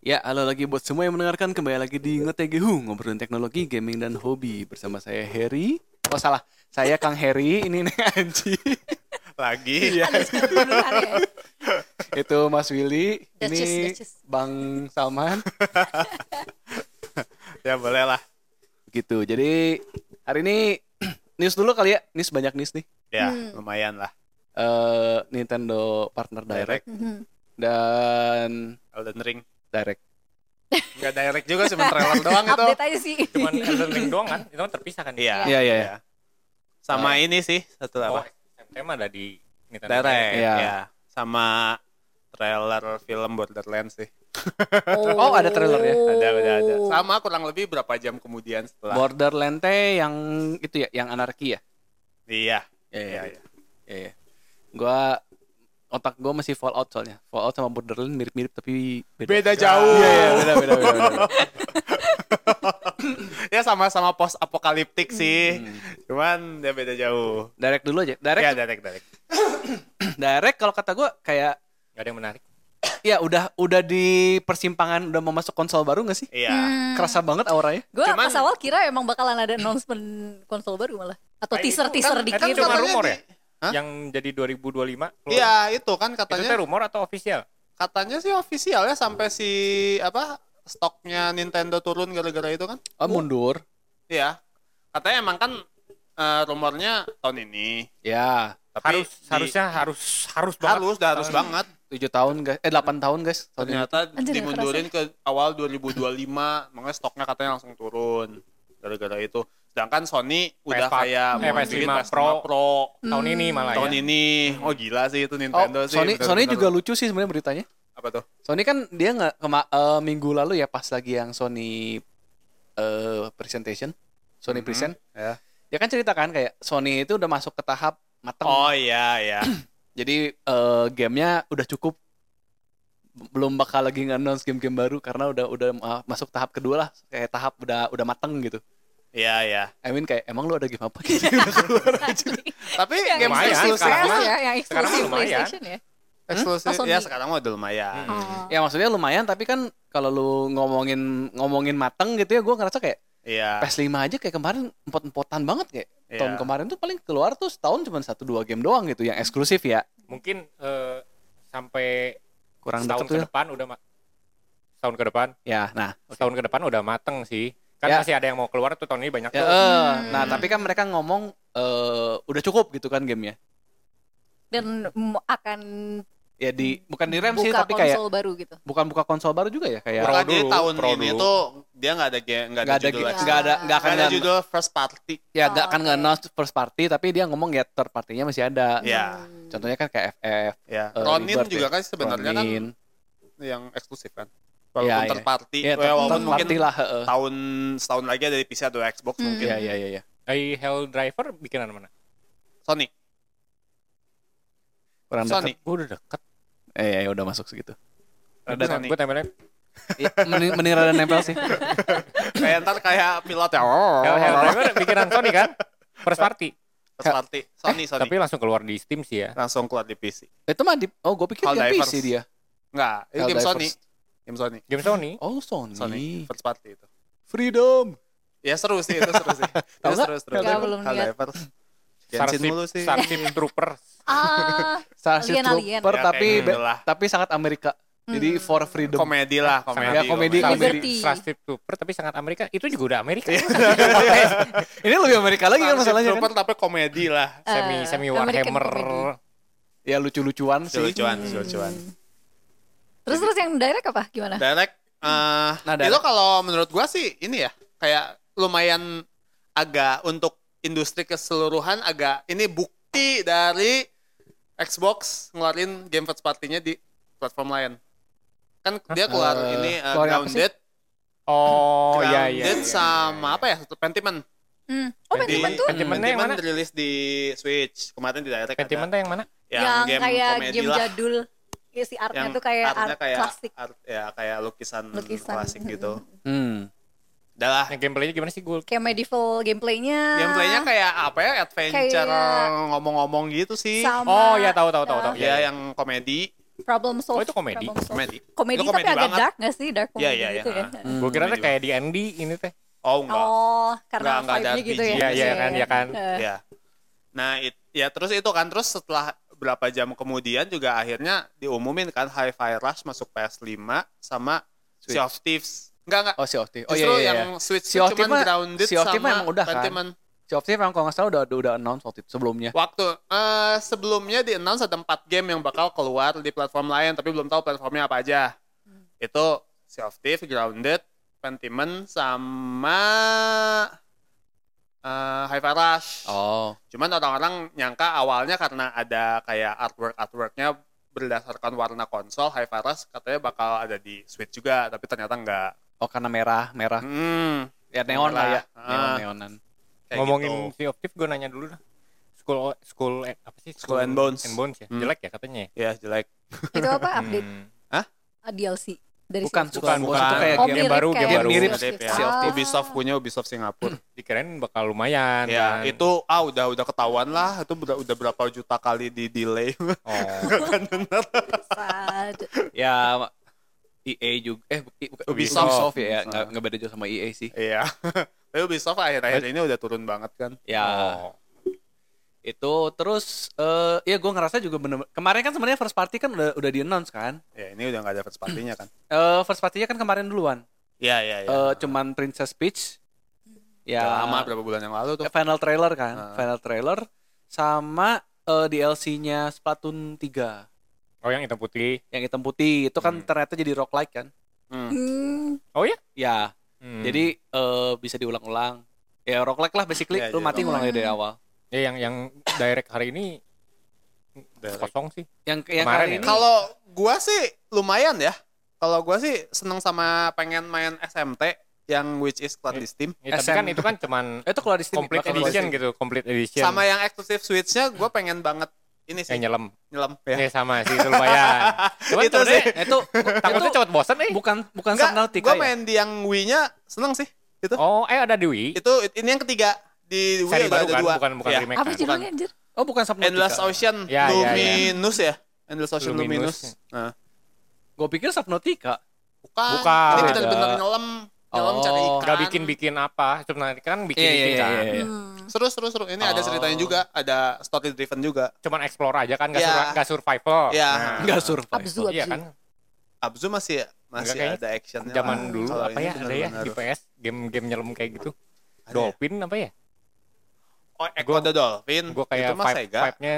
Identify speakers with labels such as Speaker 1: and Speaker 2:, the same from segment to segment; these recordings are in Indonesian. Speaker 1: Ya, halo lagi buat semua yang mendengarkan kembali lagi di Ngetegehu ngobrolin teknologi, gaming dan hobi bersama saya Harry. Oh salah, saya Kang Harry, ini Neng Anji.
Speaker 2: lagi
Speaker 1: Iya.
Speaker 3: Beneran ya?
Speaker 1: Itu Mas Willy,
Speaker 3: Duchess,
Speaker 1: ini
Speaker 3: Duchess.
Speaker 1: Bang Salman.
Speaker 2: ya boleh lah
Speaker 1: Gitu. Jadi hari ini news dulu kali ya. News banyak news nih.
Speaker 2: ya
Speaker 3: Hmm.
Speaker 2: lumayan lah
Speaker 1: Eh, Nintendo Partner Direct
Speaker 2: direct
Speaker 3: Mhm.
Speaker 1: dan
Speaker 2: Elden Ring
Speaker 1: Direct.
Speaker 2: nggak direct juga cuma trailer doang itu
Speaker 3: Update aja sih.
Speaker 4: cuman Elden Ring doang kan itu kan terpisah kan
Speaker 2: iya
Speaker 1: Iya, iya,
Speaker 2: iya. sama ini sih satu
Speaker 4: oh,
Speaker 2: apa
Speaker 4: tema ada di Nintendo
Speaker 2: direct
Speaker 1: Iya.
Speaker 2: ya sama trailer film Borderlands sih
Speaker 1: Oh, ada trailernya.
Speaker 2: ada ada ada
Speaker 3: Hmm. Oh.
Speaker 2: sama ya. kurang lebih berapa jam kemudian setelah
Speaker 1: Borderlands yang itu ya, yang anarki ya.
Speaker 2: iya
Speaker 1: Iya,
Speaker 2: iya
Speaker 1: iya.
Speaker 2: iya.
Speaker 1: Iya, iya. Gua otak gua masih Fallout soalnya. Fallout sama Borderlands mirip-mirip tapi
Speaker 2: beda jauh
Speaker 1: Iya, iya, beda, beda, beda, beda.
Speaker 2: ya sama-sama post
Speaker 3: Hmm.
Speaker 2: apokaliptik sih cuman ya beda jauh
Speaker 1: Direct dulu aja. Direct,
Speaker 2: ya direct direct
Speaker 1: direct kalau kata gua kayak
Speaker 4: nggak ada yang menarik
Speaker 1: ya udah udah di persimpangan udah mau masuk konsol baru nggak sih?
Speaker 3: Hmm.
Speaker 2: iya
Speaker 1: Kerasa banget auranya.
Speaker 3: Gue
Speaker 2: Cuman-
Speaker 3: pas awal kira emang bakalan ada announcement konsol baru malah. Atau
Speaker 4: Nah,
Speaker 3: teaser-teaser
Speaker 2: itu
Speaker 3: Oh, dikit.
Speaker 2: kan-
Speaker 4: itu cuma
Speaker 2: katanya
Speaker 4: rumor
Speaker 2: di-
Speaker 4: ya
Speaker 2: Hah?
Speaker 4: yang jadi 2025 keluar.
Speaker 2: iya itu kan
Speaker 4: itu
Speaker 2: katanya
Speaker 4: teh rumor atau official
Speaker 2: Katanya sih ofisialnya sampai si apa stoknya Nintendo turun gara-gara itu kan?
Speaker 1: Oh, mundur.
Speaker 2: Iya. Katanya emang kan eh, rumornya tahun ini.
Speaker 1: Ya,
Speaker 2: Tapi
Speaker 4: harus
Speaker 2: di-
Speaker 4: harusnya harus harus banget
Speaker 2: harus, dah harus banget.
Speaker 1: 7 tahun guys. Eh 8 tahun guys. Tahun ini.
Speaker 2: Ternyata
Speaker 3: Anjir,
Speaker 2: dimundurin ke awal 2025, makanya stoknya katanya langsung turun gara-gara itu. Sedangkan Sony udah
Speaker 4: PS4,
Speaker 2: kayak
Speaker 4: eh, PS5
Speaker 2: bikin
Speaker 4: Pro.
Speaker 2: Pro
Speaker 4: tahun ini malah
Speaker 2: tahun
Speaker 4: ya
Speaker 2: ini. Oh gila sih
Speaker 1: Oh,
Speaker 2: itu Nintendo sih.
Speaker 1: Sony Sony
Speaker 2: bener-bener.
Speaker 1: juga lucu sih sebenarnya beritanya.
Speaker 2: apa tuh?
Speaker 1: Sony kan dia nggak kema- eh, minggu lalu ya pas lagi yang Sony eh, presentation, Sony present,
Speaker 2: Ya.
Speaker 1: dia kan ceritakan kayak Sony itu udah masuk ke tahap matang.
Speaker 2: Oh iya iya.
Speaker 1: Jadi eh, gamenya udah cukup, belum bakal lagi nge-announce game-game baru karena udah udah ma- masuk tahap kedua lah, kayak tahap udah udah mateng gitu.
Speaker 2: Iya iya.
Speaker 1: I mean kayak emang lu ada game apa gitu? Udah keluar aja.
Speaker 2: Tapi
Speaker 3: Yang
Speaker 2: game
Speaker 4: lumayan
Speaker 2: eksklusif
Speaker 4: sekarang
Speaker 3: PS
Speaker 4: mah.
Speaker 3: ya, yang
Speaker 4: Sekarang
Speaker 3: eksklusif
Speaker 4: mah lumayan.
Speaker 3: PlayStation ya.
Speaker 2: eksklusif.
Speaker 3: Oh, Sony.
Speaker 2: Ya sekarang mah udah lumayan.
Speaker 4: Hmm.
Speaker 3: Oh.
Speaker 1: ya maksudnya lumayan tapi kan kalau lu ngomongin ngomongin mateng gitu ya, gua ngerasa kayak
Speaker 2: Iya.
Speaker 1: PS5 aja kayak kemarin empot-empotan banget kayak
Speaker 2: Iya.
Speaker 1: tahun kemarin tuh paling keluar tuh setahun cuma satu dua game doang gitu yang eksklusif ya
Speaker 4: mungkin eh, sampai
Speaker 1: kurang
Speaker 4: tahun
Speaker 1: deket
Speaker 4: ke
Speaker 1: tuh ya.
Speaker 4: depan udah ma- tahun ke depan
Speaker 2: kan?
Speaker 1: ya nah
Speaker 4: tahun ke depan udah mateng sih kan
Speaker 1: Ya.
Speaker 4: masih ada yang mau keluar tuh tahun ini banyak
Speaker 1: ya,
Speaker 4: tuh
Speaker 1: eh,
Speaker 3: Hmm.
Speaker 1: nah tapi kan mereka ngomong eh, udah cukup gitu kan gamenya
Speaker 3: Dan mm, akan
Speaker 1: ya di bukan di rem sih
Speaker 3: buka
Speaker 1: tapi kayak
Speaker 3: konsol baru gitu.
Speaker 1: bukan buka konsol baru juga ya kayak
Speaker 4: Pro
Speaker 2: Bukan dia
Speaker 4: dulu,
Speaker 2: tahun
Speaker 4: pro
Speaker 2: ini
Speaker 4: dulu.
Speaker 2: tuh dia nggak ada game, nggak ada,
Speaker 1: nggak ada
Speaker 2: judul.
Speaker 1: ga-
Speaker 2: lagi.
Speaker 1: nggak ada nggak akan
Speaker 2: Nggak ada judul first party.
Speaker 1: ya nggak akan
Speaker 3: Oh,
Speaker 1: nge
Speaker 3: oke.
Speaker 1: announce first party tapi dia ngomong ya third partinya masih ada
Speaker 2: Iya.
Speaker 3: Hmm.
Speaker 1: contohnya kan kayak FF
Speaker 2: Ya.
Speaker 1: Eh,
Speaker 2: Ronin
Speaker 1: Rebirth
Speaker 2: juga
Speaker 1: ya.
Speaker 2: kan sebenarnya kan
Speaker 1: Ronin.
Speaker 2: yang eksklusif kan. Walaupun
Speaker 1: Ya, ya.
Speaker 2: third party,
Speaker 1: ya
Speaker 2: eh,
Speaker 1: third,
Speaker 2: walaupun
Speaker 1: third
Speaker 2: mungkin
Speaker 1: party lah heeh.
Speaker 2: tahun setahun lagi ada di PC atau Xbox
Speaker 3: Hmm.
Speaker 2: mungkin.
Speaker 1: ya ya ya ya
Speaker 4: Eh, Hell Driver bikinan mana
Speaker 2: Sony.
Speaker 1: kurang
Speaker 2: Sony.
Speaker 1: deket
Speaker 4: Gua udah deket
Speaker 1: eh ya udah masuk segitu
Speaker 2: Ada Sony.
Speaker 4: gue tempelnya
Speaker 1: Ya, mending, mending rada nempel sih
Speaker 2: kayak ntar kayak pilot ya.
Speaker 4: Hell, Hell Driver bikinan Sony kan first party
Speaker 2: First party. Sony, Sony.
Speaker 4: tapi langsung keluar di Steam sih ya
Speaker 2: langsung keluar di PC.
Speaker 1: Itu mah di oh gue pikir
Speaker 2: Hal
Speaker 1: dia
Speaker 2: divers.
Speaker 1: PC dia.
Speaker 2: Enggak, itu
Speaker 1: Hell
Speaker 2: game
Speaker 1: Divers.
Speaker 2: Sony. Game Sony.
Speaker 4: game Sony
Speaker 1: Oh Sony.
Speaker 2: Sony first party itu.
Speaker 1: Freedom.
Speaker 2: Ya seru sih, itu seru sih.
Speaker 1: Tahu
Speaker 2: Itu
Speaker 1: nggak?
Speaker 2: seru, seru.
Speaker 3: Nggak, belum
Speaker 2: Hell
Speaker 3: lihat.
Speaker 2: Divers. Genshin
Speaker 4: Starship,
Speaker 2: mulu sih.
Speaker 4: Starship Troopers
Speaker 3: Ah,
Speaker 1: Starship
Speaker 3: Alien, alien.
Speaker 1: Trooper
Speaker 2: Ya,
Speaker 1: tapi
Speaker 2: kayak
Speaker 1: be-
Speaker 2: gitulah.
Speaker 1: tapi sangat Amerika. Jadi for freedom.
Speaker 2: Komedi lah, komedi.
Speaker 3: Iya,
Speaker 4: Ya,
Speaker 1: komedi.
Speaker 4: Starship,
Speaker 3: Liberty.
Speaker 4: Starship Trooper tapi sangat Amerika itu juga udah Amerika
Speaker 3: Iya.
Speaker 1: Ini lebih Amerika lagi kan
Speaker 2: Starship
Speaker 1: masalahnya
Speaker 2: Trooper
Speaker 1: kan?
Speaker 2: tapi komedi lah.
Speaker 4: semi
Speaker 3: Eh,
Speaker 4: semi
Speaker 3: American
Speaker 4: Warhammer
Speaker 3: comedy.
Speaker 1: Ya lucu-lucuan sih.
Speaker 2: Lucu-lucuan, lucu-lucuan.
Speaker 3: Terus terus yang direct apa gimana?
Speaker 2: Direct, eh,
Speaker 1: Nah,
Speaker 2: itu
Speaker 1: direct.
Speaker 2: kalau menurut gua sih ini ya kayak lumayan agak untuk industri keseluruhan agak ini bukti dari Xbox ngeluarin game first party-nya di platform lain. Kan dia keluar
Speaker 1: Eh,
Speaker 2: ini eh,
Speaker 1: keluarin apa
Speaker 2: Grounded,
Speaker 4: oh iya iya
Speaker 2: Grounded
Speaker 4: iya.
Speaker 2: sama apa ya? Pentiment.
Speaker 3: Hmm. Oh,
Speaker 4: Jadi-
Speaker 3: Pentiment tuh
Speaker 4: Pentiment yang
Speaker 2: Pentiment
Speaker 4: mana?
Speaker 2: rilis di Switch kemarin di direct. ada.
Speaker 4: Pentiment tuh yang mana
Speaker 2: yang, game
Speaker 3: kayak
Speaker 2: komedi
Speaker 3: game
Speaker 2: lah.
Speaker 3: jadul. Ya, si artnya
Speaker 2: yang
Speaker 3: tuh kayak
Speaker 2: artnya
Speaker 3: art klasik.
Speaker 2: art, ya kayak lukisan,
Speaker 3: Lukisan.
Speaker 2: klasik gitu.
Speaker 1: Hmm.
Speaker 2: Udah lah.
Speaker 4: yang gameplaynya gimana sih gue
Speaker 3: Kayak medieval gameplaynya.
Speaker 2: Gameplaynya kayak apa ya? Adventure
Speaker 3: Ah. Kayak-
Speaker 2: ngomong-ngomong gitu sih.
Speaker 3: sama
Speaker 4: oh ya iya, tahu tahu tahu tahu
Speaker 2: Ya yang komedi.
Speaker 3: Problem solve.
Speaker 4: Oh, itu komedi.
Speaker 3: problem solve.
Speaker 2: Komedi.
Speaker 3: Komedi,
Speaker 2: Itu
Speaker 3: tapi
Speaker 2: komedi
Speaker 3: agak
Speaker 2: banget.
Speaker 3: dark gak sih? Dark comedy
Speaker 2: Iya, iya,
Speaker 3: gitu
Speaker 2: iya.
Speaker 3: ya.
Speaker 1: Hmm.
Speaker 4: Gue kira
Speaker 2: Komedi
Speaker 4: kayak di Andy ini teh.
Speaker 2: Oh enggak.
Speaker 3: Oh, karena
Speaker 2: Nggak- nggak ada
Speaker 3: vibe-nya gitu ya.
Speaker 2: RPG.
Speaker 4: Iya, iya kan, iya kan.
Speaker 3: Eh,
Speaker 2: Ya. Nah, it- ya terus itu kan terus setelah berapa jam kemudian juga akhirnya diumumin kan Hi-Fi Rush masuk PS5 sama
Speaker 1: Switch.
Speaker 2: Sea of Thieves. Enggak enggak.
Speaker 1: Oh, si Octave. Oh iya
Speaker 2: Justru
Speaker 1: iya. iya.
Speaker 2: yang Switch
Speaker 1: Sea
Speaker 2: itu
Speaker 1: of Thieves
Speaker 2: cuman
Speaker 1: mah-
Speaker 2: grounded
Speaker 1: Sea of Thieves
Speaker 2: sama
Speaker 1: emang udah kan?
Speaker 2: Pentiment.
Speaker 1: Si Octave emang kalau nggak salah udah udah announce waktu itu sebelumnya.
Speaker 2: Waktu eh, sebelumnya di announce ada 4 game yang bakal keluar di platform lain tapi belum tahu platformnya apa aja.
Speaker 1: Hmm.
Speaker 2: Itu Sea of Thieves, Grounded, Pentiment sama eh Hi-Fi Rush.
Speaker 1: Oh.
Speaker 2: Cuman orang-orang nyangka awalnya karena ada kayak artwork-artworknya berdasarkan warna konsol, High Faras katanya bakal ada di Switch juga, tapi ternyata enggak.
Speaker 1: Oh karena merah, merah.
Speaker 2: Hmm,
Speaker 1: Ya neon lah ya.
Speaker 2: Ah.
Speaker 1: Neon, neonan.
Speaker 2: kayak
Speaker 4: Ngomongin
Speaker 2: gitu.
Speaker 4: si Optif gue nanya dulu dah. School school eh, apa sih?
Speaker 2: Skull and Bones.
Speaker 4: And Bones ya.
Speaker 2: Hmm.
Speaker 4: Jelek ya katanya. ya?
Speaker 2: Ya jelek.
Speaker 3: itu apa update
Speaker 4: Hmm.
Speaker 3: ah, DLC dari
Speaker 1: Bukan,
Speaker 3: Sea of
Speaker 1: bukan,
Speaker 4: Bukan,
Speaker 1: bukan. Itu
Speaker 4: bukan.
Speaker 1: kayak
Speaker 3: Thieves. Oh,
Speaker 1: game.
Speaker 4: mirip. baru, game
Speaker 3: kayak
Speaker 1: baru.
Speaker 2: Mirip
Speaker 1: Mirip,
Speaker 3: Sea of Thieves.
Speaker 2: ya.
Speaker 1: Sea of
Speaker 3: Ah.
Speaker 1: Thieves.
Speaker 2: Ubisoft punya Ubisoft Singapura.
Speaker 4: Dikirain bakal lumayan.
Speaker 2: ya,
Speaker 4: kan.
Speaker 2: itu ah udah udah ketahuan lah, itu udah, udah berapa juta kali di delay.
Speaker 4: Oh.
Speaker 2: kan benar.
Speaker 3: Sad.
Speaker 1: Ya EA juga eh bukan,
Speaker 2: Ubisoft.
Speaker 1: Ubisoft, ya, ya. nggak nggak beda jauh sama EA sih.
Speaker 2: Iya. Tapi Ubisoft akhir-akhir ini udah turun banget kan.
Speaker 1: Ya.
Speaker 4: Oh.
Speaker 1: itu terus eh ya gue ngerasa juga bener kemarin kan sebenarnya first party kan udah udah di announce kan
Speaker 2: Ya ini udah nggak ada first party-nya kan.
Speaker 1: Eh first party-nya kan kemarin duluan
Speaker 2: Iya, iya, iya.
Speaker 1: Eh cuman Princess Peach ya
Speaker 2: Udah lama berapa bulan yang lalu tuh.
Speaker 1: final trailer kan
Speaker 2: Ah.
Speaker 1: final trailer sama eh, DLC-nya Splatoon 3
Speaker 4: Oh, yang hitam putih.
Speaker 1: yang hitam putih itu kan
Speaker 4: Hmm.
Speaker 1: ternyata jadi rock like kan
Speaker 2: Hmm.
Speaker 3: Hmm,
Speaker 1: ya
Speaker 4: Hmm.
Speaker 1: jadi eh bisa diulang-ulang ya rock like lah basically
Speaker 2: Ya,
Speaker 1: lu
Speaker 2: jadi
Speaker 1: mati
Speaker 3: rock
Speaker 1: ngulangnya
Speaker 3: like.
Speaker 1: dari awal
Speaker 4: ya yang yang direct hari ini
Speaker 2: Direct.
Speaker 4: kosong sih.
Speaker 1: yang yang
Speaker 4: Kemarin
Speaker 1: kali
Speaker 4: ya?
Speaker 1: ini
Speaker 2: Kalau gua sih lumayan ya. Kalau gua sih seneng sama pengen main SMT yang which is keluar di Steam.
Speaker 4: Ya, tapi
Speaker 1: SM.
Speaker 4: kan itu kan cuman
Speaker 1: eh, itu keluar di Steam
Speaker 4: complete
Speaker 1: bakal keluar di
Speaker 4: edition
Speaker 1: Steam.
Speaker 4: gitu, complete edition.
Speaker 2: Sama yang eksklusif Switch-nya gua pengen banget ini sih
Speaker 4: yang nyelam.
Speaker 2: nyelam
Speaker 4: Ya.
Speaker 2: ya.
Speaker 4: sama sih itu lumayan. Cuman
Speaker 2: Itu
Speaker 4: itu sih.
Speaker 1: Nah, itu
Speaker 4: Takutnya
Speaker 1: itu
Speaker 4: cepet bosan nih.
Speaker 1: bukan bukan
Speaker 2: Enggak,
Speaker 1: Subnautica
Speaker 2: gua
Speaker 1: ya?
Speaker 2: main di yang Wii-nya seneng sih. Itu
Speaker 4: Oh, eh ada Dewi.
Speaker 2: itu ini yang ketiga di Wii udah
Speaker 4: Seri baru
Speaker 2: ada
Speaker 4: kan,
Speaker 2: dua.
Speaker 4: bukan
Speaker 1: Iya.
Speaker 4: bukan
Speaker 2: Ya.
Speaker 4: remake
Speaker 3: apa
Speaker 4: kan.
Speaker 3: judulnya anjir?
Speaker 1: Oh bukan Subnautica.
Speaker 2: Endless Ocean
Speaker 4: Ya, ya, ya.
Speaker 2: Luminous ya. Endless Ocean Luminous.
Speaker 4: Luminous.
Speaker 2: Nah,
Speaker 1: Gue pikir Subnautica.
Speaker 2: bukan.
Speaker 4: Bukan.
Speaker 2: Ini bener-bener
Speaker 1: Beda.
Speaker 2: nyelam, nyelam
Speaker 1: Oh.
Speaker 2: cari ikan.
Speaker 4: Enggak bikin-bikin apa, cuma kan bikin-bikin
Speaker 1: Iya, iya, iya,
Speaker 4: kan.
Speaker 1: iya.
Speaker 3: Hmm.
Speaker 2: Seru, seru, seru. Ini ada
Speaker 1: Oh.
Speaker 2: ceritanya juga, ada story driven juga.
Speaker 4: Cuman explore aja kan, enggak
Speaker 2: Ya.
Speaker 4: survival.
Speaker 2: Ya.
Speaker 4: Nah,
Speaker 1: Enggak survive.
Speaker 3: Abzu, abzu.
Speaker 4: Iya kan,
Speaker 2: Abzu masih masih
Speaker 4: kayaknya
Speaker 2: ada actionnya.
Speaker 4: zaman
Speaker 2: lah.
Speaker 4: dulu
Speaker 2: Kalau
Speaker 4: apa
Speaker 2: ini
Speaker 4: ya ada ya
Speaker 2: benar-benar
Speaker 4: di PS game-game nyelam kayak gitu.
Speaker 2: ada ya?
Speaker 4: Dolphin apa ya?
Speaker 2: Oh, Echo
Speaker 4: Gua-
Speaker 2: the Dolphin.
Speaker 4: Gue
Speaker 2: itu
Speaker 4: kayak
Speaker 2: mah
Speaker 4: vibe-
Speaker 2: Sega
Speaker 4: vibe-nya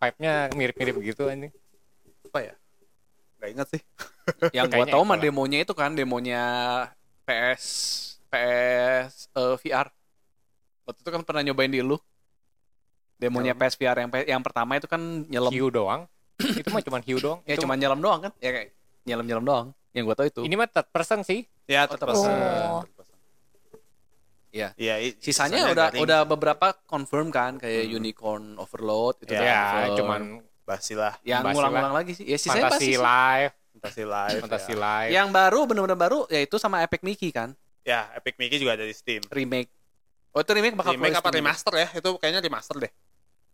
Speaker 4: vibe-nya mirip-mirip gitu anjing.
Speaker 2: apa ya? Gak ingat sih.
Speaker 1: Yang gue
Speaker 4: Kayaknya
Speaker 1: tahu mah
Speaker 4: Apple lah.
Speaker 1: demonya itu kan demonya PS PS eh, VR. Waktu itu kan pernah nyobain di lu. Demonya
Speaker 2: Nyelam.
Speaker 1: PS VR yang yang pertama itu kan nyelam.
Speaker 4: hiu doang itu mah cuman hiu doang
Speaker 1: Ya
Speaker 4: Itu-
Speaker 1: cuma nyelam doang kan? Ya kayak nyelam-nyelam doang. Yang gue tahu itu.
Speaker 4: ini mah third person sih
Speaker 1: Oh,
Speaker 2: Ya, tetap
Speaker 1: tetap
Speaker 2: pesan.
Speaker 3: pesan.
Speaker 1: Iya.
Speaker 2: Iya, i-
Speaker 1: Sisanya udah
Speaker 2: garing. udah
Speaker 1: udah beberapa confirm kan kayak Unicorn Overload itu
Speaker 2: Ya,
Speaker 1: udah
Speaker 4: ya
Speaker 1: confirm.
Speaker 4: cuman
Speaker 2: basi lah,
Speaker 1: yang
Speaker 4: basi
Speaker 1: ngulang-ngulang lagi sih. Ya sisanya
Speaker 4: fantasi
Speaker 1: pasti sih.
Speaker 4: live
Speaker 2: fantasi live.
Speaker 4: fantasi
Speaker 2: ya.
Speaker 4: live
Speaker 1: Yang baru bener-bener baru yaitu sama Epic Mickey kan,
Speaker 2: ya, Epic Mickey juga ada di Steam.
Speaker 1: remake. Oh itu remake bakal
Speaker 2: remake
Speaker 1: keluar
Speaker 2: apa
Speaker 1: Steam.
Speaker 2: remaster ya? Itu kayaknya remaster deh.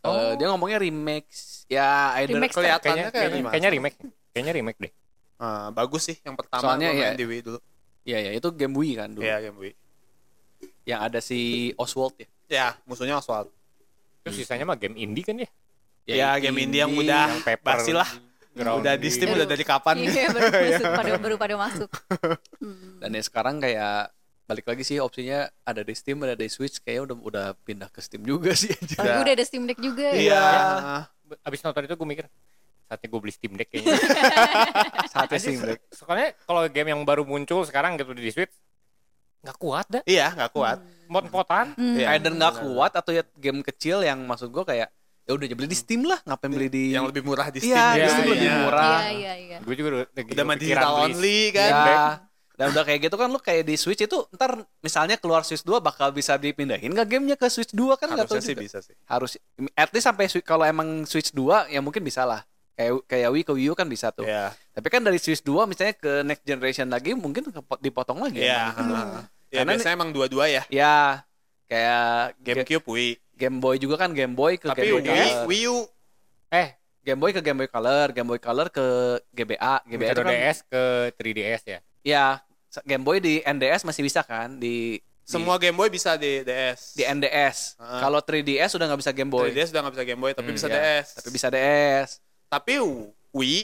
Speaker 1: Eh,
Speaker 3: Oh.
Speaker 1: dia ngomongnya remix ya either
Speaker 3: Remix.
Speaker 2: Kelihatannya
Speaker 4: kayaknya
Speaker 2: kayak
Speaker 4: kayaknya,
Speaker 2: remaster.
Speaker 4: kayaknya remake kayaknya remake deh
Speaker 2: Eh, bagus sih yang pertama
Speaker 1: Soalnya
Speaker 2: gua main
Speaker 1: ya-
Speaker 2: di Wii dulu.
Speaker 1: ya ya itu game Wii kan dulu
Speaker 2: Iya, game Wii.
Speaker 1: yang ada si Oswald ya
Speaker 2: Ya, musuhnya Oswald.
Speaker 4: terus sisanya mah game indie kan ya
Speaker 2: Ya, game indie yang udah
Speaker 4: yang paper
Speaker 2: basi lah.
Speaker 4: ground
Speaker 2: Udah di Steam
Speaker 3: Aduh.
Speaker 2: udah dari kapan?
Speaker 3: Iya, baru masuk, pada baru pada masuk. Hmm.
Speaker 1: dan ya sekarang kayak balik lagi sih opsinya ada di Steam ada di Switch kayaknya udah udah pindah ke Steam juga sih
Speaker 3: Oh,
Speaker 2: Udah.
Speaker 3: udah ada Steam Deck juga ya.
Speaker 2: Iya.
Speaker 4: Eh, abis nonton itu gue mikir saatnya gue beli Steam Deck kayaknya
Speaker 1: saatnya
Speaker 4: Anjing,
Speaker 1: Steam Deck
Speaker 4: soalnya kalau game yang baru muncul sekarang gitu di Switch nggak kuat dah
Speaker 2: Iya, nggak kuat.
Speaker 4: mot-motan
Speaker 3: Hmm.
Speaker 2: Iya.
Speaker 1: either nggak kuat atau ya game kecil yang maksud gua kayak ya udah beli di Steam lah ngapain beli di
Speaker 2: yang lebih murah di Steam.
Speaker 1: Iya,
Speaker 4: di
Speaker 2: juga.
Speaker 4: Steam
Speaker 2: Iya.
Speaker 1: lebih murah.
Speaker 3: Iya, iya, iya.
Speaker 4: gue juga udah lagi
Speaker 2: Udah main
Speaker 4: kepikiran
Speaker 2: digital
Speaker 4: beli
Speaker 2: only kan.
Speaker 1: Ya.
Speaker 4: Deck.
Speaker 1: dan udah kayak gitu kan lu kayak di Switch itu ntar misalnya keluar Switch 2 bakal bisa dipindahin nggak gamenya ke Switch 2 kan nggak
Speaker 2: Harusnya
Speaker 1: tahu
Speaker 2: sih
Speaker 1: juga.
Speaker 2: bisa sih.
Speaker 1: harus at least sampai Switch- kalau emang Switch 2 ya mungkin bisa lah kayak kayak Wii ke Wii U kan bisa tuh
Speaker 2: Iya.
Speaker 1: tapi kan dari Switch 2 misalnya ke next generation lagi mungkin kepo- dipotong lagi emang
Speaker 2: Iya.
Speaker 1: gitu.
Speaker 2: heeh. Ya,
Speaker 1: Karena
Speaker 2: biasanya emang dua-dua ya.
Speaker 1: ya kayak Game
Speaker 2: GameCube Wii.
Speaker 1: Game Boy juga kan Game Boy ke
Speaker 2: Tapi
Speaker 1: Game Boy
Speaker 2: Wii,
Speaker 1: Color.
Speaker 2: Wii U
Speaker 4: eh
Speaker 1: Game Boy ke Game Boy Color, Game Boy Color ke GBA, GBA itu
Speaker 4: Nintendo
Speaker 1: kan
Speaker 4: DS ke 3DS ya.
Speaker 1: ya Game Boy di NDS masih bisa kan di di-
Speaker 2: Semua Game Boy bisa di DS.
Speaker 1: di NDS.
Speaker 2: Heeh.
Speaker 1: Kalau 3DS udah nggak bisa Game Boy,
Speaker 2: 3DS udah nggak bisa Game Boy tapi
Speaker 4: Hmm,
Speaker 2: bisa
Speaker 4: ya.
Speaker 2: DS.
Speaker 1: tapi bisa DS.
Speaker 2: Tapi Wii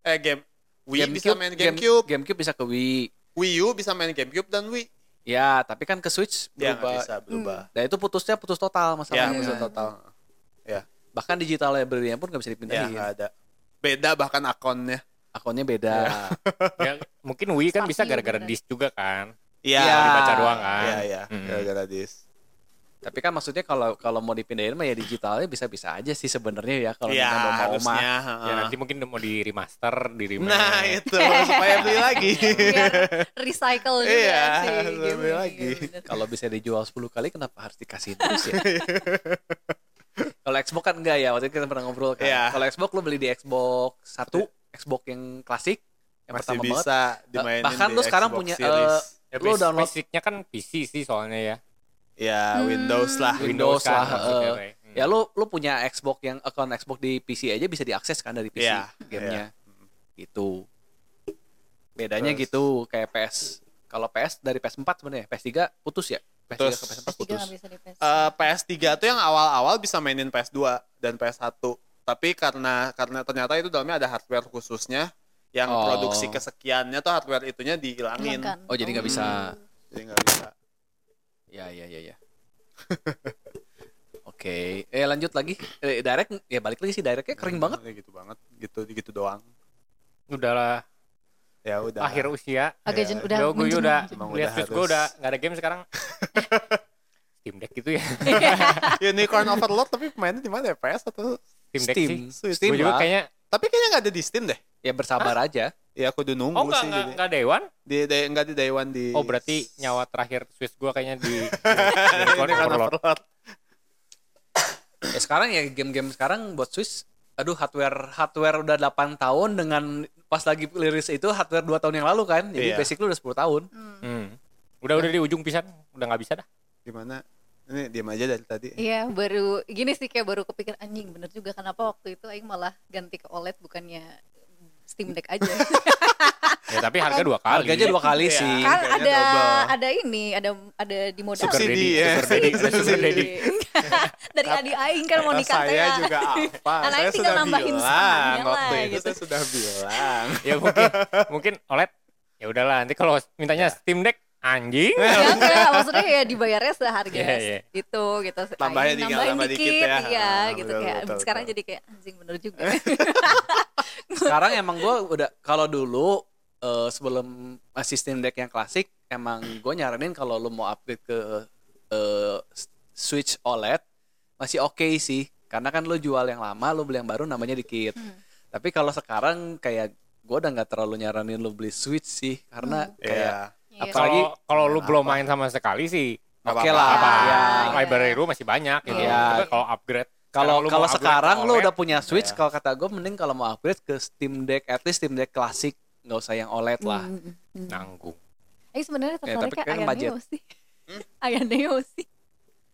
Speaker 2: eh game Wii bisa
Speaker 1: GameCube-
Speaker 2: main
Speaker 1: Game-
Speaker 2: GameCube,
Speaker 1: GameCube bisa ke Wii.
Speaker 2: Wii U bisa main GameCube dan Wii.
Speaker 1: Ya, tapi kan ke Switch
Speaker 2: Ya nggak
Speaker 1: berubah. Hmm.
Speaker 2: bisa berubah.
Speaker 1: Dan itu putusnya putus total
Speaker 2: Ya
Speaker 1: masalahnya.
Speaker 2: bisa total.
Speaker 1: Bahkan digital library-nya pun nggak bisa
Speaker 2: Ya
Speaker 1: dipindahin.
Speaker 2: nggak ada. Beda bahkan akunnya.
Speaker 1: Akunnya beda.
Speaker 2: Iya.
Speaker 4: Ya, mungkin Wii kan bisa
Speaker 3: Pasti,
Speaker 4: gara-gara
Speaker 3: bener.
Speaker 4: disk juga kan.
Speaker 2: Iya.
Speaker 1: Ya.
Speaker 4: Dibaca doang kan.
Speaker 2: Iya iya.
Speaker 4: Hmm.
Speaker 2: Gara-gara dis.
Speaker 1: tapi kan maksudnya kalau kalau mau dipindahin mah ya digitalnya bisa-bisa aja sih sebenarnya ya kalau
Speaker 2: Iya
Speaker 1: Nintendo mau mah.
Speaker 2: harusnya.
Speaker 1: Ah.
Speaker 4: Ya nanti mungkin mau di remaster, di remake.
Speaker 2: Nah itu supaya beli lagi.
Speaker 1: Iya.
Speaker 3: Biar Iya, recycle juga
Speaker 2: Iya,
Speaker 3: sih.
Speaker 2: lebih
Speaker 3: gamenya,
Speaker 2: lagi.
Speaker 3: iya bener.
Speaker 1: Kalau bisa dijual 10 kali kenapa harus dikasih terus ya? kalau Xbox kan enggak ya, waktu itu kita pernah ngobrol kan.
Speaker 2: Iya.
Speaker 1: Kalau Xbox lu beli di Xbox 1, Xbox yang klasik yang
Speaker 2: Masih
Speaker 1: pertama banget.
Speaker 2: bisa dimainin
Speaker 1: Bahkan
Speaker 2: di
Speaker 1: lu sekarang
Speaker 2: Xbox
Speaker 1: punya,
Speaker 2: Series.
Speaker 1: eh,
Speaker 4: Ya,
Speaker 1: Lo
Speaker 4: bas-
Speaker 1: download-
Speaker 4: basicnya kan PC sih soalnya ya. kan,
Speaker 2: ya Windows lah.
Speaker 1: Ah, Windows lah,
Speaker 4: maksudnya,
Speaker 1: eh.
Speaker 4: Rey. Hmm.
Speaker 1: Ya lu lu punya Xbox yang account Xbox di PC aja bisa diakses kan dari PC
Speaker 2: Iya,
Speaker 1: gamenya.
Speaker 4: iya.
Speaker 1: Gitu. Bedanya
Speaker 2: Terus.
Speaker 1: gitu kayak PS. Kalau PS dari PS4 sebenarnya, PS3 putus ya. PS3
Speaker 2: Putus.
Speaker 1: ke PS4
Speaker 3: Pasti juga
Speaker 1: putus.
Speaker 3: nggak bisa di PS.
Speaker 2: Eh, PS3 tuh yang awal-awal bisa mainin PS2 dan PS1. Tapi karena karena ternyata itu dalamnya ada hardware khususnya yang
Speaker 1: Oh.
Speaker 2: produksi kesekiannya tuh hardware itunya dihilangin.
Speaker 3: Hilangkan.
Speaker 1: Oh, jadi nggak bisa.
Speaker 2: Jadi nggak bisa.
Speaker 1: Ya ya ya ya. Oke, eh lanjut lagi. Eh, direct ya balik lagi sih directnya kering
Speaker 4: Hmm.
Speaker 1: banget.
Speaker 2: Ya, gitu banget. Gitu gitu doang.
Speaker 4: Udah lah,
Speaker 2: Ya udah.
Speaker 4: akhir usia.
Speaker 3: Agak
Speaker 2: Ya,
Speaker 3: jen, udah.
Speaker 4: Udah, gue
Speaker 3: menjenuh,
Speaker 4: udah
Speaker 3: menjenuh.
Speaker 2: Emang
Speaker 4: lihat
Speaker 2: udah
Speaker 4: terus gue
Speaker 2: harus.
Speaker 4: udah nggak ada game sekarang. Steam Deck gitu ya.
Speaker 2: Unicorn Overlord tapi mainnya di mana ya? PS atau
Speaker 4: Steam Deck
Speaker 1: Steam.
Speaker 4: sih.
Speaker 2: Switch?
Speaker 1: Steam
Speaker 4: Gue juga
Speaker 1: lah.
Speaker 4: kayaknya,
Speaker 2: Tapi kayaknya nggak ada di Steam deh.
Speaker 1: Ya bersabar aja.
Speaker 2: Ya aku udah nunggu
Speaker 4: oh nggak
Speaker 2: sih.
Speaker 4: nggak
Speaker 2: jadi-
Speaker 4: nggak Dewan.
Speaker 2: Di, di, nggak di Day One di.
Speaker 1: Iya.
Speaker 4: Oh berarti nyawa terakhir Switch gue kayaknya di
Speaker 2: Unicorn
Speaker 4: Unicorn Overlord.
Speaker 2: Overlord.
Speaker 1: Ya sekarang ya game-game sekarang buat Swiss aduh hardware hardware udah 8 tahun dengan pas lagi rilis itu hardware 2 tahun yang lalu kan. Jadi
Speaker 2: Iya.
Speaker 1: basic lu udah 10 tahun.
Speaker 4: Hmm. Udah udah di ujung pisan, udah nggak bisa dah.
Speaker 2: Gimana? Ini diam aja dari tadi.
Speaker 3: Iya baru gini sih kayak baru kepikiran anjing bener juga kenapa waktu itu Aing malah ganti ke OLED bukannya Steam Deck aja
Speaker 4: Ya tapi harga dua kali.
Speaker 1: Harganya dua kali
Speaker 2: Iya.
Speaker 1: sih.
Speaker 3: kan
Speaker 2: Harganya
Speaker 3: ada
Speaker 2: double.
Speaker 3: ada ini ada ada di modal
Speaker 4: Sugar
Speaker 2: Subsidi,
Speaker 4: daddy,
Speaker 2: ya.
Speaker 4: sugar daddy, ada
Speaker 2: Subsidi.
Speaker 4: sugar daddy.
Speaker 3: dari adik Aing kan mau
Speaker 2: Kata
Speaker 3: nikah
Speaker 2: Ah, saya
Speaker 3: teh.
Speaker 2: juga apa?
Speaker 3: Anak
Speaker 2: saya
Speaker 3: tinggal
Speaker 2: sudah
Speaker 3: nambahin
Speaker 2: bilang
Speaker 3: sahamnya
Speaker 2: waktu
Speaker 3: lah,
Speaker 2: itu
Speaker 3: gitu.
Speaker 2: saya sudah bilang.
Speaker 4: Ya mungkin mungkin OLED ya udahlah nanti kalau mintanya
Speaker 1: Ya.
Speaker 4: Steam Deck anjing.
Speaker 1: Eh,
Speaker 3: ya enggak maksudnya ya dibayarnya seharga
Speaker 4: Iya, iya.
Speaker 3: itu gitu
Speaker 2: Tambahin
Speaker 3: Aing
Speaker 2: dikit,
Speaker 3: nambahin
Speaker 2: tambah dikit ya.
Speaker 3: iya
Speaker 2: Ah,
Speaker 3: gitu
Speaker 2: betul,
Speaker 3: kayak
Speaker 2: betul,
Speaker 3: sekarang
Speaker 2: betul.
Speaker 3: jadi kayak anjing bener juga Iya.
Speaker 1: sekarang emang gue udah kalau dulu eh, sebelum masih Steam Deck yang klasik emang gue nyaranin kalau lu mau upgrade ke eh, s- Switch OLED masih oke sih karena kan lu jual yang lama lu beli yang baru namanya dikit tapi kalau sekarang kayak gue udah nggak terlalu nyaranin lu beli Switch sih karena kayak
Speaker 2: Iya.
Speaker 3: Iya.
Speaker 1: Apa- Apalagi-
Speaker 4: Kalau kalau lu belum main sama sekali sih
Speaker 2: Nggak
Speaker 1: oke
Speaker 2: apa-apa.
Speaker 1: lah
Speaker 4: apa
Speaker 1: ya.
Speaker 3: iya.
Speaker 4: library lu masih banyak gitu.
Speaker 1: Iya.
Speaker 4: Tapi kalau upgrade
Speaker 1: Kalau
Speaker 4: lu mau
Speaker 1: kalau
Speaker 4: upgrade
Speaker 1: sekarang
Speaker 4: ke
Speaker 1: lu
Speaker 4: OLED,
Speaker 1: udah punya Switch,
Speaker 2: Iya.
Speaker 1: kalau kata gue mending kalau mau upgrade ke Steam Deck, at least Steam Deck klasik, nggak usah yang OLED lah.
Speaker 3: Hmm, hmm.
Speaker 2: Nah.
Speaker 4: nanggung.
Speaker 3: Aing sebenarnya tertarik
Speaker 1: tapi
Speaker 3: ke
Speaker 1: kan
Speaker 3: Aya
Speaker 1: budget.
Speaker 3: Neo sih
Speaker 2: Hmm?
Speaker 3: Aya Neo sih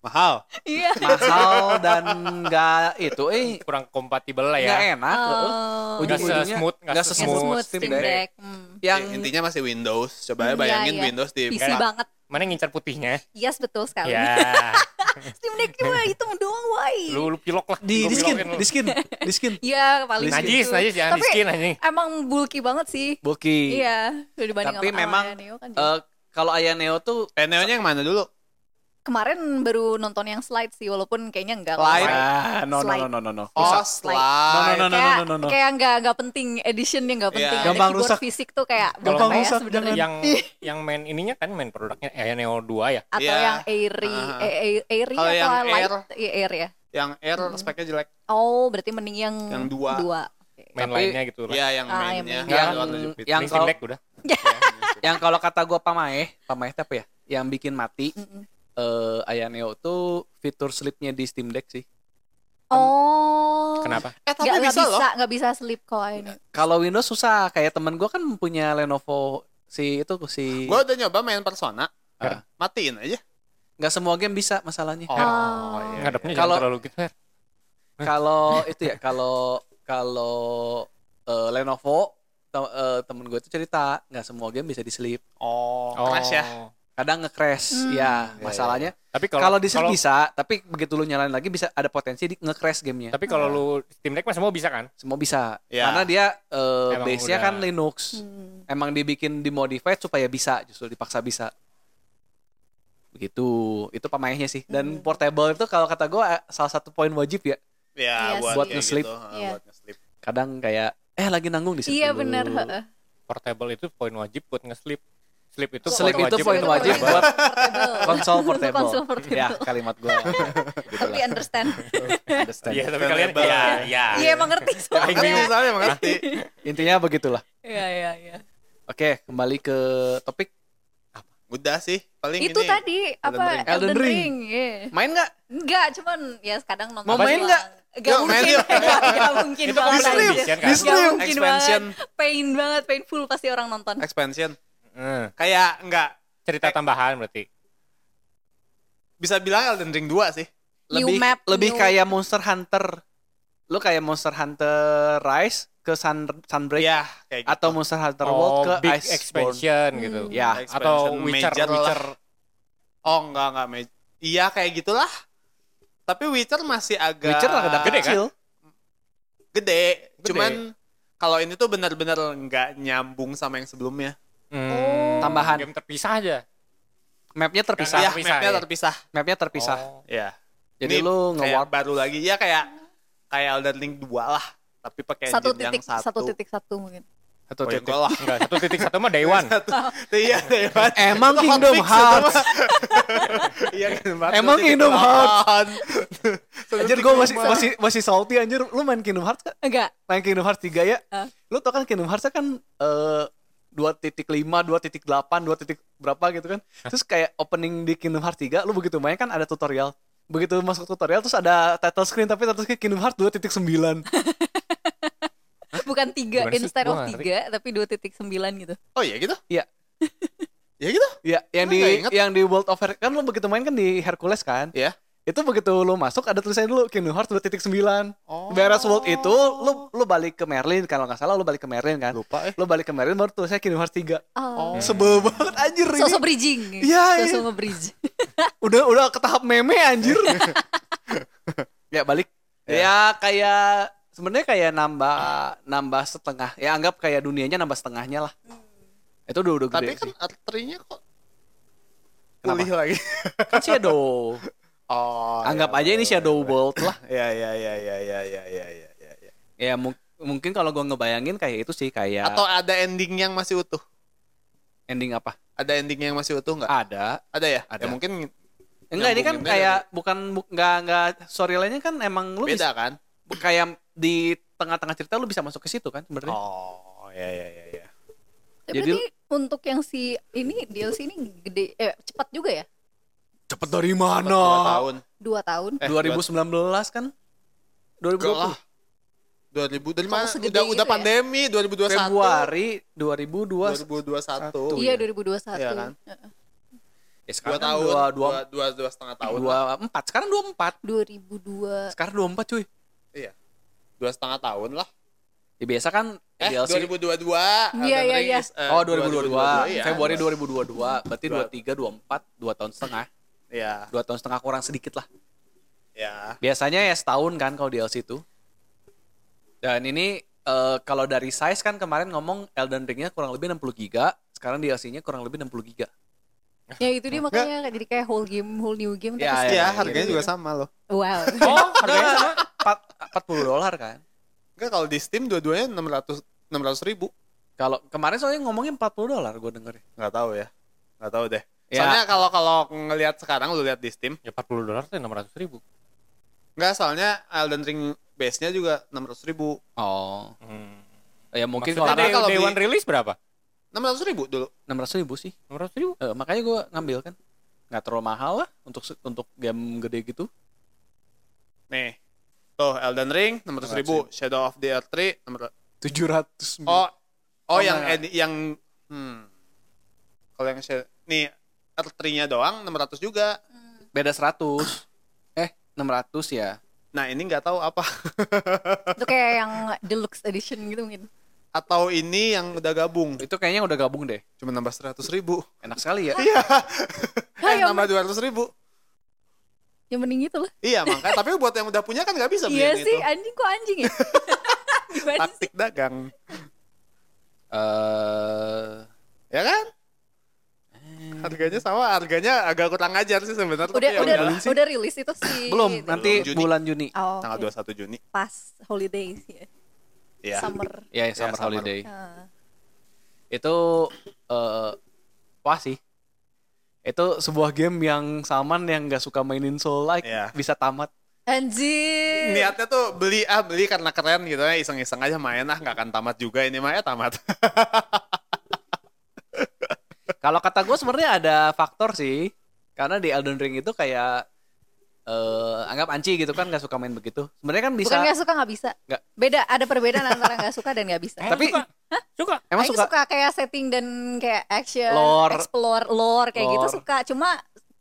Speaker 2: Mahal.
Speaker 3: iya
Speaker 1: Mahal dan nggak itu, eh
Speaker 4: Kurang kompatibel lah
Speaker 1: nggak eh.
Speaker 4: ya.
Speaker 1: enak. heeh.
Speaker 3: Oh.
Speaker 4: Nggak
Speaker 1: Ujung-ujungnya
Speaker 4: se-smooth, nggak
Speaker 1: nggak
Speaker 4: se-smooth
Speaker 1: se-smooth
Speaker 4: Steam
Speaker 1: Steam
Speaker 3: Steam
Speaker 1: Deck.
Speaker 3: Deck. Hmm.
Speaker 1: Yang
Speaker 2: Iya, Intinya masih Windows. Coba
Speaker 3: Iya,
Speaker 2: bayangin
Speaker 3: iya.
Speaker 2: Windows di
Speaker 3: PC
Speaker 4: kayak-
Speaker 3: banget.
Speaker 4: Mana ngincar putihnya?
Speaker 3: Yes betul sekali.
Speaker 4: Ya,
Speaker 3: Steam Deck cuma itu doang, woi.
Speaker 4: lu lu pilok lah.
Speaker 1: di
Speaker 4: Lu
Speaker 1: diskin,
Speaker 4: pilokin lu.
Speaker 1: diskin, diskin.
Speaker 3: Iya, paling
Speaker 4: Najis,
Speaker 3: gitu.
Speaker 4: najis jangan
Speaker 3: Tapi
Speaker 4: diskin anjing.
Speaker 3: Emang bulky banget sih.
Speaker 1: Boki.
Speaker 3: Iya, dibanding
Speaker 1: Tapi
Speaker 3: sama
Speaker 1: memang,
Speaker 3: Aya Neo kan juga.
Speaker 1: Eh, kalau Aya Neo tuh
Speaker 2: Eh, Neo-nya yang mana dulu?
Speaker 3: kemarin baru nonton yang slide sih walaupun kayaknya enggak lah.
Speaker 2: Slide.
Speaker 1: Ah, no, no, no,
Speaker 3: Slide.
Speaker 1: no, no, no.
Speaker 2: Oh,
Speaker 1: Rusak.
Speaker 2: slide.
Speaker 1: No, no, no,
Speaker 3: kayak,
Speaker 1: no, no, no.
Speaker 3: kayak nggak nggak penting editionnya nggak
Speaker 2: Iya.
Speaker 3: penting
Speaker 1: Gampang
Speaker 3: ada keyboard
Speaker 1: rusak.
Speaker 3: fisik tuh kayak berapa
Speaker 4: Gampang
Speaker 3: ya
Speaker 1: rusak,
Speaker 3: sebenarnya?
Speaker 4: yang yang main ininya kan main produknya eh, Neo 2 ya.
Speaker 3: atau
Speaker 2: Iya.
Speaker 3: yang airy
Speaker 2: Ah.
Speaker 3: eh, eh, airy
Speaker 2: Kalau
Speaker 3: atau
Speaker 2: yang
Speaker 3: light
Speaker 2: air-
Speaker 3: Iya, air ya
Speaker 2: Yang Air speknya jelek.
Speaker 3: oh berarti mending yang
Speaker 2: Yang dua.
Speaker 3: Oke.
Speaker 4: Main
Speaker 1: Tapi-
Speaker 4: lainnya gitu lah.
Speaker 2: Iya, yang
Speaker 3: Ah, yang
Speaker 2: mainnya.
Speaker 1: main.
Speaker 2: Yang warna
Speaker 1: Yang-
Speaker 2: jepit.
Speaker 1: yang-
Speaker 4: Ini Steam
Speaker 1: kalau-
Speaker 4: Deck udah.
Speaker 2: Iya,
Speaker 1: Yang kalau kata gua pamaeh, pamaeh apa ya? Yang bikin mati
Speaker 3: Mm-mm.
Speaker 1: eh Aya Neo tuh fitur sleep-nya di Steam Deck sih.
Speaker 3: oh
Speaker 4: Kenapa?
Speaker 2: Eh, tapi
Speaker 3: nggak nggak
Speaker 2: bisa
Speaker 3: bisa
Speaker 2: loh.
Speaker 3: nggak bisa sleep coin
Speaker 1: Kalau Windows susah, kayak temen gua kan punya Lenovo si itu si
Speaker 2: Gue udah nyoba main Persona. Eh,
Speaker 1: Ah.
Speaker 2: Matiin aja.
Speaker 1: nggak semua game bisa masalahnya.
Speaker 2: Oh,
Speaker 3: Oh.
Speaker 2: iya.
Speaker 4: Ngadepnya jangan
Speaker 1: Kalau-
Speaker 4: terlalu gitu. Fer.
Speaker 1: Kalau itu ya, kalau kalau eh, Lenovo te- eh, temen gue tuh cerita nggak semua game bisa di sleep
Speaker 2: Oh, keras ya.
Speaker 1: kadang nge-crash
Speaker 3: Hmm.
Speaker 1: ya masalahnya
Speaker 4: Tapi iya. kalau
Speaker 1: kalau di sleep
Speaker 4: kalau-
Speaker 1: bisa tapi begitu lu nyalain lagi bisa ada potensi di nge-crash gamenya
Speaker 4: Tapi kalau lu Steam Deck mah semua bisa kan?
Speaker 1: semua bisa
Speaker 2: Ya.
Speaker 1: karena dia eh,
Speaker 4: Emang
Speaker 1: base-nya
Speaker 4: udah.
Speaker 1: kan Linux
Speaker 3: Hmm.
Speaker 1: emang dibikin dimodified supaya bisa justru dipaksa bisa begitu itu pemainnya sih dan
Speaker 3: Hmm.
Speaker 1: portable itu kalau kata gue salah satu poin wajib ya
Speaker 2: Ya,
Speaker 3: Iya
Speaker 2: buat,
Speaker 1: Buat
Speaker 2: kayak
Speaker 1: nge-sleep.
Speaker 2: gitu, ah,
Speaker 3: Iya.
Speaker 2: buat nge-sleep.
Speaker 1: kadang kayak eh lagi nanggung di situ
Speaker 3: Iya benar.
Speaker 1: dulu.
Speaker 3: heeh.
Speaker 4: Portable itu poin wajib buat nge-sleep. Sleep itu
Speaker 1: Sleep
Speaker 4: poin
Speaker 1: itu
Speaker 4: wajib.
Speaker 1: poin
Speaker 4: buat
Speaker 1: wajib
Speaker 4: portable.
Speaker 1: buat
Speaker 3: Portable.
Speaker 1: konsol
Speaker 3: Untuk
Speaker 1: portable.
Speaker 3: konsol portable.
Speaker 1: Ya, kalimat gue.
Speaker 3: Tapi understand.
Speaker 1: understand.
Speaker 4: Iya, tapi kalian
Speaker 2: Available.
Speaker 4: ya, ya.
Speaker 3: Iya emang Iya. ngerti
Speaker 2: Aing bingung
Speaker 3: soalnya.
Speaker 2: soalnya mengerti.
Speaker 1: Intinya begitulah.
Speaker 3: Iya iya iya.
Speaker 1: Oke, kembali ke topik.
Speaker 2: Udah sih, paling
Speaker 3: Itu
Speaker 2: ini.
Speaker 3: tadi apa
Speaker 1: Ring.
Speaker 3: Elden,
Speaker 1: Elden Ring.
Speaker 3: Ring? iya.
Speaker 1: Main nggak?
Speaker 3: Enggak, cuman ya kadang nonton.
Speaker 1: Mau main
Speaker 3: doang.
Speaker 1: nggak?
Speaker 3: Gak
Speaker 2: Yuk, main
Speaker 3: mungkin,
Speaker 2: yuk.
Speaker 3: Nggak- nggak mungkin
Speaker 4: Itu
Speaker 3: banget.
Speaker 4: competition
Speaker 3: anjir.
Speaker 4: kan?
Speaker 3: Nggak
Speaker 2: Stream.
Speaker 3: mungkin
Speaker 2: Expansion.
Speaker 3: banget. Pain banget, painful pasti orang nonton.
Speaker 2: Expansion.
Speaker 4: Hmm.
Speaker 2: Kayak enggak Eh,
Speaker 4: Cerita tambahan berarti.
Speaker 2: bisa bilang Elden Ring 2 sih.
Speaker 3: New
Speaker 1: Lebih
Speaker 3: map,
Speaker 1: lebih
Speaker 3: new-
Speaker 1: kayak Monster Hunter. Lu kayak Monster Hunter Rise ke Sun, Sunbreak
Speaker 2: Iya, kayak gitu.
Speaker 1: atau Monster Hunter
Speaker 4: Oh,
Speaker 1: World ke
Speaker 4: big
Speaker 1: Iceborne.
Speaker 4: expansion
Speaker 3: Hmm.
Speaker 4: gitu.
Speaker 1: Ya,
Speaker 4: Atau
Speaker 2: Expansion
Speaker 4: Witcher,
Speaker 2: major lah.
Speaker 4: Witcher.
Speaker 2: Oh, enggak enggak. maj- Iya, kayak gitulah. Tapi Witcher masih agak
Speaker 1: Witcher lah kadang
Speaker 4: Gede kan?
Speaker 1: kecil.
Speaker 2: Gede.
Speaker 4: Gede.
Speaker 2: Cuman kalau ini tuh benar-benar nggak nyambung sama yang sebelumnya.
Speaker 4: Hmm.
Speaker 3: Oh.
Speaker 1: Tambahan.
Speaker 4: Game terpisah aja.
Speaker 1: Mapnya terpisah.
Speaker 2: Iya,
Speaker 4: Nggak bisa,
Speaker 2: mapnya
Speaker 4: ya?
Speaker 2: terpisah.
Speaker 1: Mapnya terpisah.
Speaker 4: Oh.
Speaker 2: Iya.
Speaker 1: Jadi
Speaker 2: Ini
Speaker 1: lu
Speaker 2: kayak
Speaker 1: nge-warp.
Speaker 2: baru lagi. Ya kayak kayak Elden Ring 2 lah, tapi pakai
Speaker 3: satu
Speaker 2: engine
Speaker 3: titik,
Speaker 2: yang satu.
Speaker 3: satu titik satu mungkin.
Speaker 1: Satu
Speaker 2: Oh, ya,
Speaker 1: titik.
Speaker 2: enggak lah.
Speaker 4: Enggak, satu titik satu mah day one.
Speaker 2: Satu. Iya, iya.
Speaker 1: Emang
Speaker 2: Itu
Speaker 1: Kingdom
Speaker 2: hotfix itu
Speaker 1: Hearts.
Speaker 2: mah. Iya, Kingdom Hearts.
Speaker 1: Emang
Speaker 2: satu titik
Speaker 1: Kingdom
Speaker 2: delapan. Satu
Speaker 1: Anjir
Speaker 2: titik
Speaker 1: gue masih,
Speaker 2: delapan.
Speaker 1: masih, masih salty anjir. Lu main Kingdom Hearts kan?
Speaker 3: Enggak.
Speaker 1: main Kingdom Hearts 3 ya.
Speaker 3: Hah?
Speaker 1: Lu tau kan Kingdom Hearts kan eh, 2.5, 2.8, 2. titik berapa gitu kan. Terus kayak opening di Kingdom Hearts 3 lu begitu main kan ada tutorial. Begitu masuk tutorial terus ada title screen tapi title screen Kingdom Hearts 2.9.
Speaker 3: Bukan tiga,
Speaker 4: Gimana sih?
Speaker 3: instead
Speaker 4: Gua
Speaker 3: of
Speaker 4: nggak ngerti.
Speaker 3: tiga, tapi dua titik sembilan gitu.
Speaker 2: Oh iya gitu?
Speaker 1: Iya.
Speaker 2: ya gitu?
Speaker 1: Ya, yang
Speaker 2: Lu nggak
Speaker 1: di
Speaker 2: inget?
Speaker 1: yang di World of Her kan lu begitu main kan di Hercules kan.
Speaker 2: Iya.
Speaker 1: Itu begitu lu masuk ada tulisannya dulu Kingdom Hearts 2.9.
Speaker 2: Oh.
Speaker 1: Beres World itu lu lu balik ke Merlin kalau nggak salah lu balik ke Merlin kan.
Speaker 2: Lupa eh.
Speaker 1: Lu balik ke Merlin baru tulisnya Kingdom Hearts 3.
Speaker 3: Oh.
Speaker 1: Sebel banget anjir ini.
Speaker 3: Sosok bridging.
Speaker 1: Iya, iya.
Speaker 3: Sosok nge-bridge.
Speaker 1: udah udah ke tahap meme anjir ya balik ya, kayak sebenarnya kayak nambah nambah setengah ya anggap kayak dunianya nambah setengahnya lah itu udah udah gede
Speaker 2: Tapi kan
Speaker 1: sih.
Speaker 2: arterinya kok
Speaker 1: Kenapa?
Speaker 2: pulih lagi.
Speaker 1: kan shadow
Speaker 2: Oh.
Speaker 1: anggap
Speaker 2: iya,
Speaker 1: aja ini
Speaker 2: iya,
Speaker 1: shadow
Speaker 2: iya.
Speaker 1: world lah
Speaker 2: Ya ya ya ya ya ya ya ya ya. ya.
Speaker 1: ya mung- mungkin kalau gua ngebayangin kayak itu sih kayak
Speaker 2: Atau ada ending yang masih utuh?
Speaker 1: ending apa
Speaker 2: Ada ending yang masih utuh nggak?
Speaker 1: ada
Speaker 2: Ada ya?
Speaker 1: Ada.
Speaker 2: Ya mungkin
Speaker 1: enggak ini kan
Speaker 2: Nyambunginnya
Speaker 1: kayak bukan bu- nggak nggak storyline-nya kan emang lu bisa
Speaker 2: beda kan?
Speaker 1: kayak di tengah-tengah cerita lu bisa masuk ke situ kan sebenarnya
Speaker 2: Oh, ya ya ya ya.
Speaker 3: Tapi
Speaker 1: Jadi-
Speaker 3: berarti untuk yang si ini DLC ini gede eh cepat juga ya?
Speaker 1: cepet dari
Speaker 2: Dua tahun.
Speaker 3: Dua tahun.
Speaker 2: Eh,
Speaker 1: 2019 kan? 2020
Speaker 2: Enggak lah. 2000 dari
Speaker 3: Kalau
Speaker 2: mana?
Speaker 3: segede
Speaker 2: Udah
Speaker 3: itu
Speaker 2: udah
Speaker 3: ya?
Speaker 2: pandemi 2021.
Speaker 1: Februari 2002.
Speaker 2: 2021.
Speaker 3: Iya 2021.
Speaker 2: Iya kan?
Speaker 3: Heeh.
Speaker 1: Ya,
Speaker 2: Dua
Speaker 1: sekarang
Speaker 2: tahun.
Speaker 1: dua, dua,
Speaker 2: dua, dua, dua setengah tahun.
Speaker 1: dua empat. Sekarang 24.
Speaker 3: 2002.
Speaker 1: Sekarang 24 cuy.
Speaker 2: dua setengah tahun lah.
Speaker 1: Ya, biasa kan
Speaker 2: Eh,
Speaker 1: DLC.
Speaker 2: 2022.
Speaker 3: Iya,
Speaker 2: Elden
Speaker 3: iya,
Speaker 2: Ring
Speaker 3: iya.
Speaker 2: is, eh,
Speaker 1: Oh 2022.
Speaker 2: 2022, iya.
Speaker 1: Februari 2022. Berarti
Speaker 2: Dua-
Speaker 1: 23, 24, 2 tahun setengah.
Speaker 2: Iya,
Speaker 1: 2 tahun setengah kurang sedikit lah.
Speaker 2: iya.
Speaker 1: Biasanya ya setahun kan kalau DLC itu. Dan ini eh, kalau dari size kan kemarin ngomong Elden Ring-nya kurang lebih 60 giga, sekarang DLC-nya kurang lebih 60 giga.
Speaker 3: Ya itu dia makanya kayak- jadi kayak whole game, whole new game
Speaker 1: Ya, ya,
Speaker 3: tapi
Speaker 2: Iya,
Speaker 1: iya,
Speaker 2: harganya
Speaker 1: iya.
Speaker 2: juga sama loh.
Speaker 3: wow.
Speaker 4: Oh, harganya sama.
Speaker 1: Empat- 40 dolar kan?
Speaker 2: Enggak kalau di Steam dua-duanya 600 600 ribu.
Speaker 1: Kalau kemarin soalnya ngomongin 40 dolar gue dengerin.
Speaker 2: Enggak tahu ya. Enggak tahu deh.
Speaker 1: Ya.
Speaker 2: Soalnya kalau kalau ngelihat sekarang lu lihat di Steam,
Speaker 4: Ya 40 dolar tuh 600 ribu.
Speaker 2: enggak soalnya Elden Ring base-nya juga 600 ribu.
Speaker 1: Oh.
Speaker 4: Hmm.
Speaker 1: Ya mungkin
Speaker 4: Maksudnya
Speaker 1: kalau
Speaker 4: day,
Speaker 2: kalau
Speaker 4: day
Speaker 2: beli-
Speaker 4: one rilis berapa?
Speaker 2: 600 ribu dulu.
Speaker 1: 600 ribu sih.
Speaker 4: 600 ribu.
Speaker 1: Eh, makanya gue ngambil kan. Nggak terlalu mahal lah untuk se- untuk game gede gitu.
Speaker 2: Nih. Tuh, Elden Ring 600 ribu, Shadow of the Earth 3 600
Speaker 1: 700
Speaker 2: Oh,
Speaker 1: Oh,
Speaker 2: oh, yang
Speaker 1: enggak,
Speaker 2: edi- yang hmm. Kalau yang share, nih R3-nya doang 600 juga.
Speaker 1: Beda 100. eh, 600 ya.
Speaker 2: Nah ini nggak tahu apa
Speaker 3: Itu kayak yang deluxe edition gitu
Speaker 2: Eh,
Speaker 3: mungkin.
Speaker 2: atau ini yang udah gabung
Speaker 1: Itu kayaknya udah gabung deh.
Speaker 2: cuma nambah seratus ribu.
Speaker 1: Enak sekali ya.
Speaker 2: Iya.
Speaker 3: Hah,
Speaker 2: eh,
Speaker 3: yang-
Speaker 2: nambah dua ratus ribu.
Speaker 3: Yang mending itu lah.
Speaker 2: Iya makanya. Tapi buat yang udah punya kan nggak bisa beli
Speaker 3: Iya
Speaker 2: yang
Speaker 3: sih,
Speaker 2: itu.
Speaker 3: anjing kok anjing ya? Gimana sih?
Speaker 2: Taktik dagang.
Speaker 1: Eh,
Speaker 2: Ya kan? Harganya sama, harganya agak kurang ajar sih sebenarnya.
Speaker 3: Eh. Udah
Speaker 2: tapi ya
Speaker 3: udah
Speaker 2: udahlah.
Speaker 3: udah rilis itu sih.
Speaker 1: belum, nanti
Speaker 2: Juni.
Speaker 1: bulan Juni.
Speaker 3: Oh,
Speaker 2: Tanggal
Speaker 3: oke.
Speaker 2: 21 Juni.
Speaker 3: pas holidays ya.
Speaker 2: Iya.
Speaker 3: Summer. Ah.
Speaker 1: Ya, summer,
Speaker 2: summer.
Speaker 1: holiday.
Speaker 3: Heeh.
Speaker 1: Itu eh wah sih. Itu sebuah game yang saman yang nggak suka mainin soul like
Speaker 2: Iya.
Speaker 1: bisa tamat.
Speaker 3: Anjir.
Speaker 2: Niatnya tuh beli ah beli karena keren gitu ya iseng-iseng aja main ah nggak akan tamat juga ini mah ya tamat.
Speaker 1: Kalau kata gue sebenarnya ada faktor sih, karena di Elden Ring itu kayak eh anggap Anci gitu kan nggak suka main begitu. Sebenarnya kan bisa.
Speaker 3: Bukan nggak suka nggak bisa.
Speaker 1: Nggak. Eh,
Speaker 3: Beda, ada perbedaan antara nggak suka dan nggak bisa.
Speaker 1: Tapi
Speaker 4: Eh, suka. Suka.
Speaker 1: emang
Speaker 3: Aing
Speaker 1: suka.
Speaker 3: kayak setting dan kayak action,
Speaker 1: Lore.
Speaker 3: explore, lore kayak gitu
Speaker 1: Lore.
Speaker 3: suka. Cuma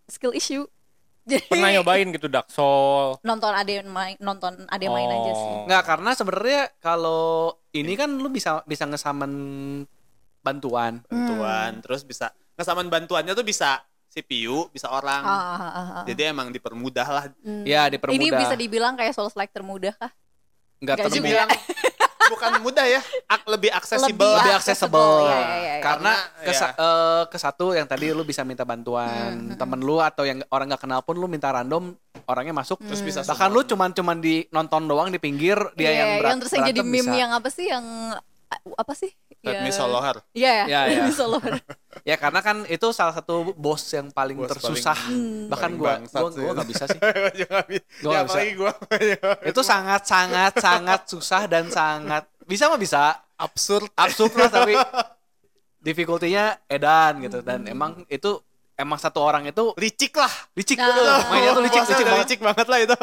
Speaker 3: skill issue. Jadi
Speaker 4: Pernah nyobain gitu Dark Soul.
Speaker 3: nonton ada yang main, nonton ada yang main aja sih.
Speaker 1: Nggak karena sebenarnya kalau ini kan lu bisa bisa ngesamen bantuan. Hmm.
Speaker 2: Bantuan, terus bisa ngesaman bantuannya tuh bisa CPU, bisa orang.
Speaker 1: Oh.
Speaker 3: Ah, ah, ah, ah.
Speaker 2: Jadi emang dipermudah lah.
Speaker 3: Hmm.
Speaker 1: Ya, dipermudah.
Speaker 3: Ini bisa dibilang kayak Souls like termudah kah?
Speaker 1: Nggak
Speaker 3: Nggak
Speaker 1: terlalu
Speaker 3: juga.
Speaker 2: Dibilang bukan mudah ya, ak- lebih aksesibel.
Speaker 1: lebih
Speaker 3: Lebih
Speaker 2: lah.
Speaker 1: accessible
Speaker 3: accessible, ya, ya, ya, ya.
Speaker 1: karena
Speaker 2: Karena,
Speaker 1: ke, sa-
Speaker 2: ya.
Speaker 1: eh, ke satu yang tadi lu bisa minta
Speaker 3: Hmm,
Speaker 1: bantuan temen lu atau yang orang nggak kenal pun lu minta random orangnya masuk
Speaker 2: Terus bisa
Speaker 1: bahkan
Speaker 2: summon.
Speaker 1: lu cuman cuman di nonton doang di pinggir dia
Speaker 3: Hmm. Iya,
Speaker 1: yang berat,
Speaker 3: terus yang jadi
Speaker 1: berantem
Speaker 3: meme
Speaker 1: bisa.
Speaker 3: yang apa sih yang apa sih? Ya.
Speaker 2: Let me solo her.
Speaker 3: Iya,
Speaker 1: Ya, ya.
Speaker 3: Let me solo her.
Speaker 1: ya karena kan itu salah satu bos yang paling
Speaker 2: Bos
Speaker 1: tersusah
Speaker 3: Hmm.
Speaker 2: paling-
Speaker 1: bahkan
Speaker 2: paling
Speaker 1: gua
Speaker 2: bangsat
Speaker 1: gua
Speaker 2: sih.
Speaker 1: gua nggak bisa sih
Speaker 2: Gua juga nggak bisa.
Speaker 1: Gua
Speaker 2: Ya,
Speaker 1: nggak bisa.
Speaker 2: apalagi gua.
Speaker 1: itu sangat sangat sangat susah dan sangat bisa mah bisa
Speaker 2: absurd.
Speaker 1: absurd lah tapi difficulty-nya edan gitu dan
Speaker 3: Hmm.
Speaker 1: emang itu emang satu orang itu
Speaker 2: Licik lah.
Speaker 1: licik
Speaker 3: Nah.
Speaker 1: gitu. mainnya tuh licik
Speaker 2: Puasnya
Speaker 1: licik
Speaker 2: udah
Speaker 1: banget.
Speaker 2: licik banget lah itu.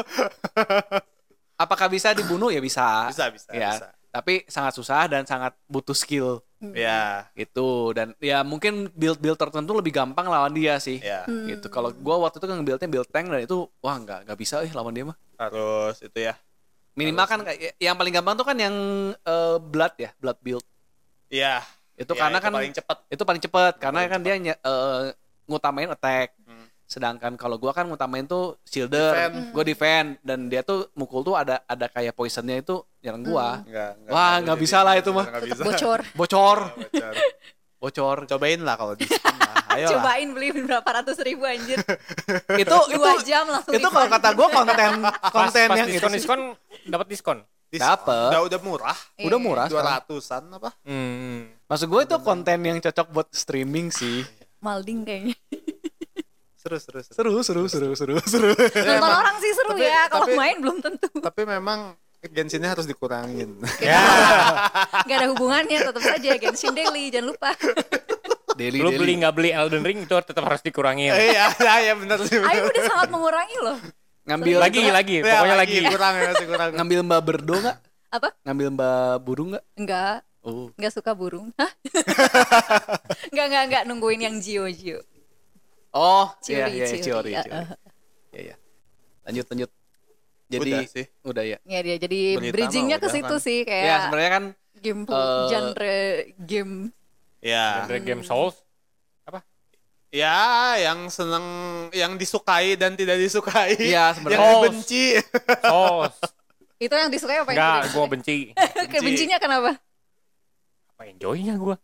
Speaker 1: apakah bisa dibunuh ya bisa
Speaker 2: Bisa, bisa,
Speaker 1: ya
Speaker 2: bisa.
Speaker 1: tapi sangat susah dan sangat butuh skill
Speaker 2: Ya,
Speaker 1: gitu dan ya mungkin build build tertentu lebih gampang lawan dia sih
Speaker 2: ya.
Speaker 1: gitu kalau gua waktu itu kan buildnya build tank dan itu wah nggak nggak bisa eh lawan dia mah
Speaker 2: Harus itu ya.
Speaker 1: minimal kan kayak- yang paling gampang tuh kan yang eh, blood ya blood build
Speaker 2: Iya.
Speaker 1: itu
Speaker 2: Ya,
Speaker 1: karena
Speaker 2: itu
Speaker 1: kan
Speaker 2: paling cepat.
Speaker 1: itu paling cepet karena kan dia nye- eh, ngutamain attack sedangkan kalau gua kan ngutamain tuh shielder
Speaker 2: Defend.
Speaker 1: gua defend dan dia tuh mukul tuh ada ada kayak poisonnya itu nyerang gua
Speaker 2: Enggak, enggak,
Speaker 1: Wah,
Speaker 2: enggak
Speaker 1: nggak
Speaker 2: jadi-
Speaker 1: bisa lah itu mah.
Speaker 2: enggak bisa.
Speaker 3: Bocor.
Speaker 1: bocor
Speaker 2: Bocor.
Speaker 1: bocor
Speaker 2: Cobain lah kalau di Steam lah. Ayo lah.
Speaker 3: Cobain beli berapa ratus ribu anjir.
Speaker 1: itu itu
Speaker 3: Dua jam langsung
Speaker 1: itu kalau
Speaker 3: refund.
Speaker 1: kata gue konten
Speaker 4: Pas,
Speaker 1: konten
Speaker 4: pas
Speaker 1: yang itu
Speaker 4: diskon
Speaker 1: gitu sih.
Speaker 4: diskon dapat diskon.
Speaker 2: Di-
Speaker 1: Dapet.
Speaker 2: Udah udah murah.
Speaker 1: udah murah
Speaker 2: Dua
Speaker 1: sekarang.
Speaker 2: ratusan apa?
Speaker 4: Hmm.
Speaker 1: maksud gue itu konten yang cocok buat streaming sih
Speaker 3: Malding kayaknya.
Speaker 2: Seru, seru, seru.
Speaker 1: seru seru seru seru seru
Speaker 3: Nonton orang sih seru
Speaker 2: tapi-
Speaker 3: ya, kalau
Speaker 2: tapi-
Speaker 3: main belum tentu.
Speaker 2: Tapi memang Genshinnya harus dikurangin.
Speaker 4: Ya,
Speaker 3: Gak ada hubungannya, tetap saja Genshin Daily, jangan lupa.
Speaker 1: daily
Speaker 4: Lu beli nggak beli Elden Ring itu tetap harus dikurangin.
Speaker 2: Iya, iya, iya benar sih. benar.
Speaker 3: Ayo udah sangat mengurangi loh.
Speaker 1: ngambil
Speaker 4: Lagi
Speaker 1: itu nggak?
Speaker 4: lagi,
Speaker 2: Ya,
Speaker 4: pokoknya lagi.
Speaker 2: kurang ya, masih kurang.
Speaker 1: ngambil mbak berdo nggak
Speaker 3: Apa?
Speaker 1: ngambil mbak burung nggak
Speaker 3: Enggak,
Speaker 1: oh
Speaker 3: enggak suka burung. Hah? Enggak, enggak, enggak nungguin yang Jio Jio.
Speaker 1: oh iya iya
Speaker 3: Ciori,
Speaker 1: iya,
Speaker 3: ciori.
Speaker 1: ciori
Speaker 3: Eh,
Speaker 1: ciori.
Speaker 3: eh.
Speaker 1: Iya, iya. lanjut lanjut jadi
Speaker 2: Udah sih.
Speaker 1: udah ya
Speaker 3: Ya dia jadi
Speaker 2: Berita
Speaker 3: bridgingnya
Speaker 2: mah
Speaker 3: ke
Speaker 2: udah
Speaker 3: situ
Speaker 2: kan.
Speaker 3: sih kayak
Speaker 1: ya sebenarnya kan
Speaker 3: gameplay,
Speaker 1: eh,
Speaker 3: genre game.
Speaker 1: Iya.
Speaker 2: Ya.
Speaker 4: Dari game Souls. Apa?
Speaker 2: Ya, yang seneng, yang disukai dan tidak disukai.
Speaker 1: Iya, sebenarnya.
Speaker 2: Yang
Speaker 4: Oh.
Speaker 2: dibenci.
Speaker 4: Souls.
Speaker 3: Itu yang disukai apa yang
Speaker 4: Enggak,
Speaker 3: tidak
Speaker 4: gua
Speaker 3: disukai?
Speaker 4: benci.
Speaker 3: Kebencinya kenapa?
Speaker 4: Apa enjoy-nya gua?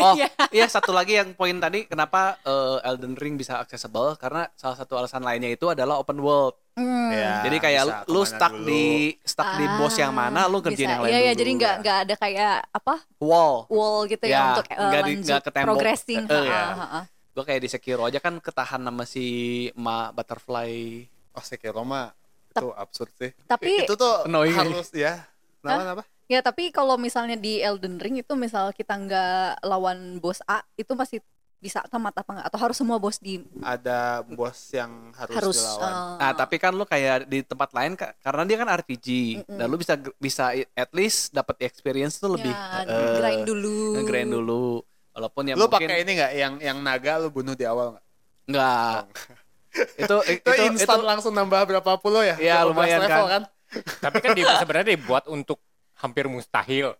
Speaker 1: Oh
Speaker 3: Iya.
Speaker 1: iya satu lagi yang poin tadi kenapa eh, Elden Ring bisa accessible karena salah satu alasan lainnya itu adalah open world.
Speaker 3: Hmm.
Speaker 2: Ya,
Speaker 1: Jadi kayak
Speaker 2: bisa
Speaker 1: lu
Speaker 2: kemana
Speaker 1: stuck
Speaker 2: dulu.
Speaker 1: di stuck Iya, di bos yang mana lu kerjain
Speaker 3: Ah, Bisa.
Speaker 1: yang lain
Speaker 3: Iya, iya,
Speaker 1: dulu. ya.
Speaker 3: jadi enggak, enggak ada kayak apa
Speaker 1: wall.
Speaker 3: wall gitu ya,
Speaker 1: Ya,
Speaker 3: untuk eh,
Speaker 1: nggak di-
Speaker 3: lanjut
Speaker 1: nggak ke tembok.
Speaker 3: progressing.
Speaker 1: Eh, eh, ya.
Speaker 3: Ha, ha, ha.
Speaker 1: Gua kayak di Sekiro aja kan ketahan sama si Ma Butterfly.
Speaker 2: Oh, Sekiro mah itu absurd sih.
Speaker 3: Tapi-
Speaker 2: itu tuh
Speaker 1: Annoying
Speaker 2: harus ya. Kenapa,
Speaker 3: Hah?
Speaker 2: kenapa?
Speaker 3: Ya tapi kalau misalnya di Elden Ring itu misal kita nggak lawan bos A itu masih bisa tamat apa nggak? Atau harus semua bos di
Speaker 2: Ada bos yang harus,
Speaker 3: harus?
Speaker 2: dilawan.
Speaker 3: eh,
Speaker 1: Nah, tapi kan lu kayak di tempat lain ka- karena dia kan RPG. Dan lu bisa bisa at least dapat experience tuh lebih
Speaker 3: ya,
Speaker 1: eh,
Speaker 3: grind dulu.
Speaker 1: nge-grind dulu. Walaupun ya
Speaker 2: lu
Speaker 1: mungkin
Speaker 2: pakai ini nggak yang yang naga lu bunuh di awal nggak?
Speaker 1: enggak. itu
Speaker 2: Itu, instan langsung nambah berapa puluh ya?
Speaker 1: Iya,
Speaker 2: 15
Speaker 1: lumayan
Speaker 2: level
Speaker 1: kan.
Speaker 2: kan?
Speaker 4: Tapi kan dia sebenarnya dibuat untuk hampir mustahil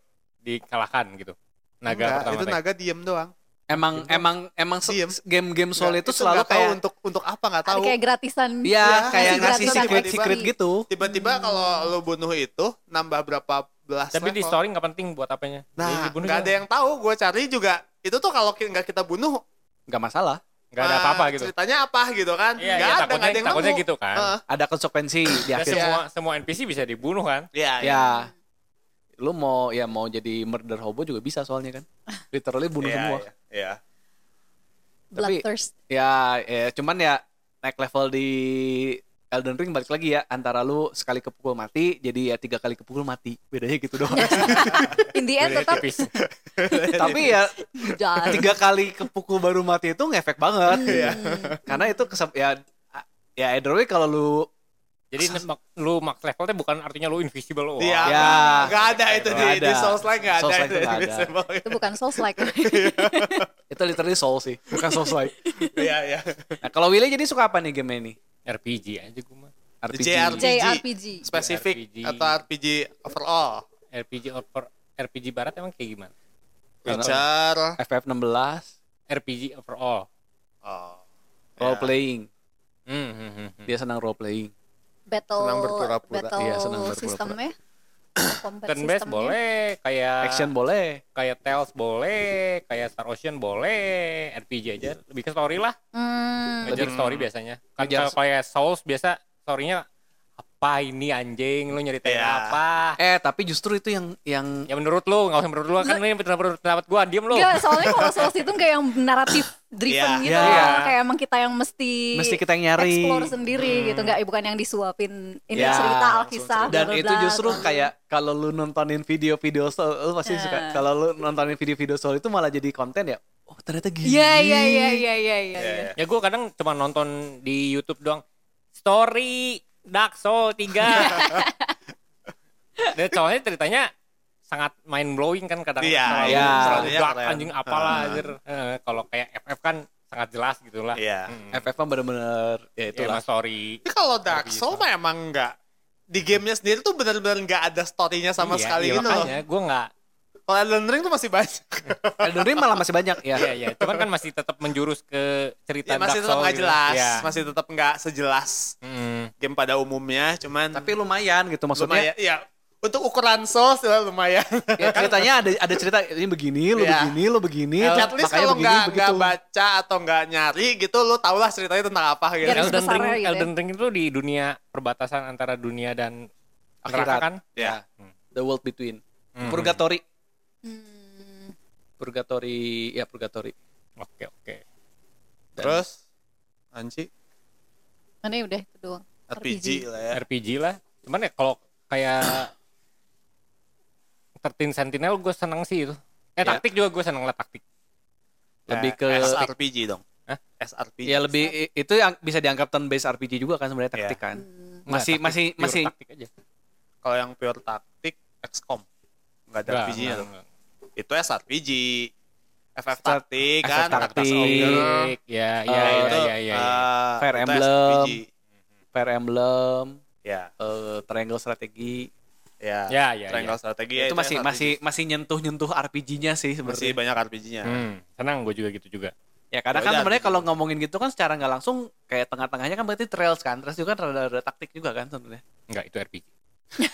Speaker 4: dikalahkan gitu. Naga
Speaker 2: Enggak,
Speaker 4: pertama
Speaker 2: itu
Speaker 4: tadi.
Speaker 2: naga diem doang.
Speaker 1: Emang emang emang se-
Speaker 2: Diem.
Speaker 1: game-game soal
Speaker 2: Nggak,
Speaker 1: itu selalu
Speaker 2: nggak
Speaker 1: kayak
Speaker 2: tahu untuk untuk apa nggak
Speaker 3: Ada
Speaker 2: tahu.
Speaker 3: kayak gratisan.
Speaker 1: Iya,
Speaker 2: Ya,
Speaker 1: kayak
Speaker 3: kasih
Speaker 1: ngasih
Speaker 3: gratisan
Speaker 1: secret
Speaker 3: tiba-tiba.
Speaker 1: secret gitu.
Speaker 2: Tiba-tiba kalau lu bunuh itu nambah berapa belas
Speaker 4: Tapi di Iya,
Speaker 2: level.
Speaker 4: story nggak penting buat apanya. Jadi
Speaker 2: Nah,
Speaker 4: dibunuh kan?
Speaker 2: nggak ada
Speaker 4: aja.
Speaker 2: yang tahu. Gue cari juga. Itu tuh kalau ki- nggak kita bunuh,
Speaker 1: Nggak masalah.
Speaker 4: nggak ada
Speaker 2: ah,
Speaker 4: apa-apa gitu.
Speaker 2: Ceritanya apa gitu kan? nggak
Speaker 4: Iya, iya,
Speaker 2: ada, nggak
Speaker 4: takutnya,
Speaker 2: ada yang
Speaker 4: takutnya
Speaker 2: nemu. Ah.
Speaker 4: gitu kan.
Speaker 2: Heeh.
Speaker 1: Ada konsekuensi di
Speaker 4: Dan
Speaker 1: akhir.
Speaker 2: Iya.
Speaker 4: semua semua NPC bisa dibunuh kan.
Speaker 2: Iya, iya.
Speaker 1: Ya. Lu mau ya mau jadi murder hobo juga bisa soalnya kan. Literally bunuh
Speaker 2: Iya,
Speaker 1: semua.
Speaker 2: iya, Iya.
Speaker 1: Tapi-
Speaker 3: Bloodthirst.
Speaker 1: Ya, ya, cuman ya naik level di Elden Ring balik lagi ya antara lu sekali kepukul mati jadi ya tiga kali kepukul mati bedanya gitu doang
Speaker 3: In the end Iya,
Speaker 4: Bedanya
Speaker 3: tetap
Speaker 4: tipis.
Speaker 1: tapi ya
Speaker 3: jahat.
Speaker 1: tiga kali kepukul baru mati itu ngefek banget Ya.
Speaker 2: Iya.
Speaker 1: karena itu kesep ya ya either way kalau lu
Speaker 4: Jadi mak- lu max levelnya bukan artinya lu invisible. Wah.
Speaker 2: Iya.
Speaker 1: Ya.
Speaker 2: Nggak ada itu di,
Speaker 1: Nggak
Speaker 2: di
Speaker 1: ada.
Speaker 2: Souls lain nggak ada.
Speaker 1: Souls-like
Speaker 2: itu
Speaker 1: nggak ada.
Speaker 2: invisible.
Speaker 3: Itu bukan souls like.
Speaker 1: itu literally soul sih bukan soul like
Speaker 2: Iya, iya.
Speaker 1: nah kalau Willy jadi suka apa nih game ini
Speaker 4: RPG aja gue mah.
Speaker 1: RPG
Speaker 2: JRPG.
Speaker 3: JRPG.
Speaker 2: Spesifik
Speaker 4: RPG.
Speaker 2: atau RPG overall.
Speaker 4: RPG over RPG barat emang kayak gimana?
Speaker 1: Karena-
Speaker 2: Witcher.
Speaker 1: FF 16
Speaker 4: RPG overall.
Speaker 2: Oh.
Speaker 1: role playing
Speaker 4: Hmm, hmm, hmm, hmm.
Speaker 1: dia senang role playing
Speaker 3: Battle
Speaker 2: Senang berpura-pura.
Speaker 3: battle
Speaker 1: Iya, senang berpura-pura.
Speaker 3: sistemnya. Combat
Speaker 4: Turn based
Speaker 3: sistemnya.
Speaker 4: boleh, kayak
Speaker 1: action boleh
Speaker 4: kayak Tales boleh, kayak Star Ocean boleh, RPG aja lebih ke story lah,
Speaker 3: Hmm,
Speaker 4: ngejar story biasanya. Kan
Speaker 1: Ngejar-
Speaker 4: kalau kayak Souls biasa story-nya apa ini anjing, lu nyeritain
Speaker 2: Iya.
Speaker 4: apa?
Speaker 1: eh tapi justru itu yang yang
Speaker 4: Ya menurut lu, nggak usah menurut lu kan ini pendapat pendapat gua, diem lu.
Speaker 3: Enggak, soalnya kalau Souls itu kayak yang naratif driven
Speaker 2: Iya,
Speaker 3: gitu.
Speaker 1: iya.
Speaker 3: loh. Kayak emang kita yang mesti
Speaker 1: Mesti kita yang nyari.
Speaker 3: Explore sendiri gitu, enggak bukan yang disuapin ini
Speaker 1: Ya,
Speaker 3: cerita
Speaker 2: langsung
Speaker 3: alkisah
Speaker 1: dan
Speaker 3: bla, bla,
Speaker 1: itu
Speaker 3: bla.
Speaker 1: justru kayak kalau lu nontonin video-video soal lu pasti suka
Speaker 3: Nah.
Speaker 1: kalau lu nontonin video-video soal itu malah jadi konten ya oh ternyata gini
Speaker 3: Iya, iya, iya, iya, iya, iya.
Speaker 2: Iya, iya.
Speaker 4: Ya gua kadang cuma nonton di YouTube doang. Story Dark Souls 3. Dan soalnya ceritanya sangat mind blowing kan kadang
Speaker 2: Iya,
Speaker 4: terlalu,
Speaker 1: iya.
Speaker 4: terlalu
Speaker 2: Iya,
Speaker 4: dark,
Speaker 2: keren.
Speaker 4: anjing apalah
Speaker 2: Heeh.
Speaker 4: anjir. Eh, kalau kayak FF kan sangat jelas gitu lah.
Speaker 2: Iya.
Speaker 4: Mm.
Speaker 1: FF mah bener-bener ya
Speaker 4: Ya,
Speaker 1: itulah
Speaker 4: emang story.
Speaker 2: Tapi kalau Dark Souls mah emang nggak di gamenya sendiri tuh benar-benar nggak ada story-nya sama
Speaker 4: Iya,
Speaker 2: sekali
Speaker 4: iya,
Speaker 2: gitu loh.
Speaker 4: makanya gua nggak
Speaker 2: Kalau Elden Ring tuh masih banyak.
Speaker 1: Elden Ring malah masih banyak ya
Speaker 4: Iya, iya. Cuman kan masih tetap menjurus ke cerita
Speaker 2: ya, masih
Speaker 4: Dark
Speaker 2: tetap
Speaker 4: Souls
Speaker 2: nggak
Speaker 4: gitu.
Speaker 2: jelas,
Speaker 4: Iya.
Speaker 2: masih tetap nggak sejelas
Speaker 4: Mm.
Speaker 2: game pada umumnya. Cuman
Speaker 1: tapi lumayan gitu maksudnya
Speaker 2: lumayan. Ya untuk ukuran Souls ya lumayan.
Speaker 1: ya, ceritanya ada ada cerita ini begini lu
Speaker 2: Iya.
Speaker 1: begini lu begini
Speaker 2: At
Speaker 1: makanya
Speaker 2: least kalau
Speaker 1: begini
Speaker 2: nggak nggak
Speaker 1: begitu
Speaker 2: baca atau nggak nyari gitu, lu tau lah ceritanya tentang apa gitu.
Speaker 3: Garis
Speaker 4: Elden Ring,
Speaker 3: besarnya gitu ya.
Speaker 4: Elden Ring itu di dunia perbatasan antara dunia dan neraka
Speaker 1: Akhirat.
Speaker 4: kan?
Speaker 1: ya
Speaker 2: Ya.
Speaker 1: the world between
Speaker 4: Mm.
Speaker 1: purgatory
Speaker 3: Hmm,
Speaker 1: purgatory ya purgatory
Speaker 4: Oke, oke.
Speaker 2: Terus Anci
Speaker 3: Mana ya udah itu doang.
Speaker 2: RPG, lah ya.
Speaker 4: RPG lah. Cuman ya kalau kayak 13 Sentinel gue seneng sih itu. Eh
Speaker 1: Ya.
Speaker 4: taktik juga gue seneng lah taktik.
Speaker 1: lebih ke
Speaker 2: Eh, SRPG dong.
Speaker 4: Hah?
Speaker 2: SRPG.
Speaker 1: ya lebih i- itu yang bisa dianggap turn based RPG juga kan sebenarnya taktik kan
Speaker 3: Hmm.
Speaker 1: masih
Speaker 4: Nggak,
Speaker 1: masih
Speaker 4: taktik, pure
Speaker 1: masih
Speaker 4: taktik aja.
Speaker 2: Kalau yang pure taktik XCOM nggak ada
Speaker 4: Nggak,
Speaker 2: RPG-nya
Speaker 4: nggak,
Speaker 2: tuh.
Speaker 4: nggak.
Speaker 2: itu SRPG FF
Speaker 1: Strat-
Speaker 2: taktik
Speaker 1: FF
Speaker 2: Iya, kan
Speaker 1: Taktik.
Speaker 3: Oh.
Speaker 4: Atas Ogre, ya,
Speaker 1: Eh,
Speaker 4: ya, ya,
Speaker 2: itu
Speaker 4: ya, ya, ya.
Speaker 2: eh,
Speaker 1: Fire
Speaker 2: itu
Speaker 1: Emblem.
Speaker 2: SRPG.
Speaker 1: Fire Emblem
Speaker 2: ya
Speaker 1: eh, triangle strategi
Speaker 2: ya
Speaker 4: Ya, ya, ya.
Speaker 2: triangle strategi ya,
Speaker 1: itu masih
Speaker 2: SRPG.
Speaker 1: masih masih nyentuh nyentuh RPG-nya sih
Speaker 2: masih
Speaker 1: sebenarnya
Speaker 2: banyak RPG-nya
Speaker 4: Hmm, senang gue juga gitu juga.
Speaker 1: ya karena
Speaker 2: Ya
Speaker 1: kan
Speaker 2: udah,
Speaker 1: sebenarnya
Speaker 2: gitu.
Speaker 1: kalau ngomongin gitu kan secara nggak langsung kayak tengah-tengahnya kan berarti trails kan trails juga kan rada-rada taktik juga kan sebenarnya
Speaker 4: Enggak, itu RPG.
Speaker 3: Eh,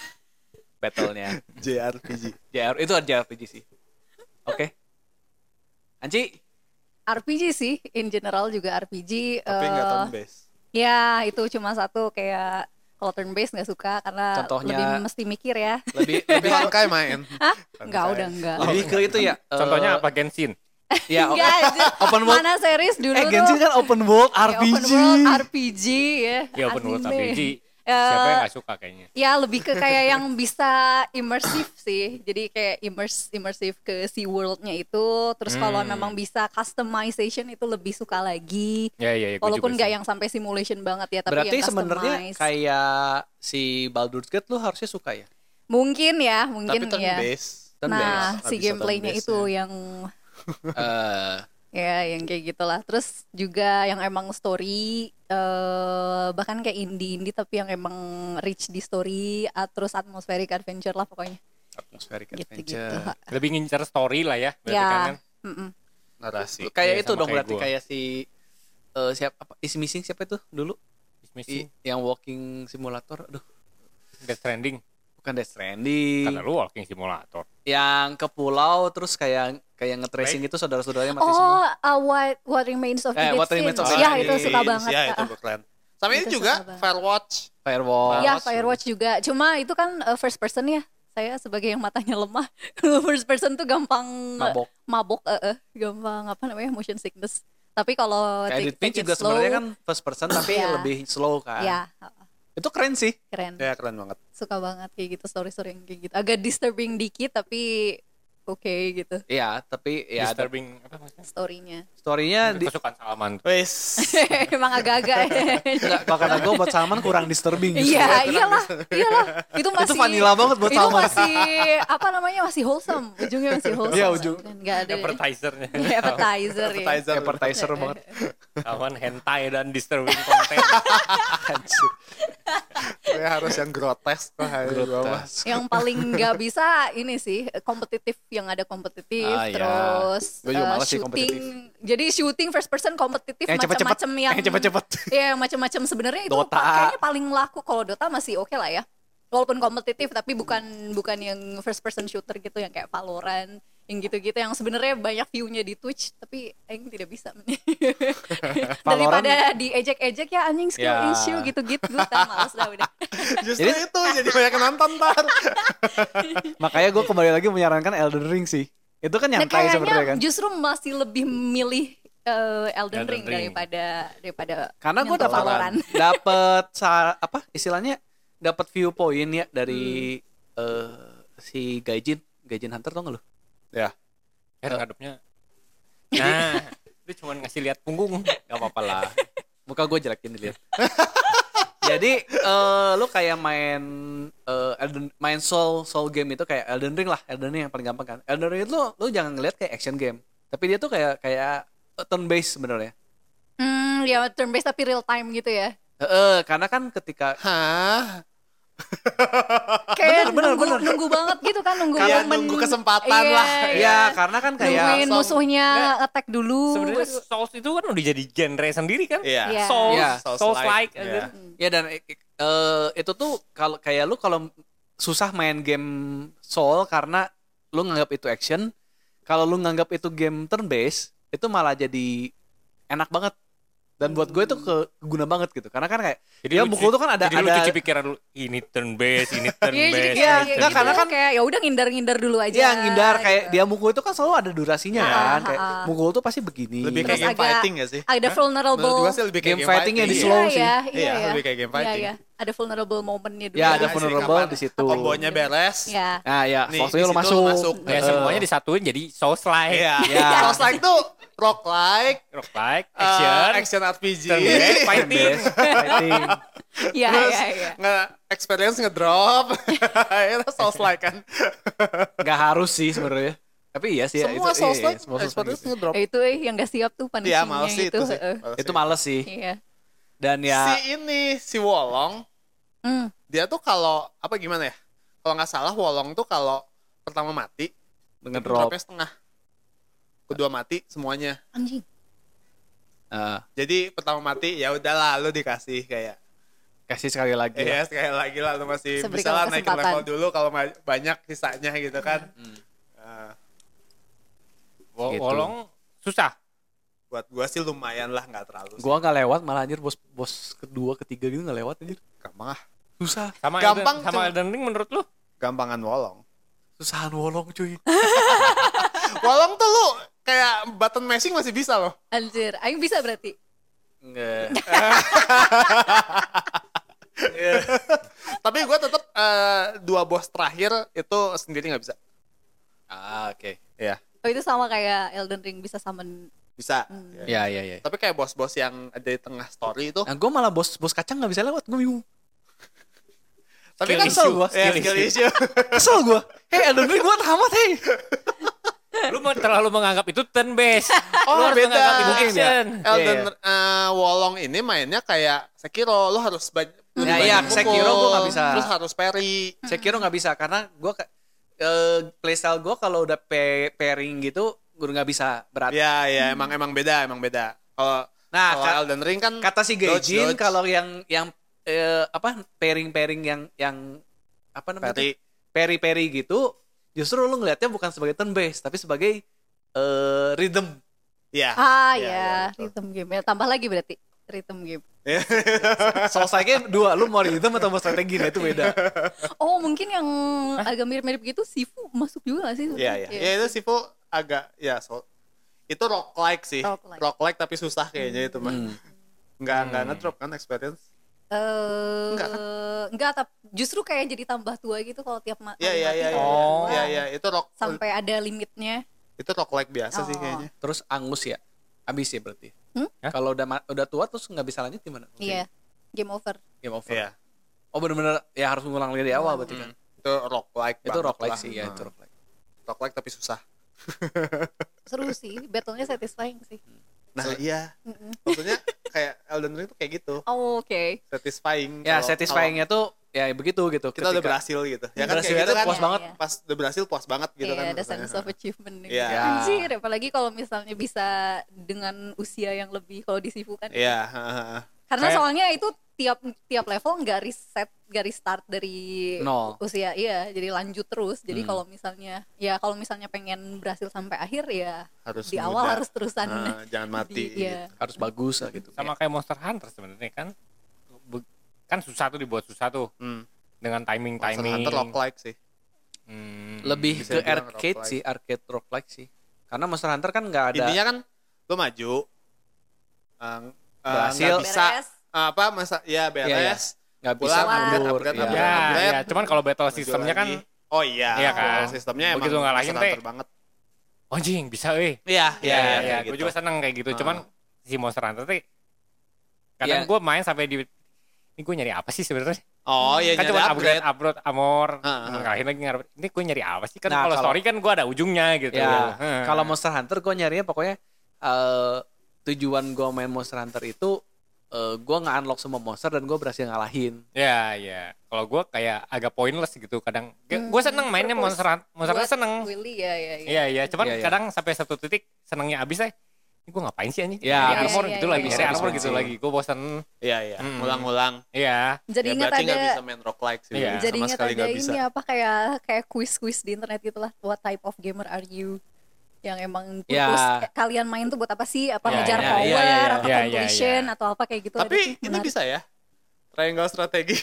Speaker 1: battle-nya
Speaker 2: JRPG
Speaker 1: JR itu ada JRPG sih oke Anci
Speaker 3: RPG sih in general juga RPG.
Speaker 2: tapi nggak
Speaker 3: eh,
Speaker 2: turn based
Speaker 3: Ya, itu cuma satu kayak kalau turn based nggak suka karena
Speaker 1: Contohnya-
Speaker 3: lebih mesti mikir ya.
Speaker 1: lebih
Speaker 2: tapi
Speaker 1: lebih
Speaker 2: kayak main
Speaker 3: Hah?
Speaker 2: Santai.
Speaker 3: Enggak, udah enggak.
Speaker 1: lebih ke itu ya eh,
Speaker 4: Contohnya apa Genshin?
Speaker 1: ya
Speaker 3: Enggak, anjir.
Speaker 1: open world.
Speaker 3: Mana series dulu
Speaker 1: eh
Speaker 3: tuh.
Speaker 1: Genshin kan open world
Speaker 3: kayak
Speaker 1: RPG
Speaker 3: Open world RPG ya.
Speaker 4: Ya open world
Speaker 3: Anime.
Speaker 4: RPG.
Speaker 3: Eh,
Speaker 4: Siapa yang gak suka kayaknya?
Speaker 3: Ya lebih ke kayak yang bisa imersif sih. Jadi kayak immerse imersif ke si world-nya itu. Terus kalau
Speaker 4: Hmm.
Speaker 3: memang bisa customization itu lebih suka lagi.
Speaker 4: Ya, ya, ya. gua
Speaker 3: Walaupun
Speaker 4: juga
Speaker 3: nggak
Speaker 4: sih.
Speaker 3: yang sampai simulation banget ya, tapi
Speaker 1: berarti
Speaker 3: yang
Speaker 1: sebenarnya
Speaker 3: customize.
Speaker 1: kayak si Baldur's Gate lu harusnya suka ya
Speaker 3: mungkin ya, mungkin
Speaker 2: tapi turn
Speaker 3: ya.
Speaker 2: based
Speaker 1: turn
Speaker 3: nah, si
Speaker 2: based. Nggak bisa turn
Speaker 3: gameplaynya
Speaker 2: based
Speaker 3: itu
Speaker 1: Eh,
Speaker 2: ya.
Speaker 3: yang Ya, yang kayak gitulah. Terus juga yang emang story eh bahkan kayak indie-indie tapi yang emang rich di story, ah, terus atmospheric adventure lah pokoknya.
Speaker 1: Atmospheric
Speaker 3: Gitu-gitu.
Speaker 1: adventure.
Speaker 4: Lebih ngincer story lah ya. Berarti
Speaker 3: Ya.
Speaker 4: kan kan.
Speaker 3: Mm-mm.
Speaker 2: narasi
Speaker 1: Kayak
Speaker 4: Iya,
Speaker 1: itu
Speaker 4: sama
Speaker 1: dong
Speaker 4: kayak
Speaker 1: berarti
Speaker 4: gua.
Speaker 1: kayak si eh, siapa apa is missing siapa itu dulu
Speaker 4: Misi,
Speaker 1: I- yang walking simulator aduh
Speaker 4: Death Stranding.
Speaker 1: bukan Death Stranding
Speaker 4: Karena lu walking simulator.
Speaker 1: yang ke pulau terus kayak kayak nge-tracing itu saudara-saudaranya mati semua
Speaker 3: Oh, uh, what what remains of
Speaker 1: Eh,
Speaker 3: Edith
Speaker 1: What Remains of
Speaker 3: Finch.
Speaker 1: Edith
Speaker 3: Ya,
Speaker 1: Finch.
Speaker 3: itu suka banget.
Speaker 2: ya itu
Speaker 3: Ah,
Speaker 2: keren sama ini
Speaker 3: Itu suka
Speaker 2: juga
Speaker 3: banget.
Speaker 2: Firewatch
Speaker 1: Firewall
Speaker 3: Ya, Firewatch juga. Cuma itu kan uh, first person ya. Saya sebagai yang matanya lemah, first person tuh gampang uh,
Speaker 1: mabok
Speaker 3: mabok, eh, eh, gampang apa namanya motion sickness. Tapi kalau
Speaker 1: kayak Edith
Speaker 3: take-
Speaker 1: Finch
Speaker 3: take it
Speaker 1: juga
Speaker 3: slow,
Speaker 1: sebenarnya kan first person tapi
Speaker 3: Iya.
Speaker 1: lebih slow kan
Speaker 3: ya
Speaker 1: itu keren sih
Speaker 3: keren.
Speaker 2: ya keren banget
Speaker 3: Suka banget kayak gitu story-story yang kayak gitu. Agak disturbing dikit tapi oke gitu
Speaker 1: Iya, tapi ya ada
Speaker 4: Disturbing apa maksudnya?
Speaker 3: story-nya.
Speaker 1: story-nya di,
Speaker 4: Kesukaan Salman.
Speaker 2: wes
Speaker 3: Emang agak-agak.
Speaker 1: makanya gue buat Salman kurang disturbing justru.
Speaker 3: Iya, iyalah, iyalah. Itu masih
Speaker 1: Itu vanilla banget buat
Speaker 3: itu
Speaker 1: Salma.
Speaker 3: masih apa namanya? Masih wholesome. Ujungnya masih wholesome.
Speaker 1: Iya, ujung.
Speaker 3: Enggak ada.
Speaker 4: Advertisernya.
Speaker 3: Ya, appetizer. ya.
Speaker 2: appetizer
Speaker 1: appetizer banget
Speaker 4: Salman hentai dan disturbing content.
Speaker 1: Anjir,
Speaker 2: gue harus yang grotesk lah ya, hari gua mah.
Speaker 1: grotes.
Speaker 3: Yang paling nggak bisa ini sih kompetitif yang ada kompetitif
Speaker 1: Ah, iya.
Speaker 3: terus
Speaker 1: Gua juga
Speaker 3: eh,
Speaker 1: males sih
Speaker 3: shooting.
Speaker 1: kompetitif.
Speaker 3: Jadi shooting first person kompetitif
Speaker 1: Yang cepet-cepet,
Speaker 3: macam-macam yang
Speaker 1: yang cepet-cepet.
Speaker 3: Iya, macam-macam sebenarnya itu
Speaker 1: Dota.
Speaker 3: kayaknya paling laku kalau Dota masih oke lah ya. Walaupun kompetitif tapi bukan bukan yang first person shooter gitu yang kayak Valorant yang gitu-gitu yang sebenarnya banyak view-nya di Twitch tapi Aing tidak bisa daripada diejek-ejek ya anjing skill
Speaker 1: Ya.
Speaker 3: issue gitu-gitu gue males dah udah
Speaker 2: justru itu jadi banyak yang nonton tar
Speaker 1: makanya gue kembali lagi menyarankan Elden Ring sih itu kan
Speaker 3: Nah,
Speaker 1: nyantai
Speaker 3: kayaknya
Speaker 1: sebenarnya kan
Speaker 3: justru masih lebih milih eh, Elden,
Speaker 4: Elden
Speaker 3: Ring,
Speaker 4: Ring.
Speaker 3: daripada daripada
Speaker 1: karena gue
Speaker 3: nyentuh
Speaker 1: dapat
Speaker 3: Valorant.
Speaker 1: dapat sa- apa istilahnya dapat viewpoint ya dari
Speaker 3: Hmm.
Speaker 1: eh, si Gaijin Gaijin Hunter tau gak lu?
Speaker 2: ya
Speaker 4: Kan ngadepnya. Nah, lu cuman ngasih lihat punggung.
Speaker 1: Gak apa-apa lah. Muka gue jelekin dilihat. Jadi eh, lu kayak main eh, Elden, main soul soul game itu kayak Elden Ring lah, Elden Ring yang paling gampang kan. Elden Ring itu lu, lu jangan ngeliat kayak action game, tapi dia tuh kayak kayak turn based sebenarnya.
Speaker 3: Hmm, ya turn based tapi real time gitu ya.
Speaker 1: Heeh, karena kan ketika
Speaker 2: hah
Speaker 3: Kayak
Speaker 1: bener,
Speaker 3: nunggu,
Speaker 1: bener.
Speaker 3: nunggu banget gitu kan nunggu
Speaker 2: Kayak
Speaker 3: momen-
Speaker 2: nunggu kesempatan
Speaker 3: Iya,
Speaker 2: lah.
Speaker 3: iya.
Speaker 1: ya karena kan
Speaker 3: Nungguin
Speaker 1: kayak
Speaker 2: Langsung.
Speaker 3: musuhnya
Speaker 4: Nggak.
Speaker 3: attack dulu.
Speaker 4: Sebenarnya
Speaker 3: terus-
Speaker 4: Souls itu kan udah jadi genre sendiri kan?
Speaker 2: Iya.
Speaker 3: Iya.
Speaker 4: Souls,
Speaker 1: Iya.
Speaker 4: Souls like.
Speaker 2: Iya.
Speaker 1: ya dan eh, eh, itu tuh kalau kayak lu kalau susah main game soul karena lu nganggap itu action, kalau lu nganggap itu game turn based itu malah jadi enak banget. Dan buat gue itu keguna banget gitu. Karena kan kayak
Speaker 4: Jadi
Speaker 1: Ya,
Speaker 4: lu
Speaker 1: mukul
Speaker 4: cuci-
Speaker 1: tuh kan ada-
Speaker 4: jadi lu
Speaker 1: ada-
Speaker 4: cuci pikiran lu ini turn base, ini turn
Speaker 3: Iya, jadi
Speaker 4: base.
Speaker 3: kayak,
Speaker 1: Iya,
Speaker 3: kayak
Speaker 1: nggak,
Speaker 3: gitu,
Speaker 1: karena kan-
Speaker 3: kayak ya udah ngindar-ngindar dulu aja.
Speaker 1: Ya ngindar kayak
Speaker 3: gitu.
Speaker 1: dia mukul itu kan selalu ada durasinya
Speaker 3: Ah,
Speaker 1: kan kayak
Speaker 3: ah, ah.
Speaker 1: mukul tuh pasti begini.
Speaker 2: lebih
Speaker 3: Terus
Speaker 2: kayak game
Speaker 3: agak-
Speaker 2: fighting ya sih
Speaker 3: ada
Speaker 2: Hah?
Speaker 3: vulnerable.
Speaker 2: Menurut gua sih lebih kayak
Speaker 1: Game fighting yang di
Speaker 3: Iya,
Speaker 1: slow sih.
Speaker 3: iya, Iya,
Speaker 2: Iya,
Speaker 3: iya.
Speaker 2: lebih kayak game
Speaker 3: Iya,
Speaker 2: fighting.
Speaker 3: iya. Ada vulnerable momennya dulu.
Speaker 1: Ya, ada
Speaker 2: Iya, sih,
Speaker 1: vulnerable
Speaker 2: kapan
Speaker 1: di situ.
Speaker 2: Kombonya beres
Speaker 3: Iya.
Speaker 1: Nah ya,
Speaker 2: Nih,
Speaker 1: waktunya
Speaker 2: di
Speaker 1: lu
Speaker 2: situ
Speaker 1: masuk.
Speaker 2: lu masuk.
Speaker 4: Ya semuanya disatuin jadi Souls like.
Speaker 2: Iya.
Speaker 1: Iya.
Speaker 2: Souls like tuh rock like,
Speaker 4: Rock like,
Speaker 2: action,
Speaker 4: action,
Speaker 2: action RPG.
Speaker 4: turn base, fighting.
Speaker 1: Best fighting.
Speaker 3: Iya,
Speaker 2: Terus
Speaker 3: iya, iya.
Speaker 2: nge experience ngedrop. Itu Souls like kan.
Speaker 1: Gak harus sih sebenarnya. Tapi iya sih ya,
Speaker 2: semua
Speaker 1: itu,
Speaker 2: Souls
Speaker 1: iya,
Speaker 2: like
Speaker 1: iya, semua Souls-like
Speaker 2: experience
Speaker 1: gitu.
Speaker 2: ngedrop.
Speaker 3: Ya, itu eh yang gak siap tuh
Speaker 2: Iya,
Speaker 3: punishingnya
Speaker 2: males sih
Speaker 3: itu.
Speaker 2: itu sih.
Speaker 3: gitu, heeh.
Speaker 2: Males
Speaker 1: Itu
Speaker 2: sih.
Speaker 1: males sih.
Speaker 3: Iya.
Speaker 1: Dan ya
Speaker 2: Si ini si Wolong,
Speaker 3: Hmm.
Speaker 2: dia tuh kalau apa gimana ya? Kalau nggak salah Wolong tuh kalau pertama mati,
Speaker 1: ngedrop.
Speaker 2: dropnya setengah. Kedua mati semuanya.
Speaker 3: Anjing.
Speaker 1: Eh,
Speaker 2: Jadi pertama mati ya udahlah lu dikasih kayak
Speaker 1: kasih sekali lagi. ya. lah.
Speaker 2: Iya, sekali lagi lah lu masih
Speaker 3: Seberi
Speaker 2: bisa lah
Speaker 3: kamu
Speaker 2: naikin
Speaker 3: kesempatan.
Speaker 2: level dulu kalau ma- banyak sisanya gitu kan. Eh,
Speaker 4: Wo-
Speaker 1: Gitu.
Speaker 4: Wolong susah.
Speaker 2: buat gua sih lumayan lah nggak terlalu.
Speaker 1: Gua nggak lewat malah anjir bos bos kedua ketiga gitu nggak lewat anjir.
Speaker 2: gampang ah.
Speaker 1: Susah,
Speaker 4: Sama
Speaker 2: Gampang,
Speaker 4: Elden, sama
Speaker 2: cuman-
Speaker 4: Elden Ring menurut lu?
Speaker 2: Gampangan wolong.
Speaker 1: susahan wolong cuy.
Speaker 2: wolong tuh lu kayak button mashing masih bisa loh.
Speaker 3: Anjir, aing bisa berarti.
Speaker 1: Enggak.
Speaker 2: Tapi gua tetap eh, dua bos terakhir itu sendiri nggak bisa.
Speaker 1: Ah, oke.
Speaker 2: Iya,
Speaker 3: Oh itu sama kayak Elden Ring bisa summon.
Speaker 2: bisa. Iya.
Speaker 1: Ya ya ya.
Speaker 2: Tapi kayak bos-bos yang ada di tengah story itu.
Speaker 1: Nah, gue malah bos bos kacang nggak bisa lewat, gue bingung.
Speaker 2: Tapi
Speaker 1: skill
Speaker 2: kan
Speaker 1: issue,
Speaker 2: selalu
Speaker 1: skill
Speaker 2: skill issue.
Speaker 1: Eh, Kesel gue. Hei, Elden Ring gue tamat, hei.
Speaker 4: lu mau- terlalu menganggap itu turn based.
Speaker 2: Oh,
Speaker 4: lu harus
Speaker 2: beda.
Speaker 4: menganggap itu
Speaker 1: Mungkin ya.
Speaker 4: action.
Speaker 2: Elden
Speaker 1: Iya,
Speaker 2: eh, Wolong ini mainnya kayak Sekiro, lo harus ba- lebih
Speaker 1: Ya,
Speaker 2: banyak
Speaker 1: iya,
Speaker 2: mukul,
Speaker 1: Sekiro gua nggak bisa.
Speaker 2: Terus harus parry.
Speaker 1: Saya kira nggak bisa karena gue eh playstyle gue kalau udah pe- pairing gitu gue nggak bisa berat.
Speaker 2: Ya, ya emang emang beda, emang beda. Kalau
Speaker 1: Nah,
Speaker 2: kalau
Speaker 1: ka-
Speaker 2: Elden Ring kan
Speaker 1: Kata si
Speaker 2: dodge,
Speaker 1: Gaijin
Speaker 2: dodge,
Speaker 1: kalau yang yang eh, apa pairing-pairing yang yang apa namanya?
Speaker 2: parry.
Speaker 1: peri-peri gitu justru lu ngelihatnya bukan sebagai turn based tapi sebagai eh, rhythm
Speaker 2: Iya.
Speaker 3: Ah
Speaker 2: Iya, iya,
Speaker 3: ya,
Speaker 2: betul.
Speaker 3: rhythm game. Ya, tambah lagi berarti rhythm game.
Speaker 1: selesainya dua lu mau rhythm atau mau strategi nah itu beda
Speaker 2: Eh.
Speaker 3: Oh, mungkin yang agak mirip-mirip gitu Sifu masuk juga gak sih? Eh,
Speaker 2: Iya, iya. Ya itu Sifu agak ya so, itu rock like sih. Rock
Speaker 3: Roguelike.
Speaker 2: like tapi susah kayaknya itu mah. Enggak enggak
Speaker 4: Hmm.
Speaker 2: ngedrop kan experience.
Speaker 3: Eh,
Speaker 2: Enggak kan?
Speaker 3: enggak, tap- justru kayak jadi tambah tua gitu kalau tiap ma-
Speaker 2: Iya,
Speaker 3: kali
Speaker 2: iya,
Speaker 3: mati
Speaker 2: iya.
Speaker 3: kayak
Speaker 2: iya.
Speaker 4: Oh.
Speaker 2: Iya, iya, itu rock
Speaker 3: sampai ada limitnya.
Speaker 2: itu rock like biasa sih
Speaker 3: Oh.
Speaker 2: kayaknya.
Speaker 1: terus angus ya abis ya berarti
Speaker 3: Hmm?
Speaker 4: Hah?
Speaker 1: kalau udah ma- udah tua terus nggak bisa lanjut gimana
Speaker 3: Iya. Game over.
Speaker 1: game over
Speaker 2: Iya. Hmm.
Speaker 1: oh bener-bener ya harus ngulang lagi dari awal berarti kan
Speaker 2: Itu rock like.
Speaker 1: itu rock like sih ya itu
Speaker 2: Hmm.
Speaker 1: rock like
Speaker 2: Rock like tapi susah.
Speaker 3: Seru sih, battle-nya satisfying sih.
Speaker 2: Nah,
Speaker 1: So-
Speaker 2: iya.
Speaker 3: Mm-mm.
Speaker 2: Maksudnya kayak Elden Ring tuh kayak gitu.
Speaker 3: Oh, Oke.
Speaker 2: Satisfying.
Speaker 1: ya
Speaker 2: kalau-
Speaker 1: satisfyingnya tuh ya begitu gitu
Speaker 2: kalau kita udah
Speaker 1: Ketika-
Speaker 2: berhasil gitu. Ya kan
Speaker 1: Berhasil
Speaker 2: kayak gitu
Speaker 1: itu
Speaker 2: kan.
Speaker 1: puas banget.
Speaker 3: Iya.
Speaker 2: Pas udah berhasil puas banget gitu
Speaker 3: Iya,
Speaker 2: kan.
Speaker 3: ada
Speaker 2: rasanya.
Speaker 3: sense of achievement gitu.
Speaker 2: Iya.
Speaker 3: Anjir, apalagi kalau misalnya bisa dengan usia yang lebih kalau di Sifu kan.
Speaker 2: Iya, heeh.
Speaker 3: Karena
Speaker 4: Kayak-
Speaker 3: soalnya itu tiap tiap level nggak reset, nggak restart dari
Speaker 1: Nol.
Speaker 3: usia. Iya, jadi lanjut terus. Jadi
Speaker 1: Hmm.
Speaker 3: kalau misalnya ya kalau misalnya pengen berhasil sampai akhir ya
Speaker 2: harus
Speaker 3: di awal
Speaker 2: muda. Ah.
Speaker 3: harus terusan.
Speaker 2: Heeh, jangan mati.
Speaker 3: Di- iya.
Speaker 1: harus bagus lah gitu
Speaker 4: Sama kayak Monster Hunter sebenarnya kan. Be- Kan susah tuh dibuat susah tuh
Speaker 2: Hmm.
Speaker 4: dengan timing
Speaker 2: Monster
Speaker 4: timing. Hmm.
Speaker 2: Hunter lock like sih.
Speaker 1: lebih
Speaker 2: Hmm. Bisa
Speaker 1: ke
Speaker 2: dibilang
Speaker 1: arcade
Speaker 2: roguelike.
Speaker 1: sih arcade rock like sih karena monster hunter kan nggak ada
Speaker 2: Intinya kan lo maju eh, eh,
Speaker 1: Berhasil.
Speaker 2: nggak bisa
Speaker 3: Beres.
Speaker 2: apa masa ya beres
Speaker 1: Iya, iya. nggak bisa
Speaker 2: pulang upgrade,
Speaker 1: mundur
Speaker 2: upgrade,
Speaker 1: iya.
Speaker 4: Ya,
Speaker 2: upgrade.
Speaker 4: ya, cuman kalau battle
Speaker 2: maju
Speaker 4: sistemnya kan
Speaker 2: lagi. Oh iya.
Speaker 4: Iya kan?
Speaker 2: Sistemnya emang
Speaker 4: Begitu ngalahin
Speaker 2: Monster Hunter
Speaker 4: teh.
Speaker 2: banget.
Speaker 4: "Oh, anjing bisa eh.
Speaker 2: Iya,
Speaker 4: Iya, iya,
Speaker 2: kayak
Speaker 4: gue
Speaker 2: gitu.
Speaker 4: juga seneng kayak gitu. Cuman si Monster Hunter tuh kadang
Speaker 1: Iya.
Speaker 4: gue main sampai di ini gue nyari apa sih sebenarnya?
Speaker 2: Oh iya,
Speaker 4: kan
Speaker 2: nyari
Speaker 4: cuma
Speaker 2: upgrade. Ah,
Speaker 4: upgrade, upload amor,
Speaker 2: Heeh.
Speaker 4: ngalahin lagi ngarep. Ini gue nyari apa sih? Kan
Speaker 1: Nah,
Speaker 4: kalau
Speaker 1: kalau-
Speaker 4: story kan gue ada ujungnya gitu.
Speaker 2: Iya.
Speaker 1: Ya,
Speaker 4: Heeh.
Speaker 1: kalau Monster Hunter gue nyarinya pokoknya eh, tujuan gue main Monster Hunter itu eh, gue nggak unlock semua monster dan gue berhasil ngalahin.
Speaker 4: ya ya. Kalau gue kayak agak pointless gitu kadang. gue seneng mainnya
Speaker 3: purpose.
Speaker 4: Monster Hunter, Monster Hunter
Speaker 3: Buat
Speaker 4: seneng.
Speaker 3: Willy ya, ya, ya.
Speaker 4: Iya iya. Cuman
Speaker 1: Iya, iya.
Speaker 4: kadang sampai satu titik senengnya abis eh. Ini gue ngapain sih anjing?
Speaker 1: Iya,
Speaker 4: Nyari
Speaker 1: iya,
Speaker 4: armor
Speaker 3: iya,
Speaker 4: gitu
Speaker 3: iya,
Speaker 4: lagi,
Speaker 3: iya.
Speaker 4: nyari armor
Speaker 1: Bisa,
Speaker 4: gitu
Speaker 1: bisa.
Speaker 4: lagi. Gue bosen.
Speaker 2: Iya, iya.
Speaker 4: Hmm.
Speaker 2: Ngulang-ngulang.
Speaker 4: Iya.
Speaker 3: Jadi
Speaker 2: ya,
Speaker 3: ingat
Speaker 2: berarti nggak
Speaker 3: ada
Speaker 2: bisa main rock like sih.
Speaker 4: Iya.
Speaker 2: Sama
Speaker 3: jadi ingat
Speaker 2: sekali
Speaker 3: ada
Speaker 2: nggak
Speaker 3: ini
Speaker 2: bisa.
Speaker 3: apa kayak kayak kuis-kuis di internet gitulah what type of gamer are you yang emang khusus
Speaker 1: Ya.
Speaker 3: kalian main tuh buat apa sih apa
Speaker 4: Ya,
Speaker 3: ngejar
Speaker 1: ya,
Speaker 3: power
Speaker 1: ya, ya, ya.
Speaker 3: atau
Speaker 4: Ya, ya,
Speaker 3: completion
Speaker 4: ya.
Speaker 3: atau apa kayak gitu
Speaker 2: Tapi
Speaker 3: ada sih,
Speaker 2: ini
Speaker 3: menarik.
Speaker 2: bisa ya. Triangle strategi.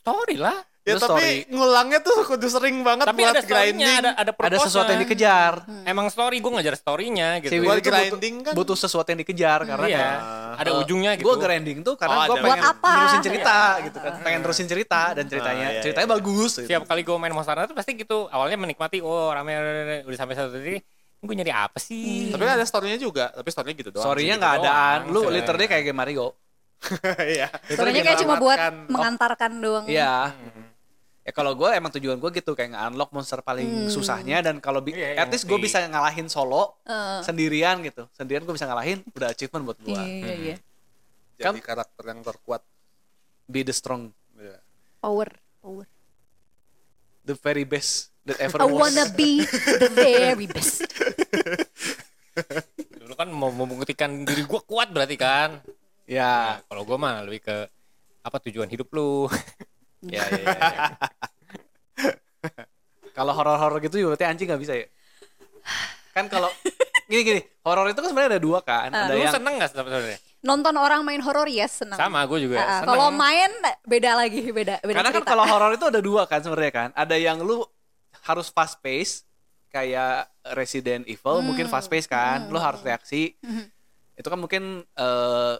Speaker 4: Story lah.
Speaker 2: ya
Speaker 1: Itu story.
Speaker 2: tapi ngulangnya tuh kudu sering banget
Speaker 4: Tapi
Speaker 2: buat
Speaker 4: ada storynya,
Speaker 2: grinding.
Speaker 4: ada ada,
Speaker 1: Ada sesuatu yang
Speaker 4: purpose-nya.
Speaker 1: dikejar.
Speaker 4: Emang story gue ngajar storynya gitu.
Speaker 1: Si Willy
Speaker 2: Buat
Speaker 1: itu butuh-
Speaker 2: grinding kan.
Speaker 1: Butuh sesuatu yang dikejar karena
Speaker 4: Iya.
Speaker 2: Ah.
Speaker 1: Uh,
Speaker 4: Ada ujungnya gitu.
Speaker 1: Gue grinding tuh
Speaker 2: Oh,
Speaker 1: karena gue
Speaker 2: ada
Speaker 1: pengen
Speaker 3: Buat apa?
Speaker 1: terusin cerita gitu kan. Pengen terusin cerita dan ceritanya
Speaker 2: Ah, iya, iya.
Speaker 1: ceritanya bagus. Gitu.
Speaker 4: Setiap kali gue main Monster Hunter tuh pasti gitu. Awalnya menikmati, oh rame, rame, rame. udah sampai satu titik. Gue nyari apa sih?
Speaker 2: Tapi kan ada storynya juga, tapi storynya gitu doang.
Speaker 1: Sorrynya
Speaker 2: sih.
Speaker 1: nggak
Speaker 4: doang.
Speaker 1: adaan. Lu
Speaker 4: Iya.
Speaker 1: literally kayak game Mario.
Speaker 2: Iya.
Speaker 3: Sebenarnya kayak cuma buat
Speaker 2: Menyelamatkan.
Speaker 3: mengantarkan doang
Speaker 1: Iya. Ya kalau gue emang tujuan gue gitu kayak nge-unlock monster paling susahnya dan kalau bi-
Speaker 4: Iya, iya,
Speaker 1: at least gue
Speaker 4: ngerti.
Speaker 1: bisa ngalahin solo
Speaker 3: Heeh.
Speaker 1: sendirian gitu. Sendirian gue bisa ngalahin udah achievement buat gue.
Speaker 3: iya iya iya
Speaker 2: Jadi karakter yang terkuat.
Speaker 1: Be the strong,
Speaker 2: Iya.
Speaker 3: power power
Speaker 1: the very best that ever
Speaker 3: I
Speaker 1: was.
Speaker 3: wanna be the very best
Speaker 4: Dulu kan mau mau membuktikan diri gue kuat berarti kan. Nah,
Speaker 1: Ya,
Speaker 4: kalau gue mah lebih ke apa tujuan hidup lu.
Speaker 1: ya, ya, ya, ya. kalau horor-horor gitu juga berarti anjing nggak bisa ya? Kan kalau gini-gini, horor itu kan sebenarnya ada dua kan. ada
Speaker 4: lu
Speaker 1: yang
Speaker 4: seneng gak sebenarnya?
Speaker 3: nonton orang main horor yes senang
Speaker 4: Sama gue juga.
Speaker 3: Ah, ah.
Speaker 4: seneng.
Speaker 3: kalau main beda lagi beda beda
Speaker 1: Karena kan
Speaker 3: cerita.
Speaker 1: kalau horor itu ada dua kan sebenarnya kan. Ada yang lu harus fast pace kayak Resident Evil mungkin fast pace kan. Lu harus reaksi. Itu kan mungkin eh,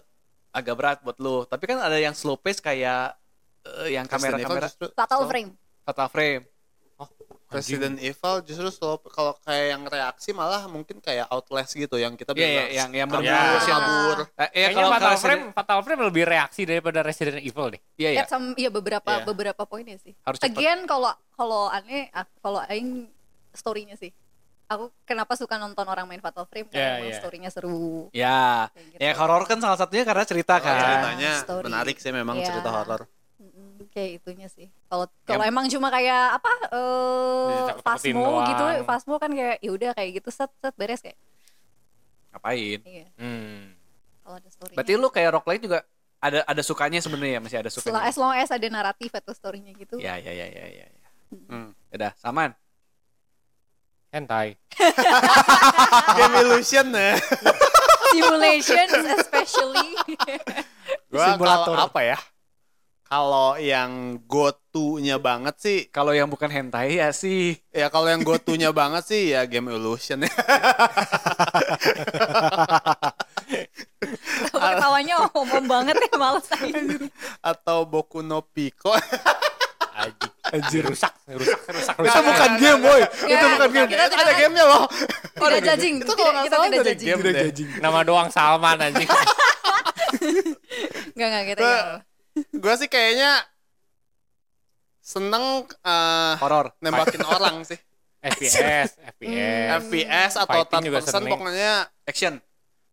Speaker 1: agak berat buat lu. Tapi kan ada yang slow pace kayak eh, yang
Speaker 2: Resident Evil
Speaker 1: kamera-kamera
Speaker 2: justru-
Speaker 3: fatal
Speaker 2: slow.
Speaker 3: frame
Speaker 1: fatal frame.
Speaker 2: Resident Evil justru slow. kalau kayak yang reaksi malah mungkin kayak Outlast gitu yang kita
Speaker 1: Iya, iya,
Speaker 2: bilang,
Speaker 1: yang yang
Speaker 2: kabur,
Speaker 1: berburu
Speaker 4: Iya.
Speaker 2: kabur.
Speaker 1: Eh, iya,
Speaker 4: Kayaknya
Speaker 1: kalau
Speaker 4: Fatal
Speaker 1: kalau
Speaker 4: Frame,
Speaker 1: Resident-
Speaker 4: Fatal Frame lebih reaksi daripada Resident Evil deh.
Speaker 1: Iya,
Speaker 3: Ya,
Speaker 1: iya.
Speaker 3: sam- iya beberapa
Speaker 2: Iya.
Speaker 3: beberapa poinnya sih.
Speaker 1: Harus cepet.
Speaker 3: Again kalau kalau aneh ah, kalau aing story-nya sih. aku kenapa suka nonton orang main Fatal Frame
Speaker 4: Iya,
Speaker 3: karena emang
Speaker 4: iya.
Speaker 3: story-nya seru.
Speaker 1: Ya,
Speaker 3: Kayak gitu.
Speaker 1: ya horor kan salah satunya karena cerita kan.
Speaker 2: ceritanya
Speaker 3: story.
Speaker 2: menarik sih memang
Speaker 3: Iya.
Speaker 2: cerita horor.
Speaker 3: Mm-mm, kayak itunya sih. Kalau kalau emang cuma kayak apa eh
Speaker 4: Ditakut-takutin
Speaker 3: Fasmo
Speaker 4: doang.
Speaker 3: gitu, Fasmo kan kayak ya udah kayak gitu set set beres kayak.
Speaker 1: Ngapain?
Speaker 3: Iya,
Speaker 4: Hmm.
Speaker 3: kalau ada story.
Speaker 1: Berarti lu kayak rock light juga ada ada sukanya sebenarnya ya, masih ada
Speaker 3: setelah
Speaker 1: sukanya.
Speaker 3: as long as ada naratif atau story-nya gitu.
Speaker 1: Ya ya ya ya ya. ya.
Speaker 2: Hmm.
Speaker 1: Udah, saman.
Speaker 4: Hentai.
Speaker 2: Game illusion ya.
Speaker 3: Simulations especially.
Speaker 2: Gua
Speaker 1: Simulator.
Speaker 2: kalau apa ya? Kalau yang go to-nya banget sih,
Speaker 1: Kalau yang bukan hentai ya sih.
Speaker 2: ya kalau yang go to-nya banget sih ya game illusion ya.
Speaker 3: Kalau ketawanya om banget ya malas aja.
Speaker 2: Atau Boku no Pico.
Speaker 4: Aji. Rusak, rusak, rusak, rusak.
Speaker 1: Itu bukan game, boy. Itu bukan game.
Speaker 3: Ya, Iya, Kita
Speaker 2: ada
Speaker 3: tidak,
Speaker 2: gamenya loh.
Speaker 3: tidak judging.
Speaker 2: Itu kalau
Speaker 3: Tidak-
Speaker 2: nggak
Speaker 3: kita
Speaker 2: salah
Speaker 3: tidak
Speaker 2: dari
Speaker 3: judging.
Speaker 2: game
Speaker 1: Tidak
Speaker 2: deh.
Speaker 1: judging.
Speaker 4: Nama doang Salman anjing.
Speaker 3: Enggak enggak kita.
Speaker 2: Gua-
Speaker 3: nggak.
Speaker 2: Gue sih kayaknya eh, seneng eh,
Speaker 1: Horor.
Speaker 2: nembakin orang sih.
Speaker 4: FPS,
Speaker 2: Iya.
Speaker 4: FPS.
Speaker 2: FPS atau
Speaker 4: Fighting
Speaker 2: third
Speaker 4: juga
Speaker 2: person
Speaker 4: seneng.
Speaker 2: pokoknya
Speaker 1: Action.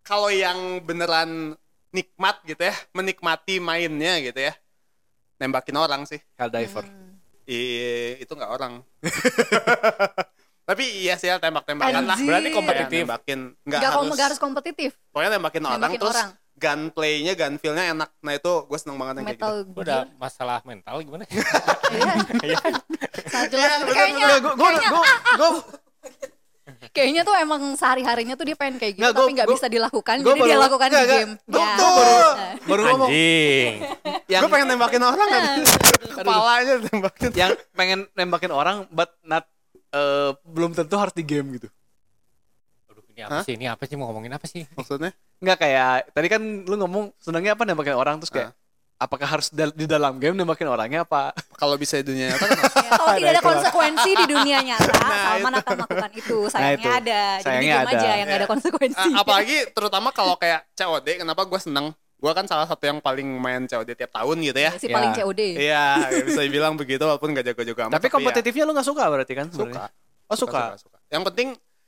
Speaker 2: kalau yang beneran nikmat gitu ya, menikmati mainnya gitu ya. Nembakin orang sih.
Speaker 1: Helldiver.
Speaker 2: I, itu nggak orang. Tapi iya sih ya, tembak-tembakan lah.
Speaker 3: Anjir.
Speaker 4: Berarti
Speaker 2: Kayak
Speaker 4: kompetitif.
Speaker 2: nembakin nggak
Speaker 3: Enggak
Speaker 2: harus,
Speaker 3: kom- nggak harus kompetitif.
Speaker 2: pokoknya nembakin, orang
Speaker 3: Nembakin
Speaker 2: terus
Speaker 3: orang.
Speaker 2: gunplay-nya, gunfeel-nya enak. Nah itu gue seneng banget yang kayak gitu.
Speaker 3: Metal
Speaker 4: Udah masalah mental gimana?
Speaker 3: Iya. Sangat jelas.
Speaker 2: bener,
Speaker 3: kayaknya,
Speaker 1: Gue gue gue
Speaker 3: kayaknya tuh emang sehari harinya tuh dia pengen kayak gitu,
Speaker 1: Nggak, gua-
Speaker 3: tapi nggak
Speaker 1: gua-
Speaker 3: bisa dilakukan.
Speaker 1: gua
Speaker 3: Jadi dia
Speaker 1: baru-
Speaker 3: lakukan di
Speaker 1: nggak, nggak.
Speaker 3: game.
Speaker 2: Tuh,
Speaker 3: Ya.
Speaker 2: tuh.
Speaker 3: Nah,
Speaker 1: baru ngomong
Speaker 4: Anjing.
Speaker 1: yang
Speaker 2: Gue pengen nembakin orang kan.
Speaker 3: Nah.
Speaker 2: Kepalanya tembakin.
Speaker 1: yang pengen nembakin orang but not eh, belum tentu harus di game gitu.
Speaker 4: Aduh, ini apa
Speaker 2: Hah?
Speaker 4: sih? Ini apa sih mau ngomongin apa sih?
Speaker 2: Maksudnya?
Speaker 1: Enggak kayak tadi kan lu ngomong senangnya apa nembakin orang terus kayak
Speaker 2: Ah.
Speaker 1: apakah harus dal- di dalam game nembakin orangnya apa?
Speaker 2: Kalau bisa di dunia nyata kan harus-
Speaker 3: ya, Kalau tidak ada konsekuensi di dunia nyata, Salman akan melakukan itu. Sayangnya
Speaker 1: itu.
Speaker 3: ada. Jadi di
Speaker 1: Sayangnya
Speaker 3: game aja
Speaker 1: ada.
Speaker 3: yang nggak ada
Speaker 2: Ya.
Speaker 3: konsekuensi.
Speaker 2: A- apalagi terutama kalau kayak COD, kenapa gue seneng? Gue kan salah satu yang paling main COD tiap tahun gitu ya.
Speaker 3: Si paling
Speaker 1: Ya.
Speaker 3: COD.
Speaker 2: Iya, ya bisa dibilang begitu walaupun gak jago-jago amat.
Speaker 1: tapi
Speaker 2: ya,
Speaker 1: kompetitifnya lu nggak suka berarti kan? sebenarnya? Oh suka.
Speaker 2: suka. Yang penting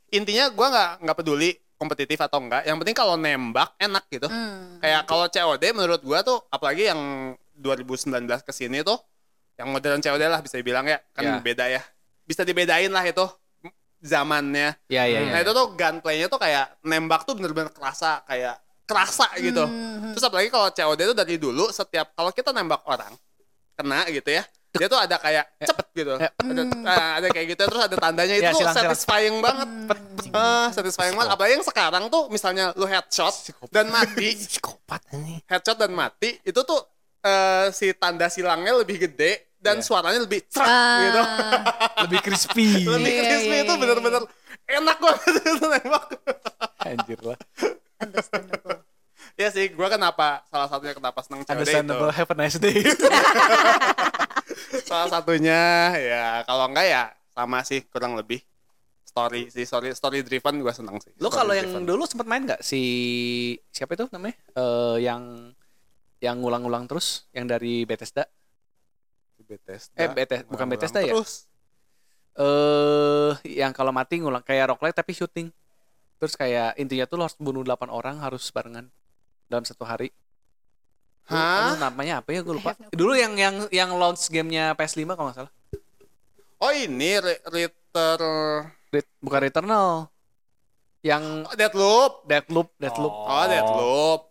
Speaker 2: intinya gue nggak nggak peduli kompetitif atau enggak. Yang penting kalau nembak enak gitu.
Speaker 3: Hmm.
Speaker 2: Kayak kalau COD menurut gue tuh apalagi yang 2019 kesini tuh yang modern COD lah bisa dibilang ya kan
Speaker 1: Ya.
Speaker 2: beda ya. Bisa dibedain lah itu zamannya.
Speaker 1: Iya iya.
Speaker 2: Nah itu tuh gunplay-nya tuh kayak nembak tuh bener-bener kerasa kayak kerasa gitu.
Speaker 1: Hmm.
Speaker 3: Hmm.
Speaker 2: Terus apalagi kalau COD itu dari dulu setiap kalau kita nembak orang kena gitu ya. Dia tuh ada kayak cepet gitu.
Speaker 1: Eh,
Speaker 2: Ada, eh, ada kayak gitu terus ada tandanya itu
Speaker 1: Ya,
Speaker 2: tuh
Speaker 1: silang, silang.
Speaker 2: satisfying banget.
Speaker 3: Hmm.
Speaker 2: Eh, satisfying banget. Apalagi yang sekarang tuh misalnya lu headshot dan mati,
Speaker 4: Psikopat anjing.
Speaker 2: headshot dan mati itu tuh eh, si tanda silangnya lebih gede dan
Speaker 1: Iya.
Speaker 2: suaranya lebih cerak
Speaker 3: Eh,
Speaker 2: gitu.
Speaker 1: Lebih crispy.
Speaker 2: Lebih
Speaker 3: Ah, Iya,
Speaker 2: crispy
Speaker 3: iya,
Speaker 2: itu
Speaker 3: iya,
Speaker 2: bener-bener enak banget itu nembak.
Speaker 1: Anjir lah.
Speaker 3: Understandable.
Speaker 2: Ya sih, gua kenapa salah satunya kenapa seneng COD itu.
Speaker 1: Understandable. Have a nice day.
Speaker 2: Salah satunya ya kalau enggak ya sama sih kurang lebih story sih story story driven gua seneng sih.
Speaker 1: lu
Speaker 2: Story
Speaker 1: kalau yang
Speaker 2: driven.
Speaker 1: dulu sempat main nggak si siapa itu namanya? Eh yang yang ngulang-ngulang terus yang dari Bethesda.
Speaker 2: Bethesda,
Speaker 1: Eh, Bethes- bukan
Speaker 2: ngulang-ngulang
Speaker 1: Bethesda ya?
Speaker 2: Terus
Speaker 1: Eh yang kalau mati ngulang kayak rock Light tapi shooting. Terus kayak intinya tuh lu harus bunuh 8 orang harus barengan dalam satu hari. Lu-
Speaker 2: Hah?
Speaker 1: aduh, namanya apa ya gue lupa.
Speaker 3: I have no
Speaker 1: Dulu yang yang yang launch gamenya PS5 kalau nggak salah.
Speaker 2: Oh ini re- Reader
Speaker 1: Ret- bukan Returnal. Yang
Speaker 2: oh, Deathloop.
Speaker 1: Deathloop, Deathloop.
Speaker 2: Oh, Deathloop.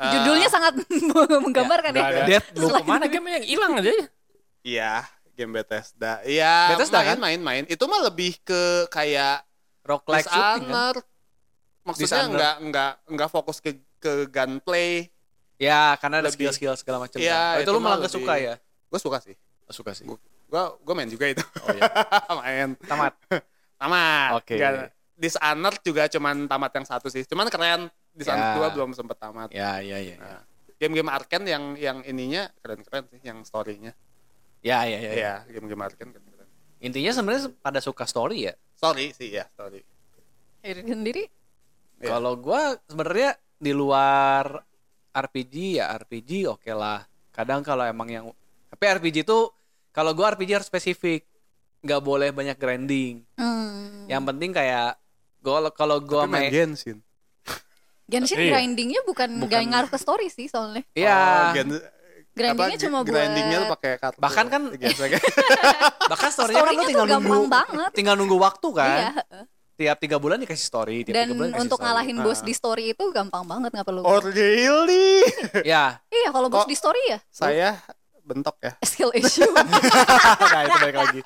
Speaker 2: Eh,
Speaker 3: Judulnya sangat menggambarkan ya.
Speaker 4: nggak ada.
Speaker 1: Deathloop.
Speaker 4: Lu kemana game yang hilang aja?
Speaker 2: Iya, game Bethesda. Iya,
Speaker 1: Bethesda,
Speaker 2: main,
Speaker 1: kan?
Speaker 2: main, main. Itu mah lebih ke kayak
Speaker 1: Rock Light shooting kan?
Speaker 2: Dishonored. Maksudnya
Speaker 1: Dishonored.
Speaker 2: nggak nggak nggak fokus ke ke gunplay.
Speaker 1: Ya, karena ada
Speaker 2: Lebih-
Speaker 1: skill-skill segala macam.
Speaker 2: Iya,
Speaker 1: kan. Oh, itu,
Speaker 2: itu
Speaker 1: lu malah
Speaker 2: mah
Speaker 1: nggak suka
Speaker 2: lebih-
Speaker 1: ya?
Speaker 2: Gue suka sih.
Speaker 1: Oh, suka sih.
Speaker 2: Gue gue main juga itu.
Speaker 1: Oh iya.
Speaker 2: main.
Speaker 1: Tamat.
Speaker 2: Tamat.
Speaker 1: Oke.
Speaker 2: Nggak- Dishonored juga cuman tamat yang satu sih. Cuman keren.
Speaker 1: Ya.
Speaker 2: Dishonored dua belum sempet tamat.
Speaker 1: Ya, ya, ya. Ya,
Speaker 2: Nah, Game-game arcane yang yang ininya keren-keren sih, yang story-nya.
Speaker 1: ya, ya. ya, ya.
Speaker 2: Iya, game-game arcane keren-keren.
Speaker 1: Intinya sebenarnya pada suka story ya.
Speaker 2: Story sih, ya story.
Speaker 3: Diri sendiri
Speaker 2: Iya.
Speaker 1: Kalau gua sebenarnya di luar RPG ya RPG oke lah. Kadang kalau emang yang tapi RPG itu kalau gua RPG harus spesifik. nggak boleh banyak grinding.
Speaker 3: Hmm.
Speaker 1: Yang penting kayak gua kalau gua
Speaker 2: Tapi main
Speaker 1: main
Speaker 2: Genshin.
Speaker 3: Genshin
Speaker 4: Iya.
Speaker 3: grindingnya bukan,
Speaker 1: Bukan.
Speaker 3: nggak ngaruh ke story sih soalnya.
Speaker 1: Iya.
Speaker 2: Oh, Gen-
Speaker 3: Grindingnya
Speaker 2: apa,
Speaker 3: cuma buat
Speaker 2: grindingnya lu pakai kartu. Iya,
Speaker 1: Bahkan kan-
Speaker 2: Gesek.
Speaker 1: Bahkan story-nya kan
Speaker 3: story-nya
Speaker 1: lu
Speaker 3: tuh
Speaker 1: tinggal nunggu
Speaker 3: gampang banget.
Speaker 1: tinggal nunggu waktu kan.
Speaker 3: Iya. heeh.
Speaker 1: Tiap tiga bulan dikasih story, tiap
Speaker 3: Dan
Speaker 1: tiga bulan dikasih
Speaker 3: untuk
Speaker 1: story.
Speaker 3: ngalahin bos
Speaker 2: Ah.
Speaker 3: di story itu gampang banget nggak perlu.
Speaker 2: oh really?
Speaker 1: Ya,
Speaker 3: Iya kalau bos
Speaker 2: Oh.
Speaker 3: di story ya
Speaker 2: Saya bentok ya.
Speaker 3: skill issue.
Speaker 1: nah itu balik lagi.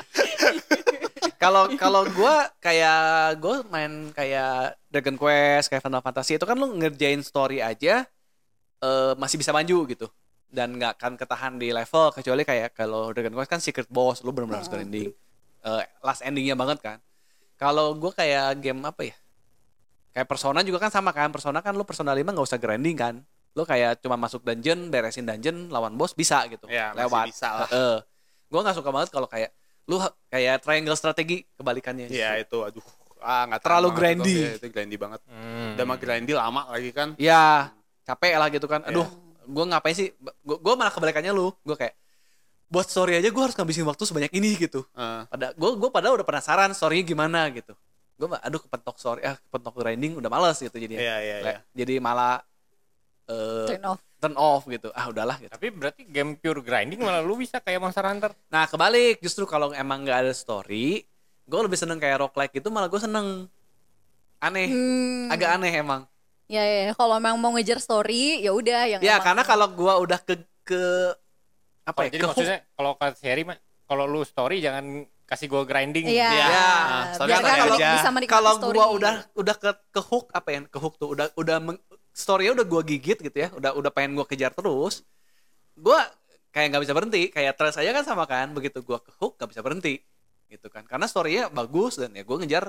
Speaker 1: Kalau kalau gua kayak gue main kayak Dragon Quest, kayak Final Fantasy itu kan lu ngerjain story aja eh, masih bisa maju gitu dan nggak akan ketahan di level kecuali kayak kalau Dragon Quest kan secret boss lu benar-benar harus grinding Eh, last endingnya banget kan. Kalau gua kayak game apa ya? Kayak Persona juga kan sama kan. Persona kan lu Persona 5 nggak usah grinding kan. Lu kayak cuma masuk dungeon, beresin dungeon, lawan boss bisa gitu.
Speaker 2: Ya, masih
Speaker 1: lewat.
Speaker 2: bisa lah.
Speaker 1: Heeh. Gua nggak suka banget kalau kayak lu ha- kayak triangle strategi kebalikannya.
Speaker 2: Iya itu aduh. Ah, nggak tahan
Speaker 1: Terlalu
Speaker 2: banget
Speaker 1: grindy.
Speaker 2: Itu, Iya, itu grindy banget.
Speaker 4: Hmm.
Speaker 2: Udah mah grindy lama lagi kan.
Speaker 1: Ya, capek lah gitu kan.
Speaker 2: Iya.
Speaker 1: Aduh, gua ngapain sih? Gua, gua malah kebalikannya lu. Gua kayak buat story aja gua harus ngabisin waktu sebanyak ini gitu.
Speaker 2: Eh,
Speaker 1: Pada gua gua padahal udah penasaran story-nya gimana gitu. Gua mah, aduh kepentok story, ah kepentok grinding udah males gitu jadinya.
Speaker 2: Iya, iya, iya.
Speaker 1: Jadi malah eh,
Speaker 3: Turn off.
Speaker 1: turn off gitu. Ah udahlah gitu.
Speaker 4: Tapi berarti game pure grinding malah lu bisa kayak Monster Hunter.
Speaker 1: Nah kebalik justru kalau emang nggak ada story, gue lebih seneng kayak roguelike gitu malah gue seneng aneh,
Speaker 3: Hmm.
Speaker 1: agak aneh emang.
Speaker 3: Ya, ya, ya. kalau emang mau ngejar story ya udah yang
Speaker 1: Ya
Speaker 3: emang-
Speaker 1: karena kalau gue udah ke ke apa ya?
Speaker 4: Kalau- Oh, jadi
Speaker 1: ke hook.
Speaker 4: maksudnya kalau kasih seri mah kalau lu story jangan kasih gua grinding.
Speaker 3: Iya.
Speaker 1: Ya.
Speaker 2: Story
Speaker 3: Biar
Speaker 2: story
Speaker 3: kan kalau
Speaker 2: aja.
Speaker 3: bisa menikmati
Speaker 1: kalau
Speaker 3: story. Iya,
Speaker 1: gue udah udah ke ke hook apa ya? Ke hook tuh udah udah meng, story-nya udah gue gigit gitu ya. Udah udah pengen gue kejar terus. Gue kayak nggak bisa berhenti. Kayak trace aja kan sama kan. Begitu gue ke hook nggak bisa berhenti gitu kan. Karena story-nya bagus dan ya gue ngejar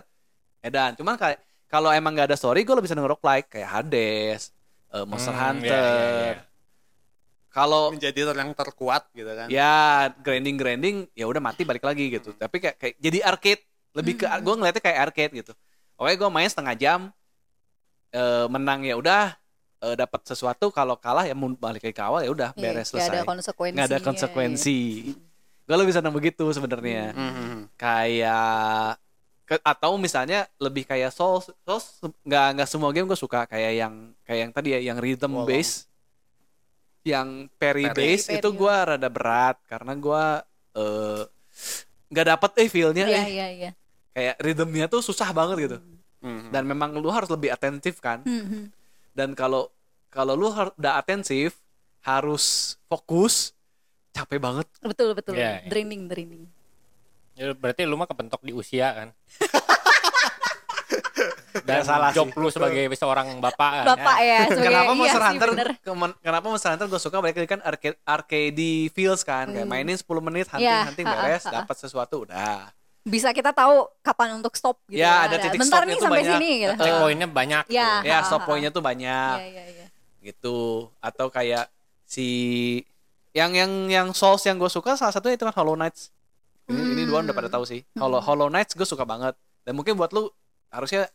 Speaker 1: edan. Cuman kayak kalau emang nggak ada story, gue lebih seneng roguelike kayak Hades, eh, Monster
Speaker 4: Hmm,
Speaker 1: Hunter.
Speaker 4: iya, iya, iya.
Speaker 1: Kalau
Speaker 2: menjadi orang terkuat gitu kan.
Speaker 1: ya grinding grinding ya udah mati balik lagi gitu tapi kayak, kayak jadi arcade lebih ke
Speaker 3: Hmm.
Speaker 1: gue ngeliatnya kayak arcade gitu oke gue main setengah jam eh, menang ya udah eh, dapat sesuatu kalau kalah ya mau balik lagi ke awal ya udah
Speaker 3: Iya,
Speaker 1: beres selesai
Speaker 3: nggak ada konsekuensi.
Speaker 1: nggak ada konsekuensi gue lebih senang begitu sebenarnya
Speaker 2: Mhm.
Speaker 1: kayak ke- atau misalnya lebih kayak Souls Souls nggak nggak semua game gue suka kayak yang kayak yang tadi ya yang rhythm
Speaker 2: Wolong.
Speaker 1: base yang parry
Speaker 2: Parry.
Speaker 1: base
Speaker 3: Parry, iya.
Speaker 1: itu
Speaker 3: parry.
Speaker 1: gue rada berat karena gue eh, nggak dapet eh feelnya
Speaker 3: Iya
Speaker 1: eh.
Speaker 3: iya iya.
Speaker 1: kayak rhythmnya tuh susah banget gitu
Speaker 2: Mhm.
Speaker 1: dan memang lu harus lebih atentif kan
Speaker 3: Hmm, hmm.
Speaker 1: dan kalau kalau lu har- udah atentif harus fokus capek banget
Speaker 3: Betul betul.
Speaker 4: Iya, iya.
Speaker 3: Draining draining.
Speaker 4: Ya, berarti lu mah kepentok di usia kan.
Speaker 1: Nggak
Speaker 4: Dan
Speaker 1: salah
Speaker 4: job
Speaker 1: sih.
Speaker 4: lu sebagai seorang bapak kan.
Speaker 3: Bapak ya. sebagai-
Speaker 1: Ah, kenapa
Speaker 3: iya
Speaker 1: Monster
Speaker 3: sih,
Speaker 1: Hunter
Speaker 3: bener.
Speaker 1: kemen- kenapa Monster Hunter gue suka balik lagi kan arcade arcade feels kan
Speaker 3: Hmm.
Speaker 1: kayak mainin 10 menit hunting
Speaker 3: Ya,
Speaker 1: hunting
Speaker 3: ha, ha,
Speaker 1: beres
Speaker 3: ha, ha.
Speaker 1: dapat sesuatu udah
Speaker 3: Bisa kita tahu kapan untuk stop gitu.
Speaker 1: Ya, ada titik
Speaker 3: Bentar
Speaker 1: stopnya
Speaker 3: nih
Speaker 1: tuh
Speaker 3: sampai
Speaker 1: banyak.
Speaker 3: sini gitu.
Speaker 1: Eh,
Speaker 4: Checkpointnya banyak.
Speaker 3: Iya.
Speaker 4: tuh.
Speaker 1: ya
Speaker 3: ha,
Speaker 1: stop
Speaker 3: ha.
Speaker 1: point-nya tuh banyak
Speaker 2: Ah.
Speaker 3: Iya iya iya.
Speaker 1: gitu atau kayak si yang yang yang souls yang gue suka salah satunya itu kan Hollow Knights ini ini dua udah
Speaker 3: Hmm.
Speaker 1: pada tahu sih Hollow Hollow Knights gue suka banget dan mungkin buat lu harusnya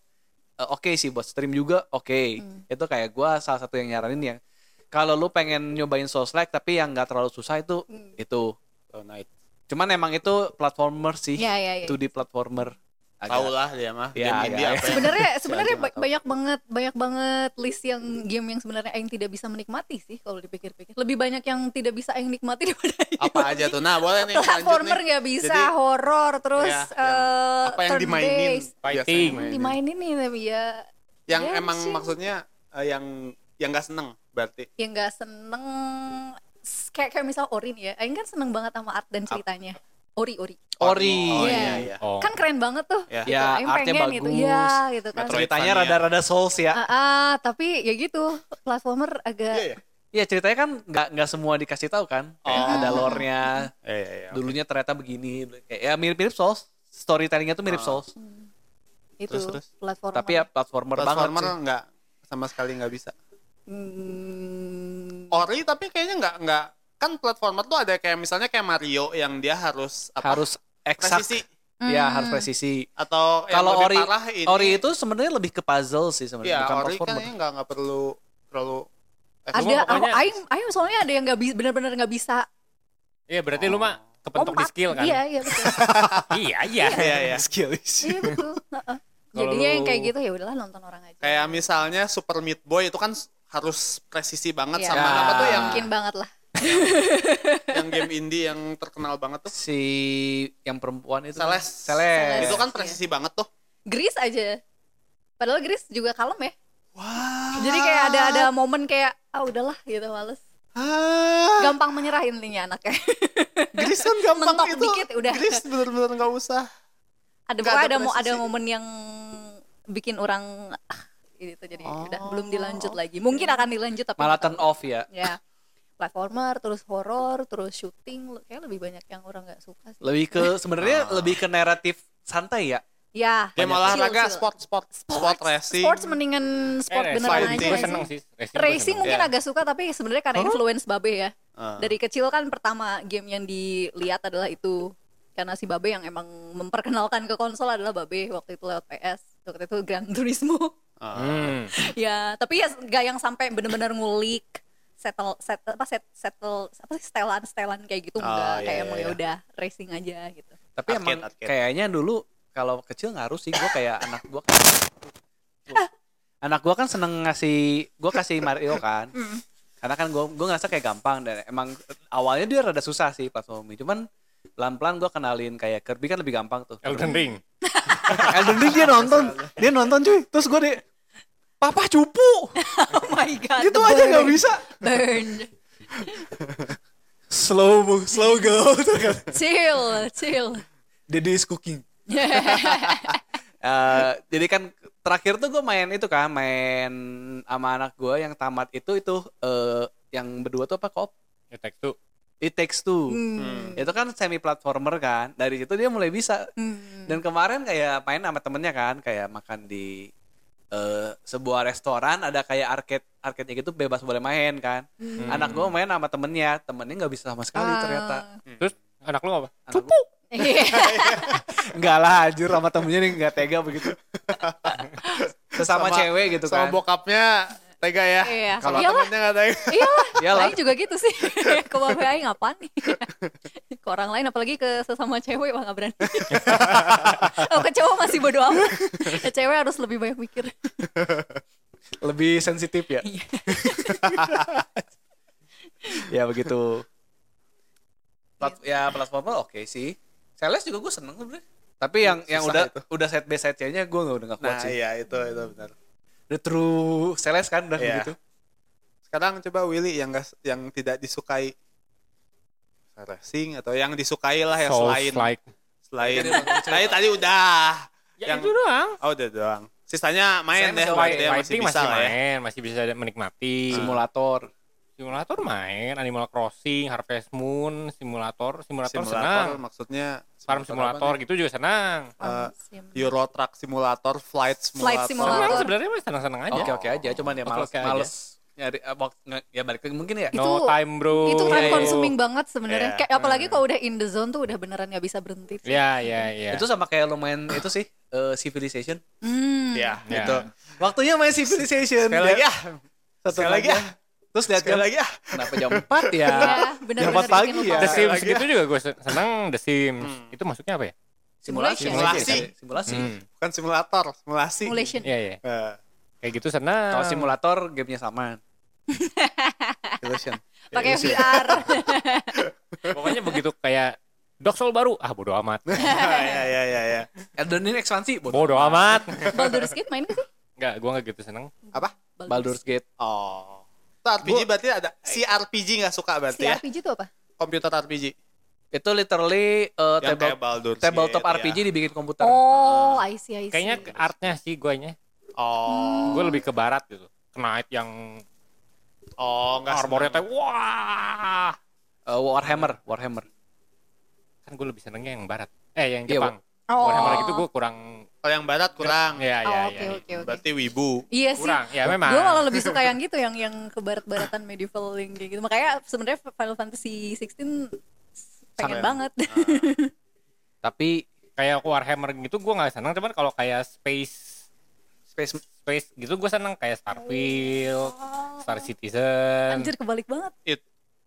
Speaker 1: eh, oke sih buat stream juga oke
Speaker 3: Hmm.
Speaker 1: itu kayak gue salah satu yang nyaranin yang kalau lu pengen nyobain souls like tapi yang nggak terlalu susah itu itu
Speaker 2: Hollow Knight.
Speaker 1: Cuman emang itu platformer sih.
Speaker 3: Iya, iya, iya.
Speaker 1: 2D platformer. Agak-
Speaker 2: Tahu lah dia mah.
Speaker 1: Ya,
Speaker 2: Game India
Speaker 1: agak-
Speaker 2: apa ya?
Speaker 3: Sebenarnya
Speaker 2: Si
Speaker 3: sebenarnya
Speaker 2: Aji
Speaker 3: ba-
Speaker 2: nggak tahu.
Speaker 3: banyak banget banyak banget list yang game yang sebenarnya aing tidak bisa menikmati sih kalau dipikir-pikir. Lebih banyak yang tidak bisa aing nikmati daripada aing.
Speaker 2: apa aja tuh. Nah, boleh nih lanjut
Speaker 3: Platformer
Speaker 2: nih.
Speaker 3: nggak bisa,
Speaker 2: Jadi,
Speaker 3: horor terus
Speaker 2: ya,
Speaker 3: eh,
Speaker 2: apa yang
Speaker 3: turn
Speaker 2: dimainin?
Speaker 3: based.
Speaker 4: Fighting.
Speaker 2: biasanya
Speaker 3: Yang
Speaker 2: mainin?
Speaker 3: dimainin nih tapi ya
Speaker 2: Yang
Speaker 3: Ya,
Speaker 2: emang
Speaker 3: sih.
Speaker 2: maksudnya eh, yang yang gak seneng berarti.
Speaker 3: yang ya nggak seneng s- kayak kayak misal Ori nih ya, Aing kan seneng banget sama art dan ceritanya. Ori Ori,
Speaker 2: Oh
Speaker 1: Ori.
Speaker 3: Iya.
Speaker 2: iya iya.
Speaker 4: Oh.
Speaker 3: kan keren banget tuh.
Speaker 2: Ya.
Speaker 3: Gitu.
Speaker 1: Ya,
Speaker 3: Aing
Speaker 1: artnya
Speaker 3: pengen gitu, ya
Speaker 1: bagus.
Speaker 3: gitu kan.
Speaker 2: Metroid.
Speaker 1: Ceritanya
Speaker 2: Metroidvania.
Speaker 1: rada-rada souls ya.
Speaker 3: Ah, ah, tapi ya gitu platformer
Speaker 2: Iya
Speaker 3: agak
Speaker 2: iya.
Speaker 1: Iya, ceritanya kan nggak nggak semua dikasih tahu kan. Kayak
Speaker 2: Oh.
Speaker 1: Ada
Speaker 3: Ah.
Speaker 1: lore-nya.
Speaker 2: Iya iya. iya.
Speaker 1: Dulunya ternyata begini. Kayak ya mirip-mirip souls. Storytellingnya tuh mirip
Speaker 2: Ah.
Speaker 1: souls.
Speaker 3: itu
Speaker 2: Terus, terus.
Speaker 3: platformer.
Speaker 1: Tapi ya platformer, banget
Speaker 2: Platformer
Speaker 1: sih.
Speaker 2: nggak sama sekali nggak bisa.
Speaker 3: Hmm,
Speaker 2: Ori tapi kayaknya nggak nggak kan platformer tuh ada kayak misalnya kayak Mario yang dia harus apa?
Speaker 1: Harus eksak.
Speaker 2: presisi iya,
Speaker 1: Ya,
Speaker 3: Hmm.
Speaker 1: harus presisi.
Speaker 2: atau yang
Speaker 1: Kalau
Speaker 2: lebih
Speaker 1: Ori
Speaker 2: parah ini,
Speaker 1: Ori itu sebenarnya lebih ke puzzle sih sebenarnya,
Speaker 2: ya
Speaker 1: bukan
Speaker 2: Ori
Speaker 1: platformer.
Speaker 2: kayaknya nggak nggak perlu perlu
Speaker 3: ada oh,
Speaker 4: Cuma pokoknya-
Speaker 3: aku- aing aing soalnya ada yang nggak bisa benar-benar nggak bisa
Speaker 4: Iya berarti lu mah kepentok di
Speaker 3: kompak.
Speaker 4: skill kan?
Speaker 3: Iya, iya betul.
Speaker 4: iya, iya.
Speaker 2: Iya, iya.
Speaker 1: Skill issue.
Speaker 3: iya betul. Heeh.
Speaker 4: Kalau
Speaker 3: Jadinya yang
Speaker 4: lu-
Speaker 3: kayak gitu ya udahlah nonton orang aja.
Speaker 2: Kayak misalnya Super Meat Boy itu kan harus presisi banget
Speaker 3: Iya.
Speaker 2: sama
Speaker 1: Ya.
Speaker 2: apa tuh yang
Speaker 3: mungkin banget lah.
Speaker 2: yang game indie yang terkenal banget tuh.
Speaker 1: Si yang perempuan itu. kan
Speaker 2: Seles.
Speaker 1: Seles.
Speaker 2: Itu
Speaker 3: Iya.
Speaker 2: kan presisi banget tuh.
Speaker 3: Gris aja. Padahal Gris juga kalem ya.
Speaker 2: Wah.
Speaker 3: Jadi kayak ada ada momen kayak ah udahlah gitu males.
Speaker 2: Ah,
Speaker 3: Gampang menyerah intinya anaknya.
Speaker 2: Gris kan gampang
Speaker 3: Mentok
Speaker 2: itu.
Speaker 3: dikit, udah.
Speaker 2: Gris bener-bener nggak usah.
Speaker 3: ada
Speaker 2: Nggak
Speaker 3: pokoknya
Speaker 2: ada
Speaker 3: ada mo- ada
Speaker 2: presisi.
Speaker 3: momen yang bikin orang ah, gitu jadi
Speaker 2: Oh,
Speaker 3: udah belum dilanjut lagi mungkin akan dilanjut tapi
Speaker 1: Malah
Speaker 3: nggak tahu.
Speaker 1: turn off ya.
Speaker 3: ya platformer terus horor terus syuting kayak lebih banyak yang orang nggak suka sih
Speaker 1: Lebih ke sebenarnya lebih ke naratif santai ya.
Speaker 3: ya
Speaker 2: Game
Speaker 3: kecil,
Speaker 2: olahraga,
Speaker 3: kecil.
Speaker 2: sport, sport, sport racing.
Speaker 3: sports mendingan sport
Speaker 4: Eh,
Speaker 3: beneran
Speaker 2: fighting.
Speaker 3: aja
Speaker 4: Gue
Speaker 3: sih.
Speaker 4: seneng sih. Racing, gua
Speaker 3: Racing
Speaker 4: seneng.
Speaker 3: mungkin
Speaker 2: Iya.
Speaker 3: agak suka tapi sebenarnya karena influence Babe ya.
Speaker 2: Ah.
Speaker 3: Dari kecil kan pertama game yang dilihat adalah itu karena si Babe yang emang memperkenalkan ke konsol adalah Babe waktu itu lewat PS, waktu itu Gran Turismo.
Speaker 2: Ah.
Speaker 4: Hmm.
Speaker 3: ya, tapi ya gak yang sampai bener-bener ngulik settle set apa set settle apa sih setelan setelan kayak gitu
Speaker 2: Oh,
Speaker 3: enggak
Speaker 2: iya,
Speaker 3: kayak
Speaker 2: iya,
Speaker 3: emang
Speaker 2: iya.
Speaker 3: ya udah racing aja gitu.
Speaker 1: Tapi
Speaker 2: Arcade,
Speaker 1: emang
Speaker 2: arcade.
Speaker 1: kayaknya dulu kalau kecil ngaruh sih gue kayak anak gue kayak Tuh. anak gue kan seneng ngasih gue kasih Mario kan karena kan gue gue ngerasa kayak gampang dan emang awalnya dia rada susah sih platforming cuman pelan-pelan gue kenalin kayak Kirby kan lebih gampang tuh
Speaker 4: Elden Ring.
Speaker 1: Elden Ring dia nonton dia nonton cuy terus gue di papa cupu
Speaker 3: Oh my god.
Speaker 1: gitu
Speaker 3: the
Speaker 1: aja nggak
Speaker 3: burn.
Speaker 1: bisa
Speaker 3: Burn.
Speaker 1: slow mo- slow go
Speaker 3: Chill, chill.
Speaker 1: Dede is cooking Eh, jadi kan terakhir tuh gue main itu kan main sama anak gue yang tamat itu itu eh, yang berdua tuh apa kop
Speaker 4: Ya, Take Two.
Speaker 1: It Takes Two
Speaker 3: Hmm.
Speaker 1: itu kan semi platformer kan dari situ dia mulai bisa
Speaker 3: Hmm.
Speaker 1: dan kemarin kayak main sama temennya kan kayak makan di eh, sebuah restoran ada kayak arcade arcade gitu bebas boleh main kan anak gue main sama temennya temennya nggak bisa sama sekali ternyata
Speaker 4: Terus anak lu apa?
Speaker 1: Anak gua-
Speaker 3: Iya.
Speaker 1: Enggak lah anjir sama temennya nih enggak tega begitu. Sesama cewek gitu kan.
Speaker 2: sama bokapnya tega ya.
Speaker 3: Iya.
Speaker 2: Kalau
Speaker 3: Iyalah.
Speaker 2: temennya nggak tega.
Speaker 3: Iya lah,
Speaker 1: Iyalah.
Speaker 3: Aing juga gitu sih. ke babe Aing ngapain nih? ke orang lain apalagi ke sesama cewek wah gak berani. oh, ke cowok masih bodo amat. Ke cewek harus lebih banyak mikir.
Speaker 1: Lebih sensitif ya.
Speaker 3: Iya.
Speaker 1: ya begitu. Plat- ya platformer oke sih. Sales juga gue seneng sebenernya. Tapi yang yang udah
Speaker 2: Susah itu.
Speaker 1: udah set by set nya gue nggak udah nggak kuat
Speaker 2: Nah
Speaker 1: sih.
Speaker 2: iya itu itu benar.
Speaker 1: The true sales kan udah
Speaker 2: Iya.
Speaker 1: begitu.
Speaker 2: Sekarang coba Willy yang nggak yang tidak disukai racing atau yang disukai
Speaker 1: Nah,
Speaker 2: lah yang selain
Speaker 4: like.
Speaker 2: selain. Tadi tadi udah.
Speaker 4: Ya,
Speaker 2: Yang-
Speaker 4: itu doang.
Speaker 2: Oh udah doang. Sisanya
Speaker 1: Saya
Speaker 2: main deh
Speaker 1: masih
Speaker 2: berarti ya, masih
Speaker 4: Fighting
Speaker 2: bisa
Speaker 4: masih
Speaker 2: lah ya.
Speaker 4: main, masih bisa menikmati.
Speaker 1: Simulator.
Speaker 4: Simulator main, Animal Crossing, Harvest Moon, simulator, simulator, senang.
Speaker 2: Simulator maksudnya
Speaker 4: Farm simulator gitu juga senang.
Speaker 2: Eh,
Speaker 3: Sim.
Speaker 2: Euro Truck Simulator, Flight Simulator.
Speaker 3: Flight Simulator.
Speaker 4: Senang sebenarnya masih senang-senang aja.
Speaker 1: Oke oke aja. Cuman ya
Speaker 4: Oke,
Speaker 1: males
Speaker 4: oke aja.
Speaker 1: males nyari eh, waktu ya balik lagi mungkin ya.
Speaker 3: Itu-
Speaker 4: No time bro.
Speaker 3: Itu
Speaker 4: Iya,
Speaker 3: time
Speaker 4: iya.
Speaker 3: consuming banget sebenarnya.
Speaker 2: Iya.
Speaker 3: Kayak apalagi kalau udah in the zone tuh udah beneran gak bisa berhenti. sih.
Speaker 4: Iya iya iya.
Speaker 1: Itu sama kayak lo main itu sih eh, Civilization.
Speaker 3: Hmm.
Speaker 2: Ya,
Speaker 4: Ya.
Speaker 2: gitu.
Speaker 1: Waktunya main Civilization.
Speaker 2: Sekali lagi ya.
Speaker 1: Satu
Speaker 2: Sekali lagi
Speaker 1: jam.
Speaker 2: ya.
Speaker 1: Terus lihat
Speaker 2: Sekali
Speaker 1: jam.
Speaker 2: lagi ya.
Speaker 1: Kenapa jam 4 ya?
Speaker 3: Ya, bener-bener
Speaker 1: Dapat
Speaker 3: bikin
Speaker 1: lagi
Speaker 3: lupa.
Speaker 1: ya.
Speaker 4: The Sims
Speaker 2: lagi ya.
Speaker 4: gitu juga gue seneng The Sims. Itu masuknya apa ya?
Speaker 1: Simulasi.
Speaker 2: Simulasi.
Speaker 1: Simulasi.
Speaker 4: Hmm.
Speaker 2: Bukan simulator, simulasi.
Speaker 3: Simulation.
Speaker 4: Iya iya.
Speaker 2: Eh,
Speaker 4: Kayak gitu senang.
Speaker 3: Eh.
Speaker 1: Kalau simulator gamenya sama.
Speaker 2: illusion.
Speaker 3: Pakai VR.
Speaker 4: Pokoknya begitu kayak Dark Soul baru. Ah bodo amat.
Speaker 2: ya ya ya ya.
Speaker 1: Elden Ring ekspansi. bodoh.
Speaker 4: Bodo amat.
Speaker 3: Baldur's Gate main gak sih?
Speaker 4: Enggak, gue enggak gitu seneng.
Speaker 2: Apa?
Speaker 1: Baldur's Gate.
Speaker 2: Oh. Itu RPG berarti ada si RPG nggak suka berarti ya?
Speaker 3: CRPG tuh apa?
Speaker 2: Komputer RPG.
Speaker 1: Itu literally uh,
Speaker 2: Yang
Speaker 1: table,
Speaker 2: kayak Baldur's
Speaker 1: tabletop
Speaker 2: Gate, iya. ya.
Speaker 1: RPG dibikin komputer.
Speaker 3: Oh, I see, I see.
Speaker 4: Kayaknya ke artnya sih gue nya.
Speaker 3: Hmm.
Speaker 2: Oh.
Speaker 4: Gue lebih ke barat gitu. Knight yang
Speaker 2: Oh, enggak
Speaker 4: armornya teh wah.
Speaker 1: Uh, Warhammer, Warhammer.
Speaker 4: Kan gue lebih senengnya yang barat. Eh yang
Speaker 1: Iya,
Speaker 4: Jepang.
Speaker 3: Oh.
Speaker 4: Warhammer gitu gue kurang
Speaker 2: Kalau yang barat kurang.
Speaker 4: ya ya
Speaker 3: Oh,
Speaker 4: ya.
Speaker 3: oke oke oke.
Speaker 2: Berarti wibu.
Speaker 3: Iya sih.
Speaker 4: Kurang. Ya memang.
Speaker 3: Gue malah lebih suka yang gitu yang yang kebarat-baratan medieval yang kayak gitu. Makanya sebenarnya Final Fantasy 16 pengen
Speaker 1: Sangat.
Speaker 3: banget.
Speaker 1: Tapi
Speaker 4: kayak Warhammer gitu gue nggak seneng cuman kalau kayak space
Speaker 1: Space
Speaker 4: space gitu gue seneng kayak Starfield, Star Citizen.
Speaker 3: Anjir kebalik banget.
Speaker 2: It.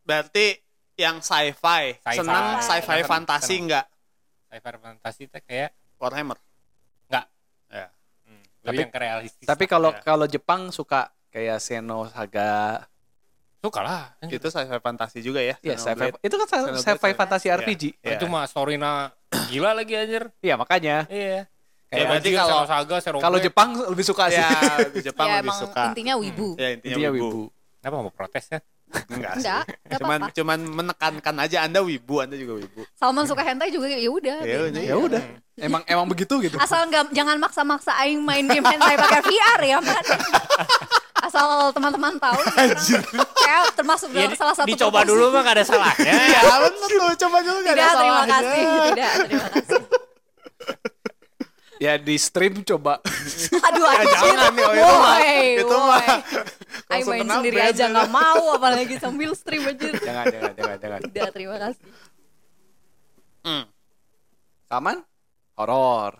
Speaker 2: Berarti yang sci-fi.
Speaker 4: Sci-fi.
Speaker 2: Senang sci-fi
Speaker 4: Senang.
Speaker 2: fantasi
Speaker 4: Senang.
Speaker 2: enggak?
Speaker 4: Sci-fi fantasi teh kayak
Speaker 2: Warhammer.
Speaker 4: enggak.
Speaker 2: Ya.
Speaker 4: Hmm,
Speaker 1: Tapi-
Speaker 4: lebih yang ke realistis.
Speaker 1: Tapi kalau
Speaker 2: iya.
Speaker 4: Ya.
Speaker 1: kalau Jepang suka kayak Seno Saga,
Speaker 4: suka lah. Iya. Anjir.
Speaker 2: Itu sci-fi fantasi juga ya.
Speaker 1: ya sci-fi.
Speaker 2: Xenoblade. Iya.
Speaker 1: Itu kan
Speaker 2: Xenoblade,
Speaker 1: sci-fi
Speaker 2: Xenoblade.
Speaker 1: fantasi RPG.
Speaker 2: Iya.
Speaker 4: Itu mah storyna Kan gila lagi anjir.
Speaker 1: Iya, makanya
Speaker 4: Iya.
Speaker 2: Ya, berarti
Speaker 4: anjir,
Speaker 2: kalau-
Speaker 4: Seno Saga, Seno
Speaker 1: kalau
Speaker 4: Black.
Speaker 1: Jepang lebih suka sih.
Speaker 2: Ya, di Jepang
Speaker 3: ya
Speaker 2: lebih
Speaker 3: emang
Speaker 2: suka.
Speaker 3: intinya wibu.
Speaker 2: Ya, intinya,
Speaker 1: Intinya
Speaker 2: wibu.
Speaker 1: wibu.
Speaker 4: kenapa mau protes ya?
Speaker 2: Enggak. sih.
Speaker 3: Enggak, enggak
Speaker 2: Cuman
Speaker 3: apa-apa.
Speaker 2: cuman menekankan aja Anda wibu, Anda juga wibu.
Speaker 3: Salman suka hentai juga ya udah.
Speaker 2: Ya
Speaker 3: biarin
Speaker 2: udah,
Speaker 3: aja.
Speaker 1: Ya udah. Emang emang begitu gitu.
Speaker 3: Asal nggak jangan maksa-maksa aing main game hentai pakai VR ya, Mat. Asal teman-teman tahu. Kayak termasuk
Speaker 4: Ya,
Speaker 3: dalam salah satu Iya.
Speaker 4: dicoba
Speaker 3: proporsi.
Speaker 4: dulu mah gak ada salahnya.
Speaker 2: Ya, bener tuh. Coba dulu enggak ada
Speaker 3: Tidak, terima
Speaker 2: salahnya.
Speaker 3: kasih. Tidak, terima kasih.
Speaker 1: Ya di stream coba.
Speaker 3: Aduh,
Speaker 2: Ya,
Speaker 3: anjir.
Speaker 2: jangan nih, oh, itu mah-
Speaker 3: Woi,
Speaker 2: itu mah.
Speaker 3: woi. Aing
Speaker 2: Langsung
Speaker 3: main
Speaker 2: kena
Speaker 3: sendiri
Speaker 2: ban
Speaker 3: aja
Speaker 2: tuh.
Speaker 3: nggak mau, apalagi sambil stream anjir.
Speaker 1: jangan, jangan, jangan, jangan.
Speaker 3: Tidak, terima kasih.
Speaker 2: Hmm.
Speaker 1: Saman? Horor.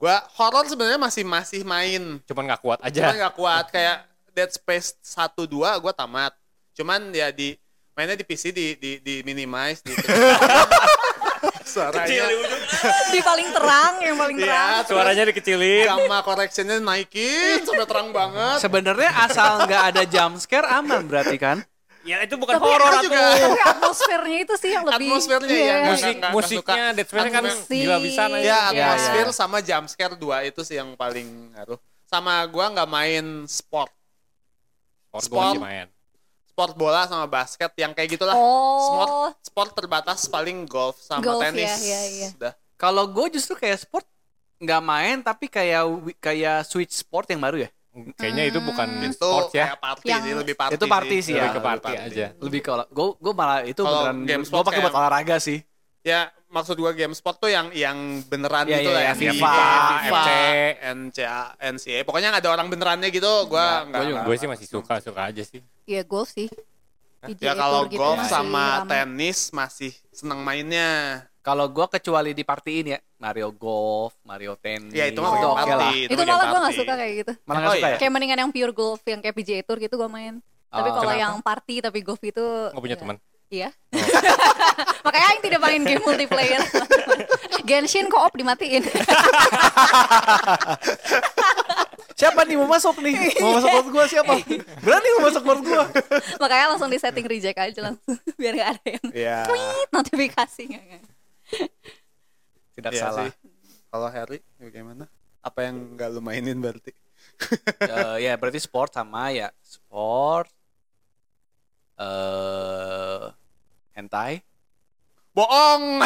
Speaker 2: Gua horor sebenarnya masih masih main.
Speaker 4: Cuman gak kuat aja.
Speaker 2: Cuman nggak kuat kayak Dead Space 1 2 gua tamat. Cuman ya di mainnya di PC di di di minimize di iya. suaranya
Speaker 3: Di paling terang, yang paling terang.
Speaker 2: ya suaranya
Speaker 4: Suaranya dikecilin.
Speaker 2: gamma correctionnya naikin sampai terang banget
Speaker 1: Sebenarnya asal nggak ada jump scare aman berarti kan?
Speaker 4: Ya itu bukan
Speaker 2: Tapi
Speaker 4: horor
Speaker 2: itu
Speaker 4: atuh.
Speaker 2: juga
Speaker 3: Tapi atmosfernya itu sih yang lebih
Speaker 2: Atmosfernya, ya,
Speaker 3: Iya.
Speaker 2: nggak-
Speaker 4: Musik
Speaker 2: nggak
Speaker 4: musiknya
Speaker 2: suka.
Speaker 4: Dead Space kan
Speaker 3: Atmosi.
Speaker 4: gila bisa lah.
Speaker 2: ya
Speaker 1: Iya,
Speaker 2: atmosfer
Speaker 1: iya.
Speaker 2: sama jump scare dua itu sih yang paling ngaruh sama gua nggak main sport
Speaker 4: Horor
Speaker 2: Sport.
Speaker 4: gua masih main.
Speaker 2: sport bola sama basket yang kayak gitulah
Speaker 3: Oh.
Speaker 2: sport sport terbatas paling golf sama
Speaker 3: Golf,
Speaker 2: tenis
Speaker 3: ya, ya,
Speaker 1: iya.
Speaker 3: ya.
Speaker 2: Udah.
Speaker 1: Kalau gue justru kayak sport nggak main tapi kayak wi- kayak switch sport yang baru ya.
Speaker 4: Kayaknya itu bukan
Speaker 2: Hmm. itu
Speaker 4: sport ya.
Speaker 2: kayak party
Speaker 3: Yang-
Speaker 2: sih Iya, lebih party
Speaker 1: Itu party sih ya.
Speaker 4: Lebih ke party aja.
Speaker 1: Lebih ke gue gue malah itu
Speaker 2: Kalau
Speaker 1: beneran
Speaker 2: game
Speaker 1: gue
Speaker 2: sport
Speaker 1: pakai buat
Speaker 2: kayak-
Speaker 1: olahraga sih.
Speaker 2: Ya, maksud gua game sport tuh yang yang beneran
Speaker 1: Iya,
Speaker 2: gitu
Speaker 1: iya,
Speaker 2: lah
Speaker 1: iya.
Speaker 2: yang
Speaker 1: FIFA,
Speaker 2: FIFA,
Speaker 4: FC.
Speaker 2: NCA, NCA. Pokoknya nggak ada orang benerannya gitu,
Speaker 1: gua
Speaker 2: gua
Speaker 1: juga
Speaker 2: enggak.
Speaker 4: Gue sih masih suka suka aja sih.
Speaker 3: Iya golf sih. PGA
Speaker 2: Ya
Speaker 3: Tour
Speaker 2: kalau
Speaker 3: gitu
Speaker 2: golf
Speaker 3: masih
Speaker 2: sama
Speaker 3: ramai.
Speaker 2: tenis masih seneng mainnya.
Speaker 1: Kalau gue kecuali di party ini ya Mario Golf, Mario Tennis. Oh,
Speaker 2: Ya itu mah
Speaker 1: oke lah.
Speaker 2: game
Speaker 3: Itu
Speaker 2: party. mah game
Speaker 3: malah gue
Speaker 2: party.
Speaker 3: gak suka kayak gitu.
Speaker 1: Malah nggak
Speaker 2: Oh,
Speaker 1: suka
Speaker 2: iya.
Speaker 1: ya.
Speaker 3: Kayak mendingan yang pure golf, yang kayak PGA Tour gitu gue main. Tapi
Speaker 1: Oh.
Speaker 3: kalau
Speaker 1: Kenapa?
Speaker 3: yang party tapi golf itu
Speaker 4: Gak punya
Speaker 3: ya,
Speaker 4: teman.
Speaker 3: Iya. Makanya yang tidak main game multiplayer. Genshin co-op dimatiin.
Speaker 1: Siapa nih mau masuk nih? Mau masuk buat gue siapa? Berani mau masuk buat gue?
Speaker 3: Makanya langsung di setting reject aja langsung biar gak ada yang
Speaker 2: Iya.
Speaker 3: tweet notifikasi nggak, nggak.
Speaker 1: Tidak
Speaker 2: Iya
Speaker 1: salah.
Speaker 2: sih. Kalau Harry bagaimana? Apa yang nggak lu mainin berarti?
Speaker 1: Eh, ya berarti sport sama ya sport. eh hentai.
Speaker 2: Bohong.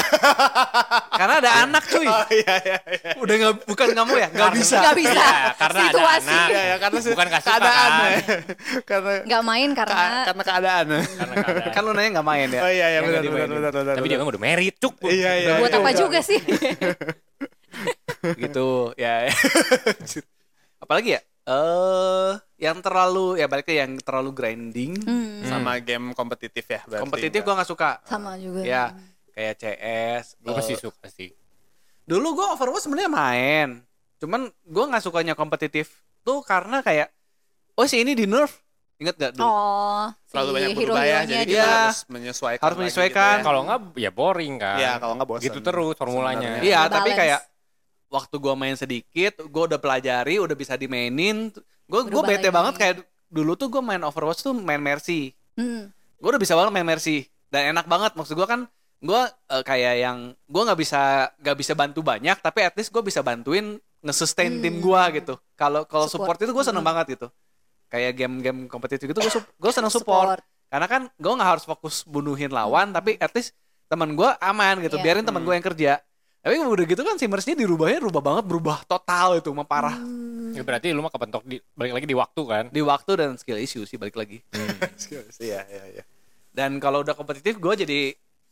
Speaker 1: Karena ada anak cuy.
Speaker 2: Oh iya iya iya.
Speaker 1: Udah nggak bukan kamu ya? Nggak
Speaker 4: Karena-
Speaker 1: bisa.
Speaker 3: Nggak bisa.
Speaker 4: Iya, karena ada
Speaker 3: Situasi.
Speaker 4: anak.
Speaker 2: Iya, ya, karena
Speaker 4: Bukan nggak suka,
Speaker 2: keadaan
Speaker 4: kan?
Speaker 2: ya. karena
Speaker 3: Nggak main karena
Speaker 2: ka- karena keadaan.
Speaker 4: Karena keadaan.
Speaker 1: Kan lu nanya nggak main ya?
Speaker 2: Oh iya iya
Speaker 1: Yang
Speaker 2: benar
Speaker 1: nggak
Speaker 2: benar
Speaker 1: dimainin.
Speaker 2: benar benar.
Speaker 4: Tapi dia
Speaker 2: benar.
Speaker 4: kan udah married cuk.
Speaker 2: Iya iya.
Speaker 3: buat
Speaker 2: iya.
Speaker 3: apa juga sih?
Speaker 1: gitu ya Anjir. apalagi ya eh yang terlalu ya balik ke yang terlalu grinding
Speaker 3: Hmm,
Speaker 2: Sama game kompetitif ya berarti.
Speaker 1: kompetitif gua nggak suka
Speaker 3: sama juga.
Speaker 1: ya kayak CS
Speaker 4: Gue
Speaker 1: eh,
Speaker 4: masih suka sih.
Speaker 1: dulu gua Overwatch sebenarnya main cuman gua nggak sukanya kompetitif tuh karena kayak oh si ini di nerf inget gak dulu
Speaker 3: Oh,
Speaker 2: terlalu
Speaker 3: si
Speaker 2: banyak berubah ya
Speaker 1: juga.
Speaker 2: jadi kita
Speaker 1: Iya.
Speaker 2: harus menyesuaikan
Speaker 1: Harus
Speaker 2: lagi
Speaker 1: menyesuaikan.
Speaker 2: gitu ya.
Speaker 4: Kalau enggak ya boring kan.
Speaker 2: Iya, kalau nggak bosan
Speaker 4: Gitu terus formulanya.
Speaker 2: Sebenarnya.
Speaker 1: iya tapi
Speaker 3: balance.
Speaker 1: kayak waktu gua main sedikit gua udah pelajari udah bisa dimainin gua gua
Speaker 3: Berubah
Speaker 1: bete
Speaker 3: lagi.
Speaker 1: banget kayak dulu tuh gua main Overwatch tuh main Mercy
Speaker 3: Hmm.
Speaker 1: gue udah bisa banget main Mercy dan enak banget maksud gue kan gue eh, kayak yang gue nggak bisa nggak bisa bantu banyak tapi at least gue bisa bantuin nge-sustain tim gue gitu kalau kalau support
Speaker 3: Hmm. Support. Hmm.
Speaker 1: itu gue seneng banget gitu kayak game-game kompetitif gitu gue gue seneng support.
Speaker 3: Support.
Speaker 1: karena kan gue nggak harus fokus bunuhin lawan tapi at least teman gue aman gitu
Speaker 3: Iya.
Speaker 1: biarin teman gue yang kerja tapi udah gitu kan si Mercy dirubahnya rubah banget berubah total itu mah parah
Speaker 3: Hmm.
Speaker 4: Ya, berarti lu mah kepentok di, balik lagi di waktu kan.
Speaker 1: di waktu dan skill issue sih balik lagi
Speaker 2: Iya, iya, iya.
Speaker 1: dan kalau udah kompetitif gue jadi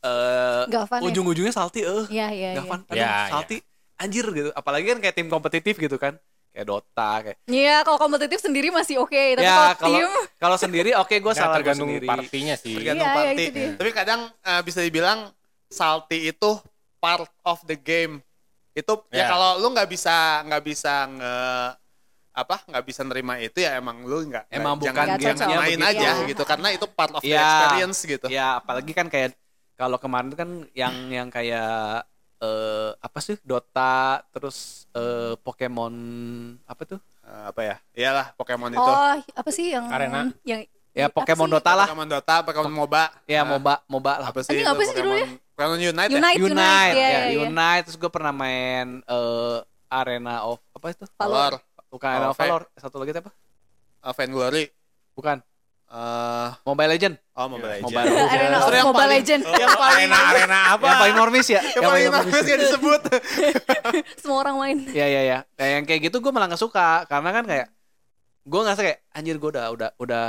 Speaker 1: eh,
Speaker 3: Gavan ya?
Speaker 1: ujung-ujungnya salty eh
Speaker 3: Iya, iya, iya.
Speaker 1: Gavan, aduh,
Speaker 4: Ya,
Speaker 1: salty, anjir gitu. Apalagi kan kayak tim kompetitif gitu kan, kayak Dota, kayak.
Speaker 3: Iya, kalau kompetitif sendiri masih oke, tapi
Speaker 1: ya
Speaker 3: kalau
Speaker 1: kalau
Speaker 3: tim
Speaker 1: kalau sendiri oke gue
Speaker 4: Nah,
Speaker 1: salah gue
Speaker 4: tergantung
Speaker 1: sendiri.
Speaker 4: partinya sih.
Speaker 2: Tergantung
Speaker 3: Iya, iya,
Speaker 2: party.
Speaker 3: itu dia.
Speaker 2: Tapi kadang eh, bisa dibilang salty itu part of the game. Itu ya
Speaker 4: Iya.
Speaker 2: kalau lu nggak bisa nggak bisa nge apa nggak bisa nerima itu ya emang lu nggak
Speaker 1: Emang bukan
Speaker 2: nggak- jangan,
Speaker 3: gamenya
Speaker 2: jangan main
Speaker 1: begitu.
Speaker 2: aja
Speaker 3: Iya.
Speaker 2: gitu karena itu part of the
Speaker 1: Iya.
Speaker 2: experience gitu.
Speaker 1: Ya apalagi kan kayak Kalau kemarin tuh kan yang yang kayak eh, apa sih Dota terus eh, Pokemon apa tuh?
Speaker 2: Eh, apa ya? Iyalah Pokemon itu.
Speaker 3: Oh, apa sih yang
Speaker 4: Arena.
Speaker 3: yang
Speaker 1: Ya
Speaker 3: apa
Speaker 1: Pokemon
Speaker 3: sih?
Speaker 1: Dota lah.
Speaker 2: Pokemon Dota, Pokemon MOBA.
Speaker 1: Ya
Speaker 2: Ah,
Speaker 1: MOBA MOBA lah.
Speaker 2: Apa sih?
Speaker 3: Anjing,
Speaker 2: itu
Speaker 3: apa sih
Speaker 2: Pokemon-
Speaker 3: judulnya?
Speaker 2: Pokemon Unite. ya?
Speaker 3: Unite,
Speaker 1: Unite,
Speaker 3: Unite. Ya,
Speaker 1: ya,
Speaker 3: ya, ya.
Speaker 1: Unite terus gue pernah main eh, Arena of apa itu?
Speaker 2: Valor.
Speaker 1: Bukan Arena of
Speaker 2: Valve.
Speaker 1: Valor, satu lagi apa?
Speaker 2: Uh, Vainglory.
Speaker 1: Bukan.
Speaker 2: Eh,
Speaker 1: Mobile Legend.
Speaker 2: oh Mobile Legends.
Speaker 1: Mobile Legends.
Speaker 3: Arena of
Speaker 2: Terus yang
Speaker 3: Mobile
Speaker 2: paling-
Speaker 3: Legend.
Speaker 1: Oh.
Speaker 2: Yang paling
Speaker 4: arena arena apa?
Speaker 1: Yang paling normis ya?
Speaker 2: yang paling bagus gak disebut.
Speaker 3: Semua orang main.
Speaker 1: Iya iya iya. Nah, yang kayak gitu gue malah nggak suka karena kan kayak gue ngerasa kayak anjir gue udah udah udah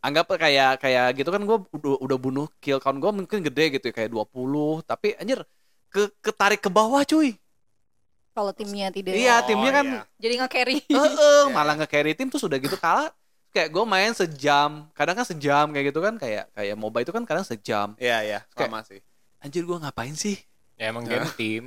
Speaker 1: anggap kayak kayak gitu kan gue udah, udah bunuh kill count gue mungkin gede gitu ya kayak 20 tapi anjir ke ketarik ke bawah cuy.
Speaker 3: Kalau timnya tidak.
Speaker 1: Iya, timnya kan
Speaker 2: iya.
Speaker 3: Jadi nge-carry.
Speaker 1: Heeh, malah nge-carry tim terus udah gitu kalah kayak gue main sejam kadang kan sejam kayak gitu kan kayak kayak moba itu kan kadang sejam
Speaker 2: Iya, iya. Sama sih.
Speaker 1: anjir gue ngapain sih
Speaker 4: Ya emang game tim.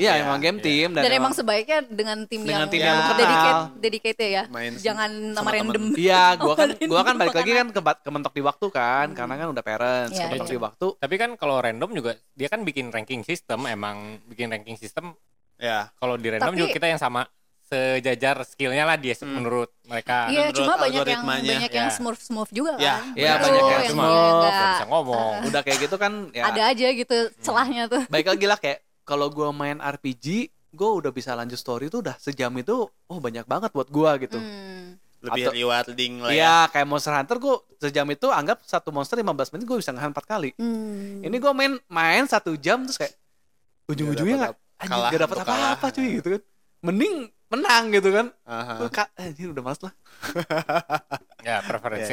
Speaker 1: iya
Speaker 2: Iya,
Speaker 1: emang game
Speaker 4: iya.
Speaker 1: tim
Speaker 3: Dan, emang sebaiknya dengan tim
Speaker 1: Dengan
Speaker 3: yang
Speaker 1: tim
Speaker 2: yang
Speaker 3: dedicate-
Speaker 1: kenal.
Speaker 3: dedicated ya.
Speaker 2: Main
Speaker 3: Jangan nama
Speaker 2: sama
Speaker 3: random.
Speaker 1: Iya, gua kan
Speaker 3: Awalin
Speaker 1: gua kan
Speaker 3: dulu
Speaker 1: balik lagi
Speaker 3: karena-
Speaker 1: kan ke kementok di waktu kan, karena kan udah parents,
Speaker 3: Iya,
Speaker 1: kementok
Speaker 3: iya.
Speaker 1: di waktu.
Speaker 4: Tapi kan kalau random juga dia kan bikin ranking system emang bikin ranking system
Speaker 2: Ya.
Speaker 4: kalau di random
Speaker 3: Tapi-
Speaker 4: juga kita yang sama sejajar skillnya lah dia menurut mereka.
Speaker 3: Iya,
Speaker 2: menurut
Speaker 3: cuma banyak yang
Speaker 2: algoritmanya.
Speaker 3: banyak yang
Speaker 4: Ya.
Speaker 3: smurf-smurf juga
Speaker 2: Ya,
Speaker 3: kan.
Speaker 1: Iya, banyak yang
Speaker 3: Tuh,
Speaker 4: cuma
Speaker 3: kayak
Speaker 4: nggak
Speaker 3: nggak-
Speaker 4: bisa ngomong.
Speaker 1: Udah kayak gitu kan ya.
Speaker 3: Ada aja gitu celahnya tuh.
Speaker 1: Baik lagi lah kayak kalau gua main RPG, gua udah bisa lanjut story tuh udah sejam itu, oh banyak banget buat gua gitu.
Speaker 3: Hmm.
Speaker 2: Lebih
Speaker 1: Atau-
Speaker 2: rewarding lah ya.
Speaker 1: Iya, kayak Monster Hunter gua sejam itu anggap satu monster 15 menit gua bisa ngehan 4 kali.
Speaker 3: Hmm.
Speaker 1: Ini gua main main satu jam terus kayak ujung-ujungnya
Speaker 2: Nggak
Speaker 1: nggak anjir
Speaker 2: kalah
Speaker 1: gak dapat
Speaker 2: untuk
Speaker 1: apa-apa
Speaker 2: kalah.
Speaker 1: cuy gitu kan. Mending menang gitu kan.
Speaker 2: Aha.
Speaker 1: Gua ka- anjir udah males lah.
Speaker 4: Ya preferensi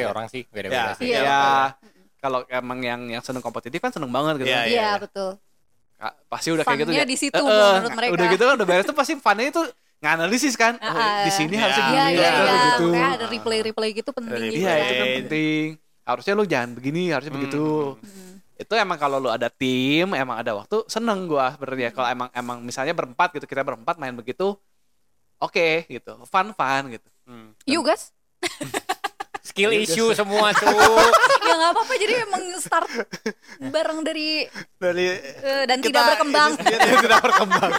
Speaker 2: Iya, iya.
Speaker 4: orang sih beda-beda
Speaker 2: Iya.
Speaker 4: sih.
Speaker 3: Iya,
Speaker 1: Ya, kalau emang yang yang seneng kompetitif kan seneng banget gitu.
Speaker 2: Iya,
Speaker 1: kan.
Speaker 2: iya,
Speaker 3: Iya,
Speaker 2: iya.
Speaker 3: betul.
Speaker 1: Ka- Pasti udah kayak gitu
Speaker 3: Funnya
Speaker 1: ya.
Speaker 3: di situ
Speaker 1: Eh, eh,
Speaker 3: menurut mereka.
Speaker 1: Udah gitu kan udah beres tuh pasti funnya itu nganalisis kan. Oh,
Speaker 3: Ah,
Speaker 1: di sini
Speaker 2: ah.
Speaker 1: harusnya
Speaker 2: Iya,
Speaker 1: gini,
Speaker 3: Iya, iya,
Speaker 1: harusnya
Speaker 3: iya.
Speaker 1: begitu.
Speaker 3: Makanya ada replay-replay gitu penting
Speaker 2: Ada
Speaker 3: gitu.
Speaker 1: Iya,
Speaker 2: replay.
Speaker 1: itu kan
Speaker 2: Iya.
Speaker 1: penting. Harusnya lu jangan begini, harusnya begitu. Hmm.
Speaker 3: Hmm.
Speaker 1: Itu emang kalau lu ada tim, emang ada waktu, seneng gua sebenarnya.
Speaker 3: Hmm.
Speaker 1: Kalau emang emang misalnya berempat gitu, kita berempat main begitu, oke gitu, fun fun gitu.
Speaker 2: Hmm.
Speaker 3: You guys?
Speaker 4: Skill
Speaker 3: Iya,
Speaker 4: issue semua tuh.
Speaker 3: ya nggak apa-apa jadi emang start bareng dari
Speaker 2: Dari
Speaker 3: eh, dan
Speaker 2: kita
Speaker 3: tidak berkembang
Speaker 2: ini sendiri, tidak berkembang.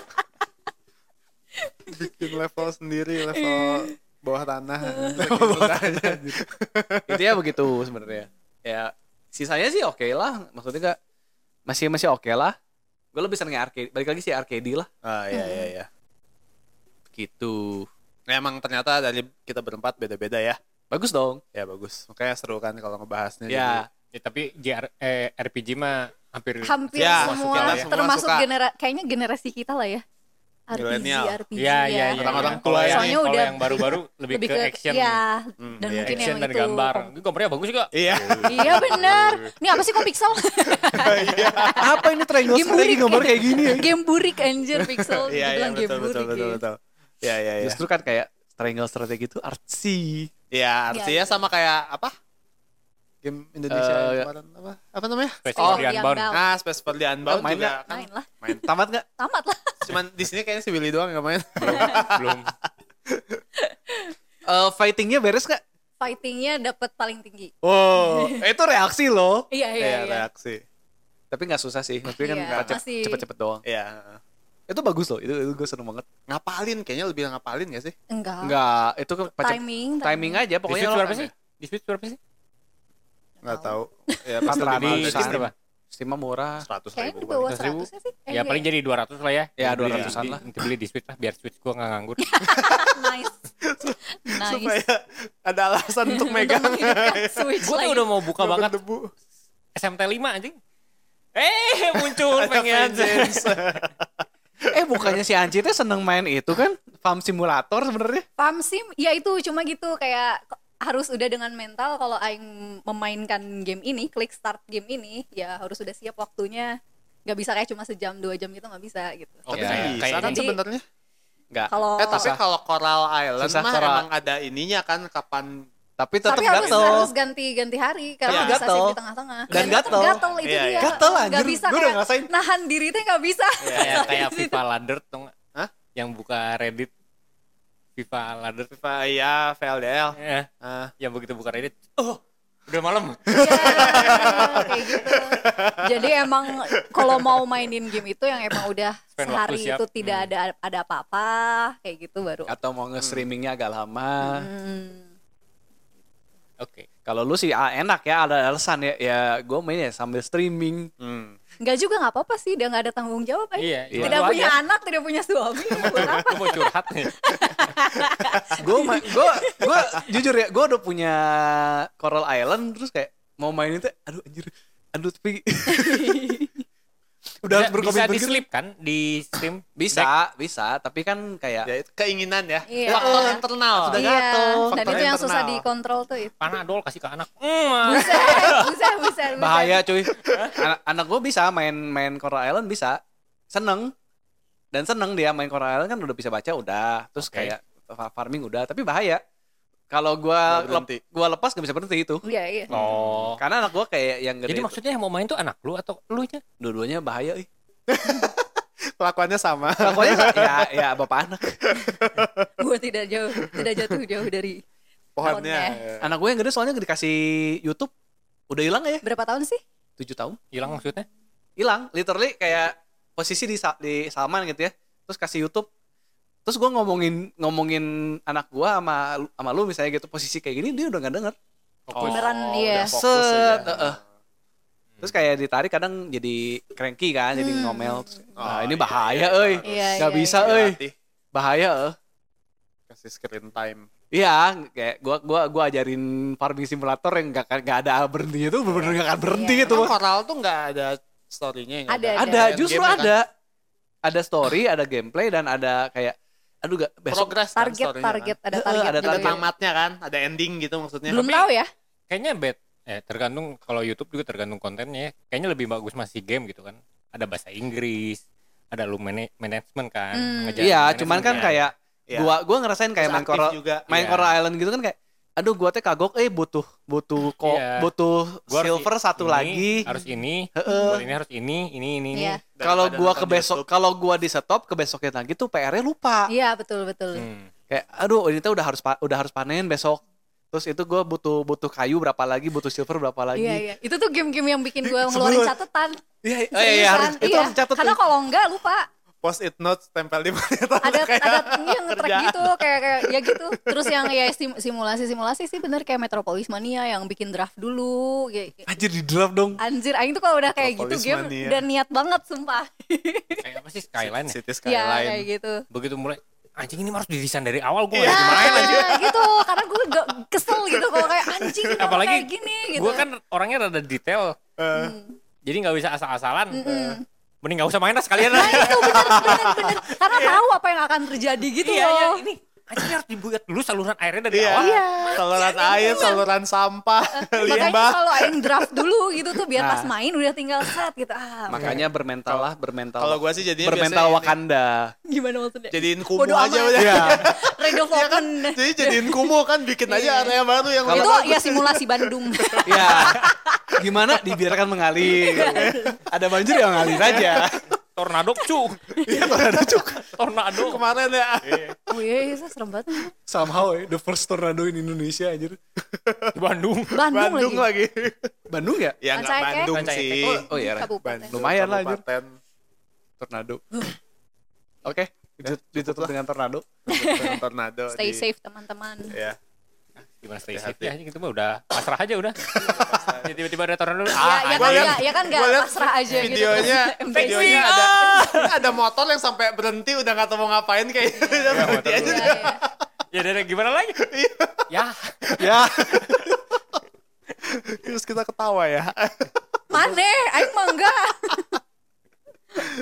Speaker 2: Bikin level sendiri, level bawah tanah. bawah tanah.
Speaker 1: itu ya begitu sebenarnya ya sisanya sih oke lah maksudnya gak masih masih oke lah gue lebih seneng arcade balik lagi sih arcade lah
Speaker 2: Ah, iya, iya, iya.
Speaker 1: gitu
Speaker 2: Nah, emang ternyata dari kita berempat beda-beda ya.
Speaker 1: bagus dong
Speaker 2: Ya bagus. Makanya seru kan kalau ngebahasnya.
Speaker 1: ya
Speaker 4: Ya, tapi JR, eh, RPG mah hampir
Speaker 3: hampir
Speaker 2: Ya,
Speaker 3: semua
Speaker 2: kita semua
Speaker 3: termasuk
Speaker 2: suka.
Speaker 3: genera kayaknya generasi kita lah ya RPG
Speaker 2: Milenial.
Speaker 3: RPG
Speaker 4: Iya, iya, iya.
Speaker 2: Orang-orang
Speaker 4: iya. Kalau
Speaker 2: tua ya.
Speaker 4: yang,
Speaker 3: ya. Soalnya
Speaker 4: kalau
Speaker 3: udah-
Speaker 4: yang baru-baru lebih,
Speaker 3: lebih
Speaker 4: ke, action.
Speaker 3: ya
Speaker 2: Hmm,
Speaker 3: dan
Speaker 2: iya,
Speaker 3: mungkin
Speaker 4: action
Speaker 3: yang
Speaker 4: dan
Speaker 3: itu
Speaker 4: gambar. Ini gambarnya bagus juga.
Speaker 2: Iya.
Speaker 3: iya benar ini apa sih kok pixel
Speaker 1: apa ini triangle
Speaker 3: Game
Speaker 1: strategi
Speaker 3: burik.
Speaker 1: gambar kayak gini ya
Speaker 3: game burik anjir pixel
Speaker 2: Iya, iya,
Speaker 3: dibilang game
Speaker 2: betul, betul,
Speaker 3: burik
Speaker 2: betul,
Speaker 3: ya.
Speaker 2: betul. Iya, iya, iya.
Speaker 1: justru kan kayak triangle strategi itu artsy
Speaker 2: Iya, artinya
Speaker 3: Iya, iya.
Speaker 2: sama kayak apa? Game Indonesia
Speaker 1: Eh,
Speaker 2: yang kemarin apa? Apa namanya?
Speaker 4: Space
Speaker 3: Oh,
Speaker 4: Marine
Speaker 3: yang
Speaker 4: Unbound.
Speaker 3: bal-
Speaker 2: Ah, Space for the
Speaker 1: Oh,
Speaker 2: Unbound
Speaker 1: main
Speaker 2: juga
Speaker 1: nggak?
Speaker 2: kan
Speaker 3: main lah
Speaker 2: main.
Speaker 1: tamat nggak
Speaker 3: tamat lah
Speaker 2: Cuman di sini kayaknya si Willy doang yang main.
Speaker 4: Belum.
Speaker 1: Eh, fightingnya beres nggak
Speaker 3: fightingnya dapat paling tinggi
Speaker 1: oh itu reaksi loh
Speaker 3: iya iya
Speaker 2: Iya,
Speaker 3: iya
Speaker 2: reaksi.
Speaker 1: tapi nggak susah sih maksudnya kan
Speaker 3: Iya,
Speaker 1: nggak cep-
Speaker 3: masih-
Speaker 1: cepet-cepet doang
Speaker 2: Iya.
Speaker 1: itu bagus loh itu, itu gue seneng banget
Speaker 2: Ngapalin kayaknya lebih ngapalin gak sih?
Speaker 3: enggak
Speaker 1: nggak itu kan pacep-
Speaker 3: timing
Speaker 1: timing aja
Speaker 4: Di
Speaker 1: pokoknya
Speaker 4: Switch
Speaker 1: lo-
Speaker 4: berapa sih? Di Switch berapa sih?
Speaker 2: Nggak tahu. Ya,
Speaker 1: Pas
Speaker 2: pasti
Speaker 1: Ramadan
Speaker 4: Di
Speaker 2: lebih
Speaker 1: Ratusan.
Speaker 4: Switch berapa?
Speaker 1: Steam murah
Speaker 2: 100
Speaker 3: kayaknya
Speaker 2: ribu.
Speaker 3: di bawah
Speaker 4: 100 ribu.
Speaker 3: 100 sih Eh,
Speaker 4: Ya
Speaker 3: iya.
Speaker 4: paling jadi 200 lah ya.
Speaker 1: Ya,
Speaker 4: Beli-
Speaker 1: 200-an
Speaker 4: di-
Speaker 1: lah.
Speaker 4: di- Beli di Switch lah biar Switch gua nggak nganggur.
Speaker 3: nice nice
Speaker 2: Supaya ada alasan untuk megang.
Speaker 3: Untuk menghidupkan switch
Speaker 4: Gua tuh
Speaker 3: lagi.
Speaker 4: udah mau buka
Speaker 2: Nggak
Speaker 4: banget
Speaker 2: berdebu.
Speaker 4: SMT 5 anjing. Eh, muncul
Speaker 2: Ada
Speaker 4: pengen.
Speaker 2: vengeance.
Speaker 1: Eh bukannya si Anci teh seneng main itu kan farm simulator sebenarnya?
Speaker 3: Pam sim, ya itu cuma gitu kayak ko- harus udah dengan mental kalau aing memainkan game ini, klik start game ini, ya harus udah siap waktunya. Gak bisa kayak cuma sejam dua jam gitu nggak bisa gitu.
Speaker 1: Oke.
Speaker 2: Tapi bisa
Speaker 4: Ya, Kayak
Speaker 2: kan
Speaker 3: ini.
Speaker 2: sebenarnya.
Speaker 1: Enggak.
Speaker 3: Kalau
Speaker 2: Eh tapi kalau Coral Island
Speaker 1: Susah,
Speaker 2: mah
Speaker 1: Coral.
Speaker 2: emang ada ininya kan kapan
Speaker 1: Tapi tetap
Speaker 3: tapi harus
Speaker 1: gatel.
Speaker 3: harus ganti-ganti hari
Speaker 1: Tapi
Speaker 3: karena nggak bisa
Speaker 1: gatel.
Speaker 3: save di tengah-tengah.
Speaker 1: Dan
Speaker 3: Karena tetap
Speaker 1: gatel.
Speaker 3: gatel itu
Speaker 2: Iya, iya.
Speaker 3: dia.
Speaker 1: Gatel,
Speaker 3: Nggak
Speaker 1: anjir.
Speaker 3: bisa
Speaker 1: Gua udah
Speaker 3: kayak
Speaker 1: ngerasain.
Speaker 3: nahan diri teh nggak bisa.
Speaker 4: Iya,
Speaker 3: gitu.
Speaker 4: kayak kayak FIFA ladder tuh nggak?
Speaker 2: Hah?
Speaker 4: Yang buka Reddit FIFA ladder.
Speaker 2: FIFA ya VLDL.
Speaker 4: Eh,
Speaker 2: Ah,
Speaker 4: yang begitu buka Reddit.
Speaker 2: oh,
Speaker 4: Udah malam.
Speaker 3: Iya, kayak gitu. Jadi emang kalau mau mainin game itu yang emang udah
Speaker 4: Spend waktu
Speaker 3: sehari
Speaker 4: siap.
Speaker 3: itu tidak ada ada apa-apa kayak gitu baru.
Speaker 1: atau mau nge-streamingnya agak lama.
Speaker 3: Hmm.
Speaker 4: Oke.
Speaker 1: Kalau lu sih ah, enak ya ada alasan ya ya gue main ya sambil streaming.
Speaker 2: Hmm.
Speaker 3: Nggak juga nggak apa-apa sih, dia nggak ada tanggung jawab. eh.
Speaker 4: Iya, iya.
Speaker 3: Tidak
Speaker 4: Lu
Speaker 3: punya
Speaker 4: aja.
Speaker 3: anak, tidak punya suami. buat apa?
Speaker 4: Aku mau curhat nih.
Speaker 1: Gue gue gue jujur ya gue udah punya Coral Island terus kayak mau main itu aduh anjir aduh tapi udah harus
Speaker 4: Bisa- bisa
Speaker 1: berkomitmen
Speaker 4: di
Speaker 1: gitu.
Speaker 4: sleep kan di stream
Speaker 1: Bisa, bisa, tapi kan kayak
Speaker 2: Ya, itu keinginan ya.
Speaker 3: Iya.
Speaker 2: Faktor internal.
Speaker 1: Sudah
Speaker 3: Iya,
Speaker 1: gatel.
Speaker 3: dan
Speaker 2: Faktor
Speaker 3: itu yang
Speaker 2: internal. Eh,
Speaker 3: susah dikontrol tuh itu.
Speaker 4: panadol kasih ke anak mm,
Speaker 3: Buset, buset, buset, buset.
Speaker 1: bahaya
Speaker 4: Iya.
Speaker 1: cuy. Anak, anak gue bisa main main Coral Island bisa, seneng dan seneng dia main Coral Island kan udah bisa baca udah, terus
Speaker 4: Oke.
Speaker 1: kayak fa- farming udah, tapi bahaya. Kalau gua
Speaker 2: Nggak berhenti.
Speaker 1: lep- gua lepas gak bisa berhenti itu.
Speaker 3: Iya, iya.
Speaker 4: oh
Speaker 1: Karena anak gua kayak yang gede
Speaker 4: jadi maksudnya yang mau main tuh anak lu atau lu nya
Speaker 1: dua-duanya bahaya. ih.
Speaker 2: Kelakuannya sama.
Speaker 1: Pokoknya ya ya bapak anak.
Speaker 3: Gue tidak jauh, tidak jatuh jauh dari
Speaker 2: Pohonnya.
Speaker 1: Anak gue yang gede soalnya dikasih YouTube udah hilang ya?
Speaker 3: berapa tahun sih?
Speaker 1: 7 tahun.
Speaker 4: hilang maksudnya
Speaker 1: hilang literally kayak posisi di Sa- di Salman gitu ya terus kasih YouTube terus gue ngomongin ngomongin anak gue sama lu- sama lu misalnya gitu posisi kayak gini dia udah nggak denger
Speaker 4: Oh,
Speaker 2: Fokus.
Speaker 3: Beneran, iya.
Speaker 2: udah fokus aja.
Speaker 1: Set, eh, eh. terus kayak ditarik kadang jadi cranky kan jadi ngomel Terus, nah,
Speaker 2: Oh,
Speaker 1: ini
Speaker 2: iya,
Speaker 1: bahaya
Speaker 2: iya,
Speaker 1: euy
Speaker 2: harus.
Speaker 3: Hmm. Iya,
Speaker 1: nggak
Speaker 3: iya,
Speaker 1: bisa euy
Speaker 2: Dilatih,
Speaker 1: bahaya eh.
Speaker 2: Kasih screen time.
Speaker 1: Iya, kayak gua gua gua ajarin farming simulator yang gak, gak ada berhentinya tuh bener-bener gak akan berhenti
Speaker 3: Iya.
Speaker 1: gitu.
Speaker 2: Emang koral tuh nggak ada story-nya nggak
Speaker 3: Ada,
Speaker 1: ada
Speaker 2: End
Speaker 1: justru
Speaker 2: game-nya kan?
Speaker 1: ada ada story ada gameplay dan ada kayak aduh gak besok
Speaker 2: Progress kan
Speaker 3: Target,
Speaker 2: story-nya
Speaker 3: target,
Speaker 1: Eh,
Speaker 3: ada
Speaker 1: eh,
Speaker 3: target.
Speaker 1: ada
Speaker 2: Kan? Ada
Speaker 3: juga.
Speaker 2: tamatnya kan, ada ending gitu maksudnya.
Speaker 3: Belum tahu ya?
Speaker 4: kayaknya bed eh tergantung kalau YouTube juga tergantung kontennya ya. kayaknya lebih bagus masih game gitu kan ada bahasa Inggris ada lu mana- manajemen kan
Speaker 3: Hmm.
Speaker 4: ngejalan
Speaker 1: iya
Speaker 4: manajemen
Speaker 1: cuman kan
Speaker 4: kan.
Speaker 1: kayak
Speaker 2: Iya.
Speaker 1: gua gua ngerasain kayak
Speaker 2: Terus
Speaker 1: main
Speaker 2: aktif
Speaker 1: Coral
Speaker 2: juga.
Speaker 1: main
Speaker 4: Iya.
Speaker 1: Coral Island gitu kan kayak aduh gua teh kagok eh butuh butuh kok
Speaker 4: Iya.
Speaker 1: butuh
Speaker 4: Gua harus
Speaker 1: silver
Speaker 4: i-
Speaker 1: satu
Speaker 4: ini,
Speaker 1: lagi
Speaker 4: harus ini
Speaker 1: Heeh.
Speaker 4: buat ini harus ini ini ini ini.
Speaker 3: Iya.
Speaker 1: kalau
Speaker 2: Daripada
Speaker 1: gua
Speaker 2: nonton
Speaker 1: ke besok
Speaker 2: YouTube.
Speaker 1: kalau gua di stop ke besoknya lagi tuh PR-nya lupa
Speaker 3: Iya, betul, betul.
Speaker 4: Hmm.
Speaker 1: kayak aduh ini tuh udah harus pa- udah harus panen besok terus itu gua butuh butuh kayu berapa lagi butuh silver berapa lagi
Speaker 3: Iya, iya. Itu tuh game-game yang bikin gue
Speaker 1: Sebelum-
Speaker 3: ngeluarin catatan.
Speaker 1: iya iya,
Speaker 3: Seriusan,
Speaker 1: iya, harus, itu
Speaker 3: iya.
Speaker 1: harus dicatat
Speaker 3: Karena
Speaker 1: tuh.
Speaker 3: kalau enggak lupa
Speaker 2: post it notes tempel di monitor
Speaker 3: ada
Speaker 2: kayak
Speaker 3: ada yang nge-track
Speaker 2: kerjaan.
Speaker 3: gitu kayak kayak ya gitu. Terus yang ya sim- simulasi-simulasi sih bener kayak Metropolis Mania yang bikin draft dulu. kayak- kayak-
Speaker 1: anjir di draft dong
Speaker 3: Anjir, aing tuh kalau udah kayak gitu
Speaker 2: Metropolis
Speaker 3: game
Speaker 2: Mania.
Speaker 3: dan niat banget sumpah.
Speaker 4: kayak apa sih skyline ya
Speaker 2: City
Speaker 3: Iya,
Speaker 2: Skyline.
Speaker 3: kayak gitu.
Speaker 4: begitu mulai anjing ini mah harus didesain dari awal gua
Speaker 2: Iya.
Speaker 4: harus main anjing
Speaker 3: Nah, gitu karena gue gak kesel gitu kalau kayak anjing kenapa
Speaker 4: apalagi
Speaker 3: kayak gini gitu. Hmm.
Speaker 4: gue kan orangnya rada detail
Speaker 1: Eh.
Speaker 4: jadi nggak bisa asal-asalan mending nggak usah main lah sekalian lah
Speaker 3: Nah itu bener bener bener karena tahu apa yang akan terjadi gitu
Speaker 4: iya iya
Speaker 3: loh.
Speaker 4: ini anjing harus dibuat dulu saluran airnya dari
Speaker 2: Iya.
Speaker 4: awal
Speaker 3: Iya.
Speaker 2: Saluran air, saluran sampah,
Speaker 3: Makanya
Speaker 2: limbah.
Speaker 3: kalau yang draft dulu gitu tuh biar
Speaker 1: Nah.
Speaker 3: pas main udah tinggal set gitu. Ah,
Speaker 1: Makanya bermental lah, bermental.
Speaker 2: Kalau gua sih jadinya
Speaker 1: bermental
Speaker 2: biasanya ini.
Speaker 1: Wakanda.
Speaker 3: gimana maksudnya?
Speaker 2: Jadiin kumu
Speaker 3: Bodo
Speaker 2: aja
Speaker 3: amat.
Speaker 2: udah.
Speaker 1: Iya.
Speaker 3: Red of
Speaker 2: Iya kan?
Speaker 3: Open.
Speaker 2: Jadi jadiin kumuh kan bikin aja area baru yang
Speaker 3: Iya. itu
Speaker 2: lebih
Speaker 3: ya
Speaker 2: bagus.
Speaker 3: simulasi Bandung.
Speaker 1: Iya. Gimana dibiarkan mengalir. Ada banjir ya mengalir aja.
Speaker 4: tornado cu
Speaker 1: Iya, tornado cuk.
Speaker 4: tornado
Speaker 2: kemarin ya.
Speaker 3: oh iya, iya serem banget.
Speaker 1: Somehow eh, the first tornado in Indonesia anjir.
Speaker 4: di Bandung
Speaker 3: Bandung,
Speaker 2: Bandung
Speaker 3: lagi.
Speaker 2: lagi.
Speaker 1: Bandung ya?
Speaker 2: Ya nggak
Speaker 3: Rancaikek.
Speaker 2: Bandung
Speaker 4: Rancaikek.
Speaker 2: sih.
Speaker 1: Oh, oh iya, Ren.
Speaker 3: Kabupaten.
Speaker 1: Lumayan lah, anjir.
Speaker 2: Kabupaten.
Speaker 1: Tornado. Oke, ditut- ditutup dengan tornado.
Speaker 2: Kabupaten Tornado.
Speaker 3: Stay
Speaker 2: di-
Speaker 3: safe teman-teman.
Speaker 2: Ya.
Speaker 4: gimana stay safe
Speaker 2: Hati-hati.
Speaker 4: ya anjing itu mah udah pasrah aja udah Ya, tiba-tiba ada tornado
Speaker 3: Ya,
Speaker 4: ah
Speaker 3: ya kan
Speaker 2: gua
Speaker 4: anjing.
Speaker 2: liat-
Speaker 3: nggak, ya kan nggak
Speaker 2: gua liat
Speaker 3: pasrah aja gitu.
Speaker 2: videonya videonya ada ada motor yang sampai berhenti udah nggak tahu mau ngapain kayak udah berhenti
Speaker 4: motor
Speaker 2: aja
Speaker 3: Iya, iya.
Speaker 4: ya dari gimana lagi ya
Speaker 1: ya.
Speaker 2: terus kita ketawa ya
Speaker 3: Mana? Aing mah enggak.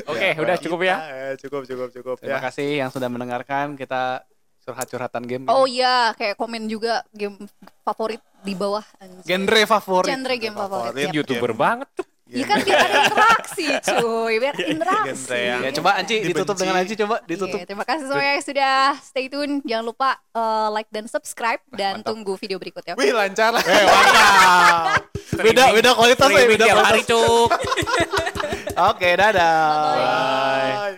Speaker 4: oke udah cukup ya
Speaker 2: Eh, cukup cukup cukup
Speaker 1: Terima
Speaker 2: ya
Speaker 1: kasih yang sudah mendengarkan kita curhat-curhatan game.
Speaker 3: Oh iya, kayak komen juga game favorit di bawah. anjir.
Speaker 1: Genre favorit.
Speaker 3: iya. Genre game favorit.
Speaker 2: Favorit.
Speaker 3: Iya
Speaker 4: Ya, youtuber banget tuh
Speaker 3: Ya kan biar interaksi cuy, biar interaksi.
Speaker 2: genre yang-
Speaker 1: Ya coba Anci
Speaker 2: Dibenci.
Speaker 1: ditutup dengan Anci coba ditutup.
Speaker 3: Iya, terima kasih semua yang sudah stay tune. Jangan lupa eh, like dan subscribe dan tunggu video berikutnya.
Speaker 2: wih lancar
Speaker 1: Beda beda kualitas ya,
Speaker 4: Streaming
Speaker 1: beda
Speaker 4: tiap
Speaker 1: kualitas.
Speaker 4: hari cuk
Speaker 1: Oke, dadah.
Speaker 3: Bye-bye.
Speaker 2: Bye.